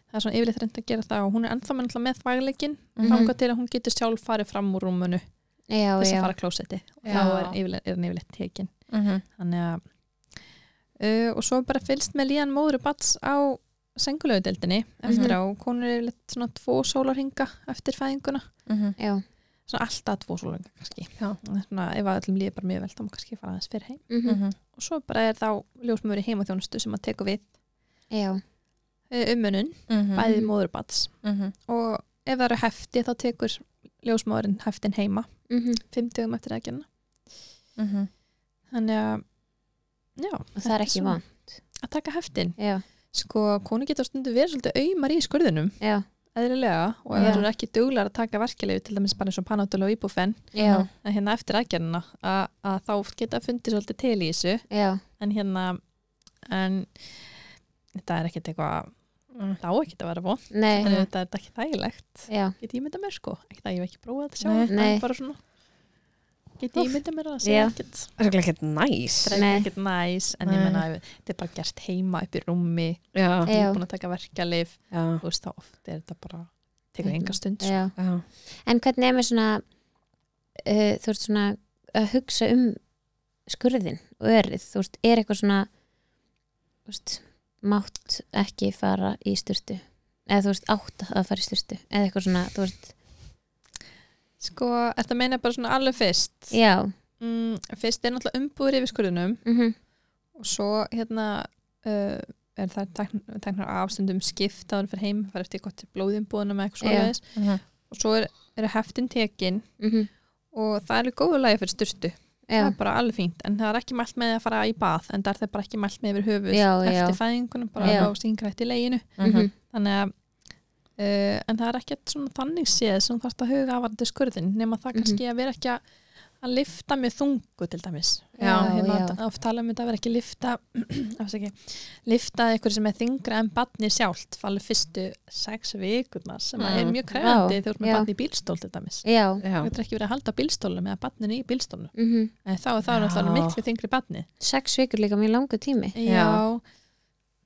Speaker 3: það er svona yfirleitt reynd að gera það og hún er ennþá með, með þvægleikin mm
Speaker 1: Mhm.
Speaker 3: til að hún getur sjálf farið fram úr rúmunu
Speaker 1: já,
Speaker 3: þess að
Speaker 1: já
Speaker 3: fara klósetti og
Speaker 2: Mhm.
Speaker 3: þá
Speaker 2: Já.
Speaker 3: er, yfirleitt, er hann yfirleitt tekin
Speaker 2: Mhm,
Speaker 3: þannig að uh, og svo er bara fylst með líðan móður bats á sengulögudeldinni eftir
Speaker 1: Mhm.
Speaker 3: á, konur er yfirleitt svona tvo sólarhinga eftir fæðinguna
Speaker 2: mhm,
Speaker 1: já,
Speaker 3: svona alltaf tvo sólarhinga kannski
Speaker 2: Já.
Speaker 3: svona, ef að öllum líður bara mjög vel þá má kannski fara aðeins fyrir heim
Speaker 1: mm
Speaker 2: mhm,
Speaker 3: og svo bara er þá ljósmöður í heimaþjónustu sem að teka við
Speaker 1: já.
Speaker 3: uh, umönun,
Speaker 2: mhm,
Speaker 1: Mhm.
Speaker 3: bæði móður bats og ef það eru hefti þá tekur ljósmöðurinn heftin heima
Speaker 1: Mm
Speaker 3: 50 um eftir aðgerna
Speaker 2: mhm.
Speaker 3: þannig að já,
Speaker 1: og það er ekki
Speaker 3: svona.
Speaker 1: van
Speaker 3: að taka heftin
Speaker 1: já,
Speaker 3: sko, konu getur stundu verið svolítið auðmar í skurðinum
Speaker 1: já,
Speaker 3: eðlilega og ef
Speaker 1: Já.
Speaker 3: það eru ekki duglar að taka verkelegu til dæmis bara eins og panadol og ibufen
Speaker 1: já,
Speaker 3: en hérna eftir aðgerðina að, að þá geta fundið svolítið til í þessu
Speaker 1: já
Speaker 3: en hérna en þetta er ekkert eitthvað þá ekkert að vera von
Speaker 1: Mm. nei,
Speaker 3: en þetta er ekki þægilegt
Speaker 1: já,
Speaker 3: get ég mynda mér sko, ekki það ég hef ekki prófað að sjá
Speaker 2: Nei.
Speaker 3: en
Speaker 1: Nei.
Speaker 3: bara svona get ég mynda mér að segja
Speaker 1: Já.
Speaker 3: ekkert
Speaker 2: Það er ekki næs.
Speaker 3: það er
Speaker 1: Nei.
Speaker 3: ekkert næs en ég
Speaker 2: Nei.
Speaker 3: menna þetta er bara gert heima upp í rúmi
Speaker 2: Já.
Speaker 1: Já.
Speaker 3: búin að taka verkelif
Speaker 2: Já.
Speaker 3: þú veist þá oft er þetta bara tekur enga stund sko.
Speaker 1: já
Speaker 2: Já.
Speaker 1: en hvernig er með svona uh, þú veist svona að hugsa um skurðin og örið þú veist, er eitthvað svona þú veist, mátt ekki fara í styrtu eða þú veist, átt að fara í styrtu eða eitthvað svona, þú veist,
Speaker 3: sko, þetta meina bara svona alveg fyrst
Speaker 1: já
Speaker 3: mm, fyrst er náttúrulega umbúður yfir skurðunum
Speaker 1: mm
Speaker 3: og svo hérna uh, er það teknar tekn, afstundum skipt áður fyrir heim, fara eftir gott blóðumbúðunum eða eitthvað
Speaker 1: Já.
Speaker 3: svoleiðis
Speaker 2: Mhm,
Speaker 3: og svo er, eru heftin tekin og það eru góðu lagi fyrir styrtu
Speaker 1: Mhm. já,
Speaker 3: það er bara alveg fínt, en það er ekki mælt með að fara í bað en það er það bara ekki mælt með yfir höfuð
Speaker 1: Já, já.
Speaker 3: eftir fæðingunum, bara
Speaker 1: Já.
Speaker 3: á síngrætt í leginu
Speaker 1: mm
Speaker 2: mhm,
Speaker 1: -hmm.
Speaker 3: þannig að uh, en það er ekkert svona þannig séð sem þú þarfst að huga aðvarandi skurðin nema það
Speaker 1: Mhm.
Speaker 3: kannski að vera ekki að, að lifta með þungu til dæmis
Speaker 1: Já,
Speaker 3: hérna,
Speaker 1: já.
Speaker 3: oft tala um þetta að vera ekki að lifta afsaki, lifta eitthvað sem er þingra en badni sjálft falið fyrstu sex vikurnar sem mm. er mjög
Speaker 1: Vá,
Speaker 3: krefandi þegar þú ert með
Speaker 1: já.
Speaker 3: badni í bílstól til dæmis
Speaker 1: já
Speaker 2: Já.
Speaker 3: þú getur ekki verið að halda bílstólum eða badninu í bílstólum
Speaker 1: mm
Speaker 3: en þá er það
Speaker 2: Já.
Speaker 3: náttúrulega miklu þingri badni
Speaker 1: sex vikur líka mjög langu tími
Speaker 3: Já,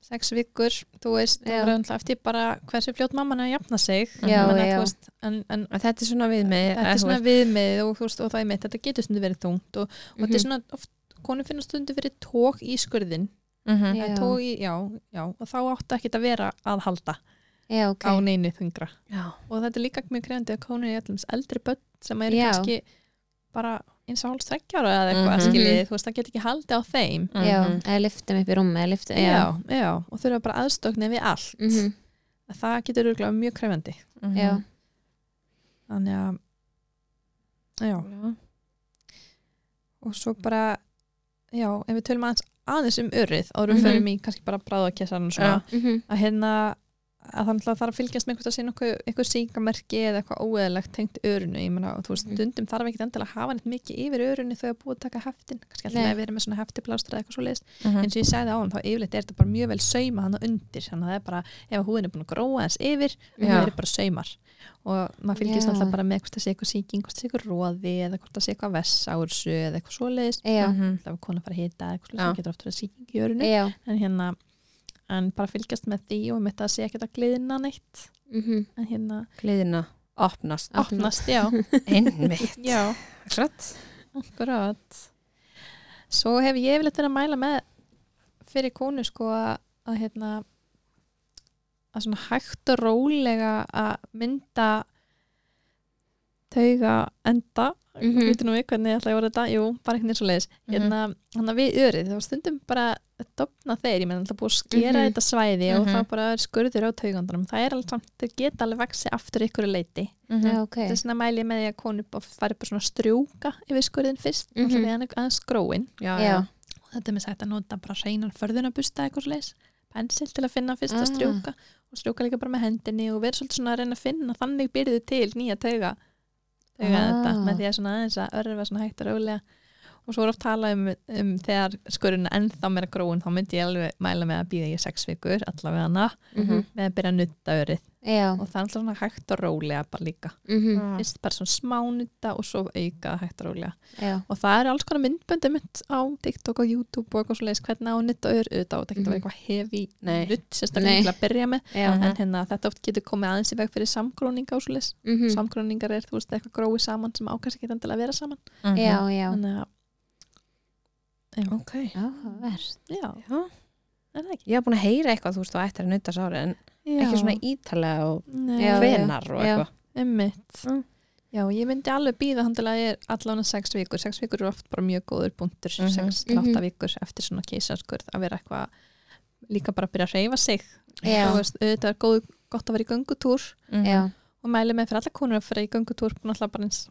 Speaker 3: sex vikur, þú veist, þú
Speaker 1: Já.
Speaker 3: verður alltaf eftir bara hversu fljótt mamman er að jafna sig.
Speaker 1: Já,
Speaker 3: Þannig að,
Speaker 1: já.
Speaker 3: þú Veist, en, en
Speaker 2: En Þetta er svona við mig.
Speaker 3: þetta er svona viðmið og, þú veist, og það er mitt, þetta getur stundu verið þungt og, og
Speaker 1: Mhm.
Speaker 3: þetta er svona, oft, konum finnast stundu verið tók í skurðin,
Speaker 2: svona.
Speaker 1: já,
Speaker 3: tók í, já, já, og þá áttu ekki að vera að halda
Speaker 1: já, ok,
Speaker 3: á neinu þungra.
Speaker 2: Já.
Speaker 3: Og þetta er líka mjög krefandi að konur er allum eldri börn sem eru
Speaker 1: Já.
Speaker 3: kannski bara eins og hálf strekkjára eða eitthvað,
Speaker 2: Mhm.
Speaker 3: skiljið, þú veist, það getur ekki haldið á þeim.
Speaker 1: já eða lyftum upp í rúmi eða lyftum, já,
Speaker 3: Já, já, og þurfa bara aðstöknir við allt.
Speaker 1: mm
Speaker 3: að það getur örgulega mjög krefjandi
Speaker 2: Mhm,
Speaker 1: já.
Speaker 3: þannig að já, og svo bara já, ef við tölum aðeins, aðeins um örið árum mm
Speaker 1: Mhm.
Speaker 3: förum í kannski bara bráðakessan og svona
Speaker 1: Mm
Speaker 3: að hérna að það náttúrulega þarf að fylgjast með einhvers að sína okkur, einhver síkamerki eða eitthvað óeðlegt tengt örunu, ég meina, þú veist, stundum þarf ekki endilega að hafa neitt mikið yfir örunu þau að búið að taka heftin, kannski alltaf
Speaker 5: Nei.
Speaker 3: að vera með svona heftiplástra eða eitthvað svo leist,
Speaker 2: Mm. Mhm.
Speaker 3: eins og ég sagði á hann, þá yfirleitt er þetta bara mjög vel sauma hann undir, þannig að það er bara, ef húðin er búin að gróa eins yfir, það
Speaker 2: Já.
Speaker 3: eru bara saumar og maður fylgjast
Speaker 5: Já.
Speaker 3: alltaf bara með hvort það sé eitthvað síking, hvort það sé eitthvað róði eða hvort það sé eitthvað vessársu eða eitthvað svoleiðis
Speaker 5: Já.
Speaker 2: Mhm.
Speaker 3: það var kona að fara að hita eða eitthvað svoleiðis,
Speaker 2: Já.
Speaker 3: það getur oft verið síking í örunu
Speaker 5: Já.
Speaker 3: en hérna en bara fylgjast með því og mitt að sé ekkert að gliðina neitt
Speaker 1: Mhm.
Speaker 3: en hérna
Speaker 2: Gleðina opnast
Speaker 3: opnast, já,
Speaker 2: Einmitt
Speaker 3: já,
Speaker 2: Akkurat.
Speaker 3: akkurat svo hef ég yfirleitt verið að mæla með fyrir konu sko að, að hérna að svona hægt og rólega að mynda tauga enda mm
Speaker 1: Mhm.
Speaker 3: veitum við hvernig ég ætla að voru þetta jú, bara einhvern veginn svo leiðis
Speaker 2: Mhm.
Speaker 3: hérna, hérna við örið, þá stundum bara að dofna þeir, ég menn alltaf búið að skera
Speaker 1: Mhm.
Speaker 3: þetta svæði og
Speaker 2: Mhm.
Speaker 3: þá bara er skurður á taugandunum, það er alveg samt, þeir geta alveg vaxið aftur ykkur leiti
Speaker 2: Mhm,
Speaker 1: Já, ok.
Speaker 3: þetta er svona mæli ég með því að konu bara fari bara svona að strjúka yfir skurðin fyrst,
Speaker 1: Mhm.
Speaker 3: alltaf því hann er aðeins gróin
Speaker 2: Já,
Speaker 1: Já.
Speaker 2: já.
Speaker 3: og þetta er með sagt að nota bara hreinan förðunabusta eitthvað sliðis, pensil til að finna fyrst að
Speaker 1: Ah.
Speaker 3: strjúka og strjúka líka bara með hendinni og vera svolítið svona að reyna að finna þannig byrðu til nýja tauga tauga
Speaker 1: Ah.
Speaker 3: þetta, með því að svona aðeins að örfa svona hægt og rólega og svo er oft talað um, um þegar skurðin er ennþá meira gróin, þá myndi ég alveg mæla með að býða í sex vikur, allavega
Speaker 1: Mhm.
Speaker 3: með að byrja að nutta örið
Speaker 1: Já.
Speaker 3: og það er alltaf svona hægt og rólega bara líka
Speaker 1: Mhm.
Speaker 3: fyrst bara svona smánutta og svo auka hægt og rólega
Speaker 1: Já.
Speaker 3: og það eru alls konar myndböndi mitt á TikTok og YouTube og eitthvað svo leiðis hvernig á nutt og öður auðvitað og það getur að vera eitthvað hefi
Speaker 2: Nei.
Speaker 3: nutt
Speaker 1: Mhm. Nei. Mhm.
Speaker 3: sérstaklega til að byrja með
Speaker 1: Já.
Speaker 2: Mhm,
Speaker 3: en hérna þetta oft getur komið aðeins í veg fyrir samgróninga og svo leiðis
Speaker 1: Mhm.
Speaker 3: samgróningar er þú veist eitthvað grói saman sem ákast ekki endilega að vera saman
Speaker 2: mhm.
Speaker 1: Já, já.
Speaker 3: þannig að
Speaker 2: Ok.
Speaker 1: Áhugavert.
Speaker 3: já,
Speaker 2: Já.
Speaker 3: er það ekki
Speaker 2: Ég hef búin að heyra eitthvað, þú veist, og ættir að nutta sári en
Speaker 3: já.
Speaker 2: ekki svona ítalega og
Speaker 3: Nei.
Speaker 1: Já,
Speaker 2: hvenar og
Speaker 1: já.
Speaker 2: eitthvað.
Speaker 3: Einmitt.
Speaker 2: Mm.
Speaker 3: Já, ég myndi alveg býða handilega ég er allan sex vikur. Sex vikur eru oft bara mjög góður punktur,
Speaker 2: Mhm.
Speaker 3: sex til átta
Speaker 1: Mhm.
Speaker 3: vikur eftir svona keisarskurð að vera eitthvað líka bara að byrja að reyfa sig.
Speaker 1: Já.
Speaker 3: Þú veist, auðvitað er góð, gott að vera í göngutúr
Speaker 1: Já.
Speaker 3: og mæli með fyrir alla konur að fara í göngutúr náttúrulega bara eins,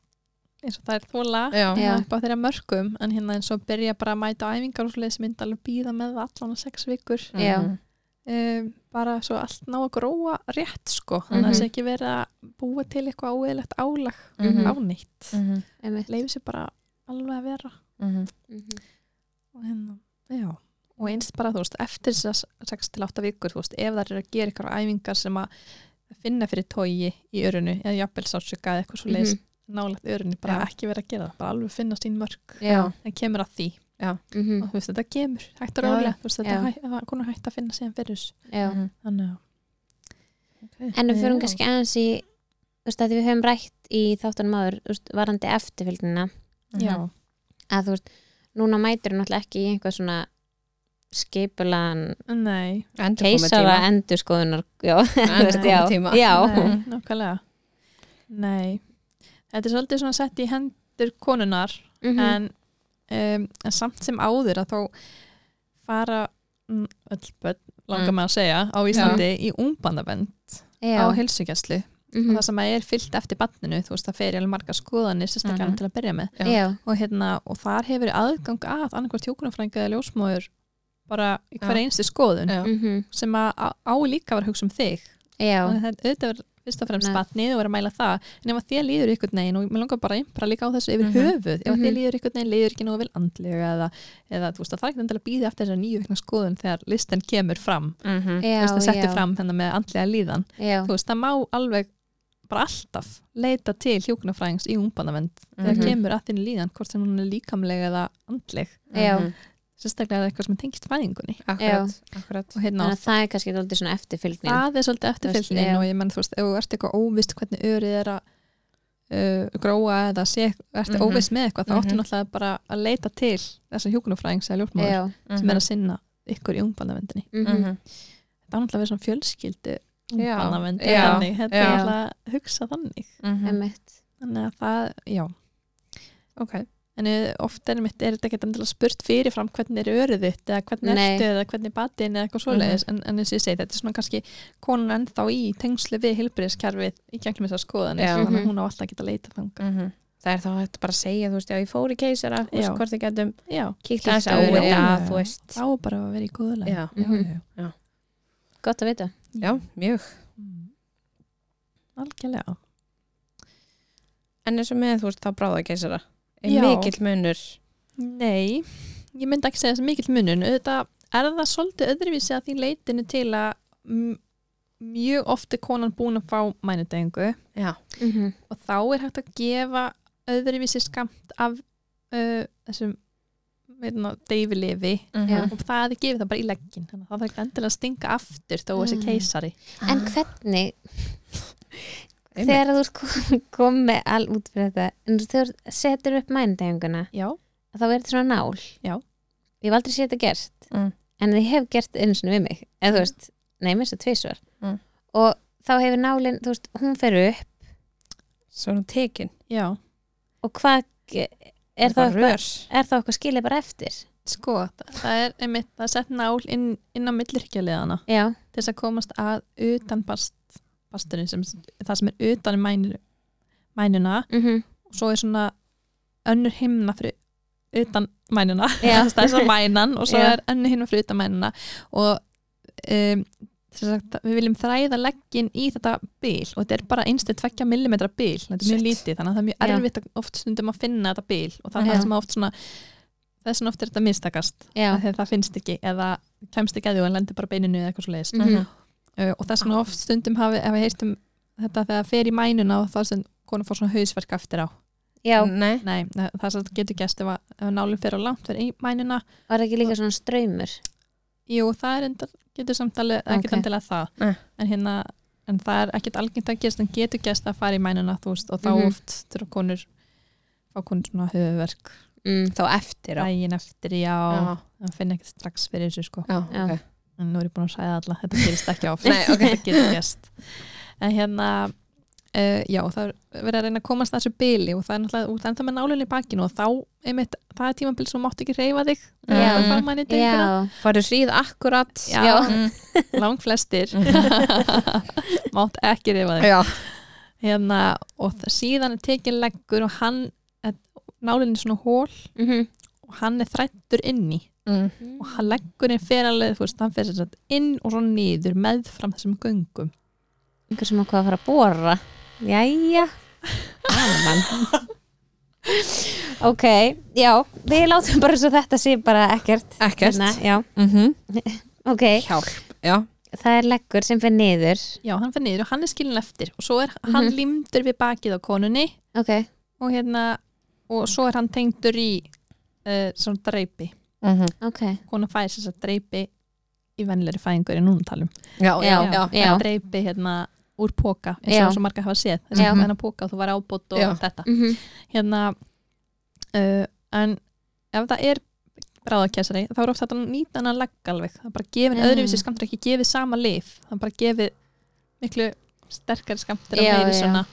Speaker 3: eins og það er þóla
Speaker 2: Já.
Speaker 1: Já.
Speaker 3: upp á þeirra mörgum en hérna eins og byrja bara að mæta á æfingar og svo leiðis myndi alveg býða með það allan sex vikur
Speaker 1: Já.
Speaker 2: Mhm.
Speaker 3: um, bara svo allt ná að gróa rétt sko, þannig að það sé ekki verið að búa til eitthvað óeðlegt álag
Speaker 2: Mhm.
Speaker 3: á nýtt,
Speaker 2: Mhm.
Speaker 1: Einmitt.
Speaker 3: leiði sér bara alveg að vera
Speaker 2: Mhm.
Speaker 1: Mhm.
Speaker 3: og hérna, já og eins bara þú veist, eftir þess 6 til 8 vikur þú veist, ef það eru að gera eitthvað æfingar sem að finna fyrir tói í örunu eða jafnvel sátsöka eða eitthvað svo leiðis nálægt örunu, bara
Speaker 2: Já.
Speaker 3: ekki vera að gera það bara alveg finna sín mörg,
Speaker 1: Já.
Speaker 3: það kemur að því
Speaker 1: Mhm.
Speaker 3: og þú veist, þetta kemur, hægt og
Speaker 2: Já, já.
Speaker 3: rólega þú veist, þetta
Speaker 1: Já.
Speaker 3: hæ, það- konar hægt að finna síðan fyrir þessu
Speaker 1: Já.
Speaker 2: Mhm.
Speaker 3: þannig að
Speaker 1: En við förum
Speaker 3: Já.
Speaker 1: kannski aðeins í þú veist að við höfum rætt í þáttunum áður þú veist, varandi eftirfylgnina mhm.
Speaker 3: já,
Speaker 1: hérna. að þú veist, núna mætur náttúrulega ekki í einhver svona skipulan
Speaker 3: nei
Speaker 2: Endurkomutíma.
Speaker 1: keisara endur skoðunar já, þú veist, já,
Speaker 2: Endurkomutíma.
Speaker 1: já.
Speaker 3: Nei, nákvæmlega Nei, þetta er svolítið svona sett í hendur konunar
Speaker 1: Mhm.
Speaker 3: en, um, en samt sem áður að þá fara mm, öll börn, langar
Speaker 2: Mm.
Speaker 3: maður að segja á Íslandi í ungbandabend
Speaker 1: já.
Speaker 3: á hérna helsugjarslu
Speaker 1: Mhm.
Speaker 3: og það sem að er fyllt eftir banninu þú veist það fer í alveg margar skoðanir sérstaklega
Speaker 2: Mhm.
Speaker 3: til að byrja með
Speaker 2: Já.
Speaker 1: já,
Speaker 3: og, hérna, og þar hefur aðgang að annarkvært hjókunarfrænga eða ljósmóður bara í hver einstu skoðun
Speaker 2: Já.
Speaker 1: mhm,
Speaker 3: sem að á á líka var að hugsa um þig
Speaker 1: já,
Speaker 3: Þannig að það auðvitað verður fyrst og fremst
Speaker 1: Nei.
Speaker 3: batnið og verður að mæla það en ef að þér líður ykkur negin og mér langar bara að impra líka á þessu yfir höfuð ef að þér
Speaker 1: Mhm.
Speaker 3: líður ykkur negin, líður ekki nú vel andlega eða, eða þú veist að það er ekki endilega að býða eftir þessar nýju vekna skoðun þegar listin kemur fram
Speaker 2: Mhm.
Speaker 1: já,
Speaker 3: þú veist það
Speaker 1: já,
Speaker 3: settur fram hennar með andlega líðan
Speaker 1: já,
Speaker 3: þú veist það má alveg bara alltaf leita til hjókunafræðings í umbanavend þegar
Speaker 2: Mhm.
Speaker 3: kemur að þínu líðan hvort sem hún er líkamlega eða andleg
Speaker 1: já.
Speaker 2: Mhm.
Speaker 3: sérstaklega er það eitthvað sem tengist fæðingunni
Speaker 2: Akkurat. Akkurat.
Speaker 3: og hérna á
Speaker 1: þannig að það er kannski dálítið svona eftirfylgnin
Speaker 3: það er svolítið
Speaker 1: Þú veist,
Speaker 3: eftirfylgnin
Speaker 1: já.
Speaker 3: og ég menn þú veist, ef þú ert eitthvað óvist hvernig örið er að uh, gróa eða sé, ert
Speaker 2: Mhm.
Speaker 3: óvist með eitthvað þá áttu
Speaker 2: Mhm.
Speaker 3: náttúrulega bara að leita til þessar hjúkunarfræðings eða ljókmáður
Speaker 1: já,
Speaker 3: sem er að sinna ykkur í ungbannavendinni
Speaker 1: mhm,
Speaker 2: Mhm.
Speaker 3: það er náttúrulega að vera svona fjölskyldu
Speaker 2: Já.
Speaker 3: ungbannavend
Speaker 2: Já.
Speaker 3: þannig, þetta er
Speaker 1: Já.
Speaker 3: náttúrulega að hugsa þannig
Speaker 2: Mhm.
Speaker 1: emmitt
Speaker 3: þannig að það, já
Speaker 2: Ok.
Speaker 3: en eh, oft er mitt, er þetta ekki endilega spurt fyrirfram hvernig er örið þitt eða hvernig
Speaker 1: Nei.
Speaker 3: ertu eða hvernig batinn eða eitthvað svoleiðis en, en eins og ég segi þetta er svona kannski konan ennþá í tengslu við hilbriðskerfið í gegnum þessar skoðanir
Speaker 2: Já.
Speaker 3: þannig að hún á alltaf að geta leita þanga
Speaker 2: Mhm. Það er þá hægt bara að segja, þú veist, já, ég fór í keisara, þú veist,
Speaker 3: Já.
Speaker 2: hvort þið getum
Speaker 3: já,
Speaker 2: kíkt aðeins á
Speaker 1: á þetta,
Speaker 2: þetta,
Speaker 3: já.
Speaker 2: þú veist.
Speaker 3: þá er bara að vera í góðulega
Speaker 2: Já.
Speaker 3: já, já.
Speaker 1: gott að vita
Speaker 2: já, mjög
Speaker 3: Mm. algjörlega
Speaker 2: en eins og með þú veist þá bráða keisara er
Speaker 3: Já.
Speaker 2: mikill munur
Speaker 3: Nei, ég myndi ekki segja þessi mikill munun auðvitað er það svolítið öðruvísi að því leitinu til að m- mjög ofti konan búin að fá mænudegingu
Speaker 2: já,
Speaker 1: Mhm.
Speaker 3: og þá er hægt að gefa öðruvísi skamt af uh, þessum deyfilefi
Speaker 2: já.
Speaker 3: og það er gefið það bara í leggin þannig að það þarf ekki endilega að stinga aftur þó að þessi
Speaker 1: Mm.
Speaker 3: keisari
Speaker 1: En hvernig þegar þú ert kom- komið með all út fyrir þetta en þú- þegar þú setur upp mændegunguna
Speaker 3: Já,
Speaker 1: þá er þetta svona nál
Speaker 3: Já.
Speaker 1: Ég hef aldrei séð þetta gert
Speaker 2: Mm.
Speaker 1: en ég hef gert einu sinni við mig eða þú veist, nei, mér svo tvisvar
Speaker 2: Mm.
Speaker 1: og þá hefur nálin, þú veist, hún fer upp
Speaker 2: svo er hún tekin
Speaker 3: já
Speaker 1: og hvað ge- er þá
Speaker 2: það
Speaker 1: eitthvað
Speaker 2: rör
Speaker 1: er þá eitthvað skilið bara eftir
Speaker 3: Sko, það það er einmitt það er sett nál inn, inn á millirkjaliðana
Speaker 1: Já,
Speaker 3: til þess að komast að utan bast, basturinn sem, það sem er utan í mæninu, mænuna
Speaker 1: mm
Speaker 3: og svo er svona önnur himna fyrir utan mænuna
Speaker 1: Já.
Speaker 3: það er svona mænan og svo
Speaker 1: Já.
Speaker 3: er önnur himna fyrir utan mænuna og um, sem sagt, við viljum þræða leggin í þetta bil og þetta er bara einstu 2 mm bil þetta er mjög lítið þannig að það er mjög
Speaker 1: Já.
Speaker 3: erfitt að oft stundum að finna þetta bil og það er
Speaker 1: Já.
Speaker 3: það sem oft svona þess vegna oft er þetta mistakast
Speaker 1: já,
Speaker 3: þegar það finnst ekki eða kemst ekki að því og hann lendir bara á beininu eða eitthvað svo leiðis
Speaker 1: Mhm.
Speaker 3: uh, og þess vegna oft stundum hafi, hafi heyrt um þetta þegar það fer í mænuna og það sem konan fór svona hausverk eftir á
Speaker 1: já,
Speaker 2: Mm, nei,
Speaker 3: Nei, það sem getur gæst ef, að- ef nálinn fer á langt fyrir í mænuna
Speaker 1: var það ekki líka svona straumur
Speaker 3: Jú, það er enda, getur samtali ekkert
Speaker 1: Ok.
Speaker 3: okay. endilega það
Speaker 2: Nei.
Speaker 3: en, hérna, en það er ekkert algengt að gerst en getur gæst að fara í mænuna þú veist, og þá
Speaker 1: Mhm.
Speaker 3: oft þurfa konur fá konur svona höfuverk
Speaker 1: mm.
Speaker 2: þá eftir á
Speaker 3: daginn eftir, já,
Speaker 2: Já.
Speaker 3: það finn ekki strax fyrir þessu sko
Speaker 2: Já,
Speaker 1: Já.
Speaker 2: ok.
Speaker 3: en nú er ég búin að sæða alla, þetta gerist ekki áfram
Speaker 2: Nei, ok.
Speaker 3: þetta getur gerst en hérna uh, já, það er verið að reyna að komast að þessu byli og það er náttúrulega, það er það með nálunni í bakinu og þá, einmitt, það er tímabil sem þú mátt ekki reyfa þig
Speaker 1: Já.
Speaker 2: Mm.
Speaker 3: framæni denguna,
Speaker 1: Já,
Speaker 2: farið hríð Mm. akkurat
Speaker 3: Já. langflestir mátt ekki reyfa þig
Speaker 2: já.
Speaker 3: hérna, og það, síðan er tekin leggur og hann nálinni svona hól
Speaker 1: mm
Speaker 3: og hann er þrættur inni
Speaker 2: Mm.
Speaker 3: og hann leggurinn fer alveg, þú veist, hann fer sér satt inn og svo niður með fram þessum göngum
Speaker 1: einhver sem ákvað að fara að bóra Jæja Gaman Ok, já, við látum bara svo þetta sé bara ekkert
Speaker 2: ekkert
Speaker 1: Hérna, já,
Speaker 2: mm
Speaker 1: ok,
Speaker 2: hjálp já.
Speaker 1: það er leggur sem fyrir niður
Speaker 3: Já, hann fyrir niður og hann er skilin eftir og svo er hann
Speaker 1: Mhm.
Speaker 3: límdur við bakið á konunni
Speaker 1: Ok,
Speaker 3: og hérna og svo er hann tengdur í uh, svona dreipi.
Speaker 2: Mm -hmm.
Speaker 1: ok
Speaker 3: Konan fær sér þess að dreipi í vennilegri fæðingur í núna talum.
Speaker 2: já, já,
Speaker 1: Já.
Speaker 2: já.
Speaker 3: En Dreipi hérna úr póka eins
Speaker 1: Já.
Speaker 3: og svo marga hafa séð. Þess
Speaker 1: Já.
Speaker 3: að hennar póka og þú var ábót og
Speaker 2: Já.
Speaker 3: allt þetta.
Speaker 1: mm -hmm.
Speaker 3: Hérna uh, en ef það er bráðakessari þá er ofta þetta nýtan að legg alveg. Það er bara gefin
Speaker 1: Mm.
Speaker 3: öðruvísi skamtur ekki gefið sama lif. Það er bara gefið miklu sterkari skamtur og
Speaker 1: Já,
Speaker 3: meiri
Speaker 1: já.
Speaker 3: svona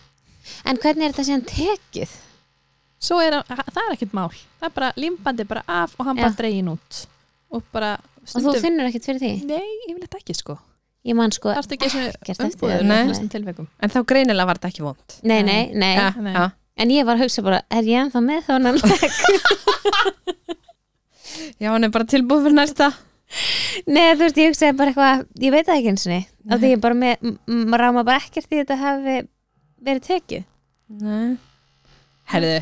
Speaker 1: En hvernig er þetta síðan tekið?
Speaker 3: svo er hann, það er ekkert mál það er bara limbandi bara af og hann
Speaker 1: Já.
Speaker 3: bara dregin út og bara
Speaker 1: Og þú finnur ekkert fyrir því?
Speaker 3: nei, yfirleitt ekki sko
Speaker 1: Ég man sko
Speaker 3: það er ekki
Speaker 1: Ekkert
Speaker 3: svona
Speaker 1: eftir
Speaker 3: umbúður
Speaker 2: þér, nei.
Speaker 3: í flestum tilveikum
Speaker 2: en þá greinilega var þetta ekki vond
Speaker 1: Nei, nei, nei
Speaker 2: já,
Speaker 3: nei.
Speaker 2: já.
Speaker 1: En ég var að hugsa bara, er ég ennþá með þannan legg?
Speaker 2: já, hann er bara tilbúið fyrir næsta
Speaker 1: Nei, þú veist, ég hugsaði bara eitthvað Ég veit það ekki eins og niður Það er ég bara með, m- m- ráma bara ekkert því þetta hafi verið tekið
Speaker 2: nei. herðu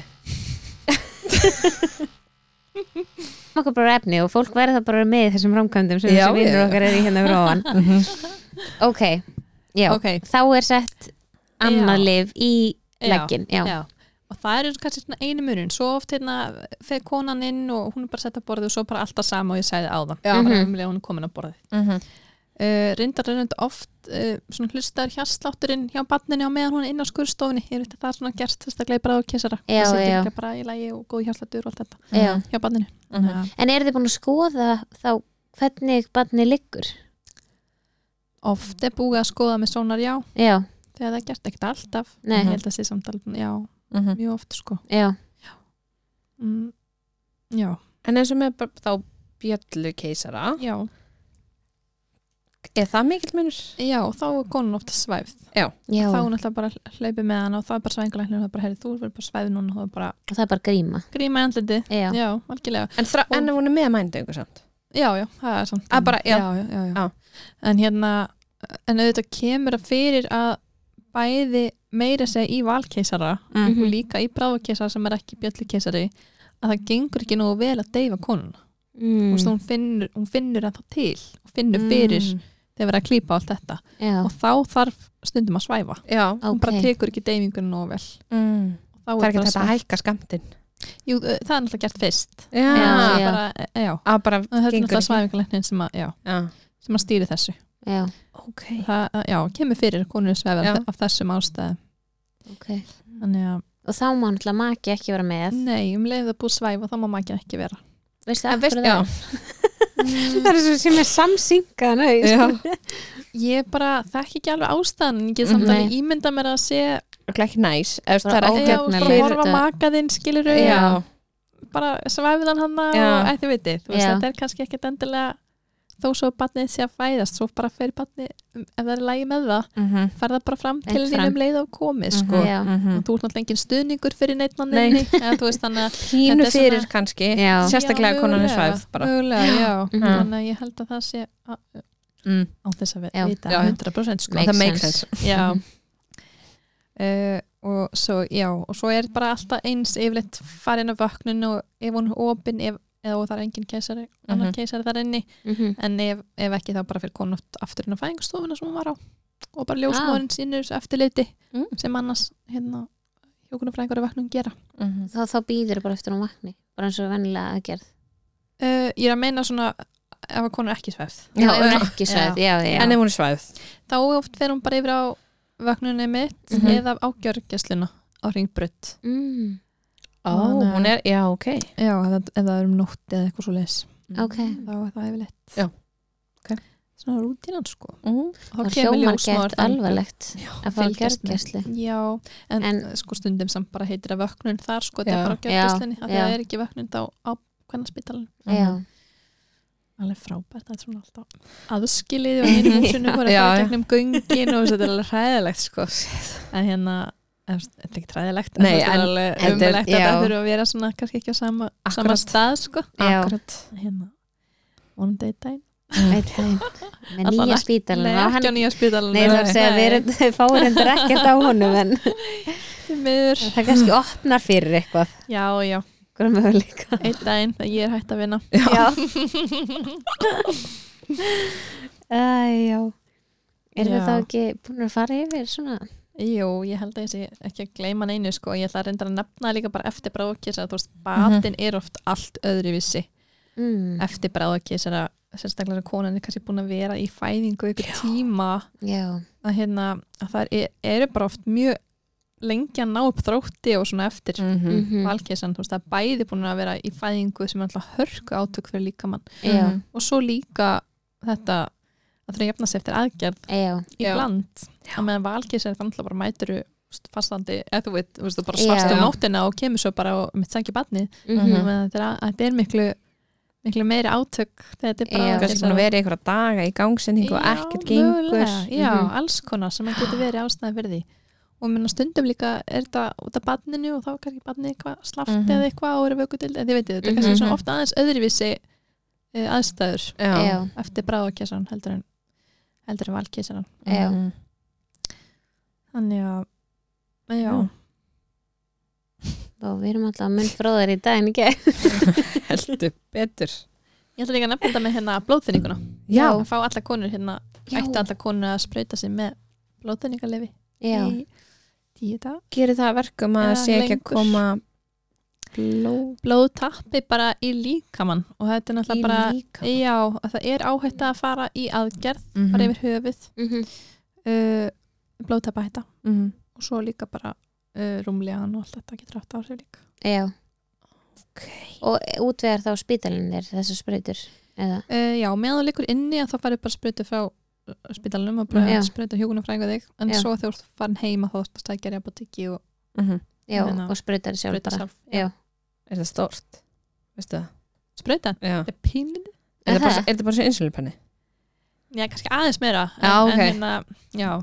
Speaker 1: um okkur bara efni og fólk verða bara með í þessum framkvæmdum sem
Speaker 2: Já,
Speaker 1: þessi vinnur
Speaker 2: já.
Speaker 1: okkar er í hérna fyrir ofan ok, já
Speaker 3: ok,
Speaker 1: þá er sett annað
Speaker 3: Já.
Speaker 1: lif í
Speaker 3: Já.
Speaker 1: leggin já.
Speaker 3: já og það er eins og kannski svona einu mörun svo oft hérna fer konan inn og hún er bara sett að borðið og svo bara alltaf sama og ég sagði á það bara
Speaker 1: Mhm.
Speaker 3: umlega hún er komin að borðið
Speaker 2: mm -hmm.
Speaker 3: uh, reyndar er þetta oft uh, svona hlustar hjarslátturinn hjá barninu á meðan hún er inn á skurðstofunni ég veit að það er svona gert þess að gleipa ráðkessara
Speaker 1: Já,
Speaker 3: þess
Speaker 1: já.
Speaker 3: að bara í lagi og góð hjarsláttur og allt þetta
Speaker 1: Já.
Speaker 3: hjá barninu
Speaker 2: Mhm.
Speaker 3: Þannig að
Speaker 1: en eru þið búin að skoða þá hvernig barni liggur
Speaker 3: oft er búið að skoða með sónar já
Speaker 1: já,
Speaker 3: þegar það er gert ekkert alltaf
Speaker 1: Nei.
Speaker 3: ég held að sé samtal já,
Speaker 2: Mhm.
Speaker 3: mjög oft sko
Speaker 1: já,
Speaker 3: mm, já,
Speaker 2: en eins og með bara þá bjöllu keisara
Speaker 3: já,
Speaker 2: er það mikill munur?
Speaker 3: já þá er konan oft svæfð
Speaker 1: já
Speaker 3: þá er hún alltaf bara hlaupið með hann og það er bara svæfingalæknir og það er bara, herri, þú verður bara svæfð núna og það er bara
Speaker 1: og það er bara gríma
Speaker 3: gríma í andliti
Speaker 1: já,
Speaker 3: já, algjörlega,
Speaker 2: en, þra- en ef hún er með mændöngu samt
Speaker 3: já, já, það er samt
Speaker 2: Að bara, já.
Speaker 3: já, já, já, já.
Speaker 2: Já.
Speaker 3: en hérna en auðvitað kemur að fyrir að bæði meira að segja í valkeisara
Speaker 1: Mhm.
Speaker 3: og líka í bráðakeisara sem er ekki bjöllukeisari að það gengur ekki nógu vel að deyfa konuna mm.
Speaker 1: mm.
Speaker 3: hún finnur, hún finnur að það til og finnur
Speaker 2: Mm.
Speaker 3: fyrir þegar verið að klípa allt þetta
Speaker 1: já,
Speaker 3: og þá þarf stundum að svæfa
Speaker 2: já.
Speaker 3: hún bara
Speaker 1: ok
Speaker 3: tekur ekki deyfingunum nógu vel
Speaker 2: Mm.
Speaker 3: Þá
Speaker 2: það er ekki
Speaker 3: bara
Speaker 2: þetta að hækka skamtinn
Speaker 3: svæ- Jú, eh, það er náttúrulega gert fyrst
Speaker 1: Já,
Speaker 2: já,
Speaker 3: Það
Speaker 1: já.
Speaker 3: er bara, eh, já,
Speaker 2: að bara
Speaker 3: Og þetta er
Speaker 2: gengur
Speaker 3: náttúrulega
Speaker 2: ekki
Speaker 3: svæfingalegnin sem að, já,
Speaker 2: já.
Speaker 3: sem að stýri þessu
Speaker 1: já,
Speaker 2: ok,
Speaker 3: það, e, já, kemur fyrir að konur svefa
Speaker 2: Já.
Speaker 3: af þessum ástæðum
Speaker 1: ok
Speaker 3: þannig að,
Speaker 1: og þá má náttúrulega maki ekki vera með
Speaker 3: nei, um leið það er búið að svæfa þá má maður ekki vera
Speaker 1: veistu af
Speaker 2: veist-
Speaker 1: hverju
Speaker 2: já.
Speaker 1: það
Speaker 5: Það er svo sem er samsynkað nöð
Speaker 2: já,
Speaker 3: ég bara þekki ekki alveg ástæðan en ég get samt
Speaker 1: Mhm.
Speaker 3: að ég ímynda mér að sé
Speaker 2: örugglega ekki næs Eða, þú veist, Mm, það er
Speaker 1: Bara
Speaker 2: ekki
Speaker 3: já, bara
Speaker 1: Ógegnilegt.
Speaker 3: horfa makaðinn skilur
Speaker 2: já,
Speaker 3: bara svæfiðan hann
Speaker 2: Já.
Speaker 3: og ætti viti þú veist,
Speaker 1: Já.
Speaker 3: þetta er kannski ekkert endilega þó svo barnið sé að fæðast svo bara fer barnið, ef það er lægi með það
Speaker 2: Mhm.
Speaker 3: fer það bara fram til
Speaker 1: Beint
Speaker 3: þín
Speaker 1: fram.
Speaker 3: um leið og komið
Speaker 2: Mhm.
Speaker 3: sko.
Speaker 1: Já.
Speaker 2: Mhm.
Speaker 3: og þú ert náttúrulega engin stuðningur fyrir neitt mann
Speaker 2: Nei.
Speaker 3: inni, eða þú veist þannig að
Speaker 2: pínu
Speaker 3: Þetta er
Speaker 2: fyrir
Speaker 3: svona-
Speaker 2: kannski
Speaker 1: Já.
Speaker 2: sérstaklega
Speaker 3: Já,
Speaker 2: konan er
Speaker 3: mögulega,
Speaker 2: svæð bara
Speaker 3: mögulega, já,
Speaker 1: Mhm.
Speaker 3: þannig að ég held að það sé á-
Speaker 2: mm.
Speaker 3: á þess að við-
Speaker 1: Já.
Speaker 3: vita
Speaker 2: Já.
Speaker 3: 100% sko.
Speaker 1: Makes
Speaker 2: það makes
Speaker 1: sense.
Speaker 2: sense
Speaker 3: já uh, og svo já, og svo er bara alltaf eins yfirleitt farin af vöknun og ef hún er opin ef, eða það er engin keisari, annar
Speaker 2: Mhm.
Speaker 3: keisari þar inni
Speaker 1: Mhm.
Speaker 3: en ef, ef ekki þá bara fyrir konu oft aftur inn á fæðingstofuna sem hún var á og bara ljósmóðurinn sínur eftirliti
Speaker 2: Mm.
Speaker 3: sem annars hérna hjókunarfræðingur að vöknun gera
Speaker 2: Mhm.
Speaker 1: þá, þá býður bara eftir hún vakni bara eins og vennilega aðgerð
Speaker 3: uh, ég er að meina svona ef að konu er ekki svefð
Speaker 1: já, ef hún er ekki svæð, já, já,
Speaker 2: en ef hún er svæð
Speaker 3: þá oft fer hún bara yfir á vöknunni mitt
Speaker 2: Mhm.
Speaker 3: eða á gjörgæsluna á ringbrut
Speaker 1: mm,
Speaker 2: Ó,
Speaker 3: Þannig að-
Speaker 2: hún er, já, ok
Speaker 3: já, eða, eða er um nótt eða eitthvað svo leis
Speaker 1: ok
Speaker 3: þá er það yfirleitt
Speaker 2: Já. Ok.
Speaker 3: svona rútínan sko
Speaker 2: mm.
Speaker 3: þá
Speaker 1: og
Speaker 3: kemur
Speaker 1: hljómar
Speaker 3: ljósmóður
Speaker 1: gett alvarlegt að fá
Speaker 3: fylgjast með.
Speaker 1: gerðgæslu
Speaker 3: já, en,
Speaker 1: En-
Speaker 3: sko stundum samt bara heitir að vöknun þar sko, þetta
Speaker 2: Já.
Speaker 3: er bara á gjörgæslunni
Speaker 1: Já,
Speaker 3: að það
Speaker 1: já.
Speaker 3: er ekki vöknun þá á hvernig spitalinn
Speaker 1: já,
Speaker 3: alveg frábært, það er svona alltaf aðskilið og hinn húsinu voru að
Speaker 2: Já,
Speaker 3: fara
Speaker 2: já.
Speaker 3: gegnum göngin og þetta er alveg hræðilegt sko en hérna, eða, þetta er ekki hræðilegt
Speaker 2: Nei,
Speaker 3: en þetta er
Speaker 2: en-
Speaker 3: alveg
Speaker 2: þetta er-
Speaker 3: umlegt að
Speaker 2: já.
Speaker 3: það þurfa að vera svona kannski ekki á sama, sama
Speaker 2: Akkúrat.
Speaker 3: stað sko
Speaker 1: já,
Speaker 2: akkurat
Speaker 3: En hérna, vonum þetta í daginn
Speaker 1: veit það með
Speaker 3: Allan
Speaker 1: nýja
Speaker 3: ekki-
Speaker 1: spítalinn
Speaker 3: Nei,
Speaker 1: og hann
Speaker 3: ekki á nýja spítalinn
Speaker 1: Nei, það er að segja að við erum fáir endur ekkert á honum en
Speaker 3: miður
Speaker 1: það kannski opnar fyrir eitthvað
Speaker 3: Já, já,
Speaker 1: hvað möguleika
Speaker 3: einn daginn þegar ég er hægt að vinna
Speaker 1: já Æ, já erum
Speaker 3: Já.
Speaker 1: við þá ekki búin að fara yfir svona
Speaker 3: Jú, ég held að ég sé ekki að gleyma neinu sko, ég ætla að reynda að nefna líka bara eftir bráðkísara, þú veist, batin er oft allt öðruvísi
Speaker 1: mm,
Speaker 3: eftir bráðakísara sérstaklega að konan er kannski búin að vera í fæðingu ykkur tíma
Speaker 1: já,
Speaker 3: að, hérna, að það er, eru bara oft mjög lengi að ná upp þrótti og svona eftir mm.
Speaker 2: Mhm.
Speaker 1: mhm,
Speaker 3: valkísan, þú veist, það er bæði búin að vera í fæðingu sem er alltaf hörku átök fyrir líkamann
Speaker 1: já,
Speaker 2: Mhm.
Speaker 3: og svo líka þetta að það er að jafna sig eftir aðgerð
Speaker 1: já
Speaker 3: í bland að meðan valkísar er þannig að bara mætur fastandi, eða þú veit, þú veist, þú bara
Speaker 1: Já.
Speaker 3: svafst um nóttina og kemur svo bara og mitt sækja barnið
Speaker 1: mhm,
Speaker 3: mm. þetta, er, að- þetta er miklu miklu meiri átök þegar þetta er bara
Speaker 1: Já.
Speaker 3: ákveðið
Speaker 2: kannski búin að vera í einhverja daga í gangsendingu og
Speaker 3: Já,
Speaker 2: ekkert gengur
Speaker 3: mögulega. já,
Speaker 1: Mhm.
Speaker 3: alls konar sem að getur verið ástæði fyrir því og minna stundum líka er þetta út af barninu og þá er kannski barnið eitthvað slaft
Speaker 2: Mhm.
Speaker 3: eða eitthvað og eru vökudild, en þið veitir þetta er kannski
Speaker 2: Mhm.
Speaker 3: svona ofta aðeins öðruvísi eh, aðstæður
Speaker 1: já,
Speaker 3: eftir bráðakessan heldur en heldur en valkessan
Speaker 1: já
Speaker 2: Mhm.
Speaker 3: þannig að já,
Speaker 2: Já.
Speaker 1: og við erum alltaf mun fróðar í dag en ekki
Speaker 2: heldur betur
Speaker 3: ég ætla líka að nefna þetta með hérna blóðþynninguna
Speaker 2: já,
Speaker 3: að fá alla konur hérna, ætti alla konur að sprauta sig með blóðþynningalefi
Speaker 1: já,
Speaker 3: í tíu dag
Speaker 2: gerir það að verkum að
Speaker 3: Já,
Speaker 2: það sé ekki að
Speaker 3: lengur.
Speaker 2: koma
Speaker 3: blóðtappi bara í líkamann og þetta er náttúrulega bara
Speaker 2: líka
Speaker 3: já, að það er áhætta að fara í aðgerð bara
Speaker 2: Mhm.
Speaker 3: yfir höfuð
Speaker 1: mhm,
Speaker 3: uh, blóðtappa hætta
Speaker 2: Mhm.
Speaker 3: og svo líka bara uh, rúmlegan og allt þetta getur átt á sig líka
Speaker 1: já
Speaker 2: Ok.
Speaker 1: og útvegar þá spítalinir þessar sprautur eða,
Speaker 3: uh, já, meðan þú liggur inni að þá farið bara sprautu frá uh, spítalunum og bara
Speaker 1: Já.
Speaker 3: sprautu hjókunum frænga þig en
Speaker 1: Já.
Speaker 3: svo þegar þú ert farin heima þá þarfst að stækja reyðabotikki og
Speaker 2: Mhm.
Speaker 1: já,
Speaker 3: Ég meina,
Speaker 1: og sprautar sjálf
Speaker 3: sprauta
Speaker 1: bara
Speaker 3: sjálf
Speaker 1: já,
Speaker 2: er það stórt? veistu það?
Speaker 3: sprautan,
Speaker 2: Já.
Speaker 3: þetta er pínlítið
Speaker 2: er það
Speaker 1: Er
Speaker 2: bara,
Speaker 1: það?
Speaker 2: er það bara svo insulinpenni?
Speaker 3: já, kannski aðeins meira en,
Speaker 2: Já, ok.
Speaker 3: en hérna, já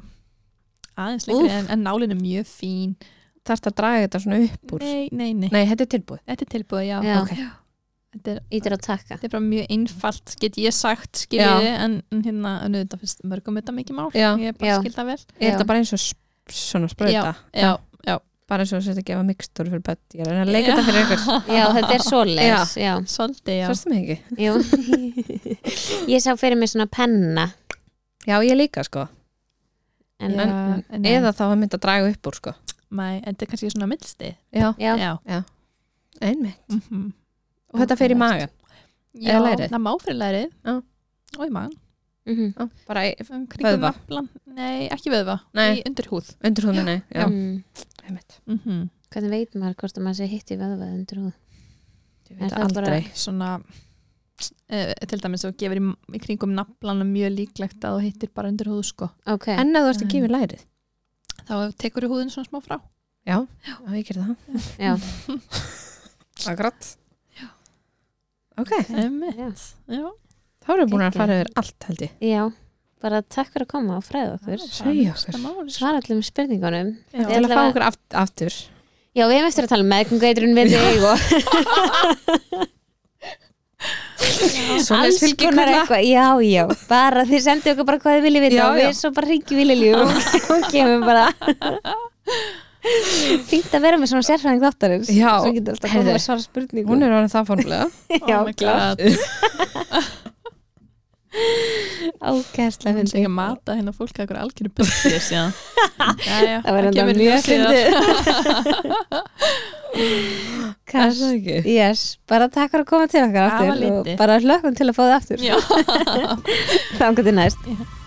Speaker 3: aðeins lengri, en, en nálin er mjög fín
Speaker 2: þarf það að draga þetta svona upp úr?
Speaker 3: nei, nei, nei,
Speaker 2: nei, þetta er tilbúið
Speaker 3: þetta er tilbúið, já,
Speaker 1: Já.
Speaker 3: Ok. þetta er,
Speaker 1: Ítir á takka
Speaker 3: þetta er bara mjög einfalt get ég sagt skiljiði en, en hérna en auðvitað finnst mörgum þetta mikið mál
Speaker 2: Já.
Speaker 3: ég bara
Speaker 1: Já.
Speaker 3: skil það vel
Speaker 2: Er þetta bara eins og sp- svona sprauta?
Speaker 3: já, já,
Speaker 2: Bara eins og þess að gefa mikstur fyrir bett. Ég er að reyna að leika þetta fyrir ykkur.
Speaker 1: Já, þetta er svoleiðis Já,
Speaker 3: svolítið já.
Speaker 2: Svarstu mig ekki?
Speaker 1: jú Ég sá fyrir mig svona penna
Speaker 2: Já, ég líka sko.
Speaker 1: En,
Speaker 3: Já, en,
Speaker 2: Eða þá var mynd að draga upp úr sko.
Speaker 3: mæ, en þetta er kannski svona millstið
Speaker 2: Já,
Speaker 1: já,
Speaker 3: já,
Speaker 2: einmitt.
Speaker 3: mhm.
Speaker 2: Og þetta fer í magan.
Speaker 3: já
Speaker 2: Eða lærið?
Speaker 3: það má fyrir lærið
Speaker 2: Já.
Speaker 3: og í maðan
Speaker 1: mhm.
Speaker 2: Já, bara í- Vöðva.
Speaker 3: vöðva nei, ekki vöðva,
Speaker 2: Nei.
Speaker 3: í undir húð
Speaker 2: undir húðinni. Já,
Speaker 1: Mm.
Speaker 2: einmitt.
Speaker 3: mm
Speaker 1: Hvernig veit maður hvort að maður sé hitt í vöðvað undir húð?
Speaker 2: Ég
Speaker 1: Er
Speaker 2: veit
Speaker 1: það bara-
Speaker 2: aldrei.
Speaker 3: svona uh, til dæmis og gefur í, í kringum naflanum mjög líklegt að þú hittir bara undir húð sko.
Speaker 1: Ok,
Speaker 2: En að þú ert að gefa í lærið.
Speaker 3: þá tekur þú húðin svona smá frá
Speaker 2: Já, já, ég gerði það.
Speaker 1: já,
Speaker 2: Akkurat. Ok,
Speaker 3: Einmitt.
Speaker 1: já,
Speaker 3: já,
Speaker 2: þá erum við búin að
Speaker 1: Geggjað.
Speaker 2: fara yfir allt held ég.
Speaker 1: já Bara takk fyrir að koma og fræða okkur
Speaker 2: Segja okkur.
Speaker 3: okkur
Speaker 1: Svara allum spurningunum
Speaker 3: Já.
Speaker 1: Ég
Speaker 2: Til að
Speaker 1: ætla
Speaker 2: fá
Speaker 1: að-
Speaker 2: okkur aft- aftur.
Speaker 1: Já, við hefum eftir að tala með meðgungeitrun við þig og
Speaker 2: Svoleiðis fylgikvilla.
Speaker 1: eitthvað Já, já, bara þið sendið okkur bara hvað þið viljið vita
Speaker 2: Já,
Speaker 1: og við
Speaker 2: já.
Speaker 1: svo bara ringjum við Lilju og og kemum bara Fínt að vera með svona sérfræðing þáttarins
Speaker 2: Já,
Speaker 1: Svo getur alltaf komið
Speaker 2: heyrðu.
Speaker 1: að svara spurningum
Speaker 2: Hún er orðin það fórnulega.
Speaker 1: já,
Speaker 3: oh my god
Speaker 1: ákærslega
Speaker 3: Það er ekki að mata hérna fólk að eitthvað algjöru byrðir síðan. Jæja,
Speaker 1: Það var enda
Speaker 3: kemur
Speaker 1: mjög
Speaker 3: í ljós síðar.
Speaker 1: fyndið
Speaker 2: Er
Speaker 1: Kast
Speaker 2: það ekki?
Speaker 1: Yes, bara takk fyrir að koma til okkar
Speaker 3: Það
Speaker 1: aftur
Speaker 3: var
Speaker 1: og
Speaker 3: lítið.
Speaker 1: bara hlökkum til að fá þið aftur
Speaker 3: Já.
Speaker 1: þá til næst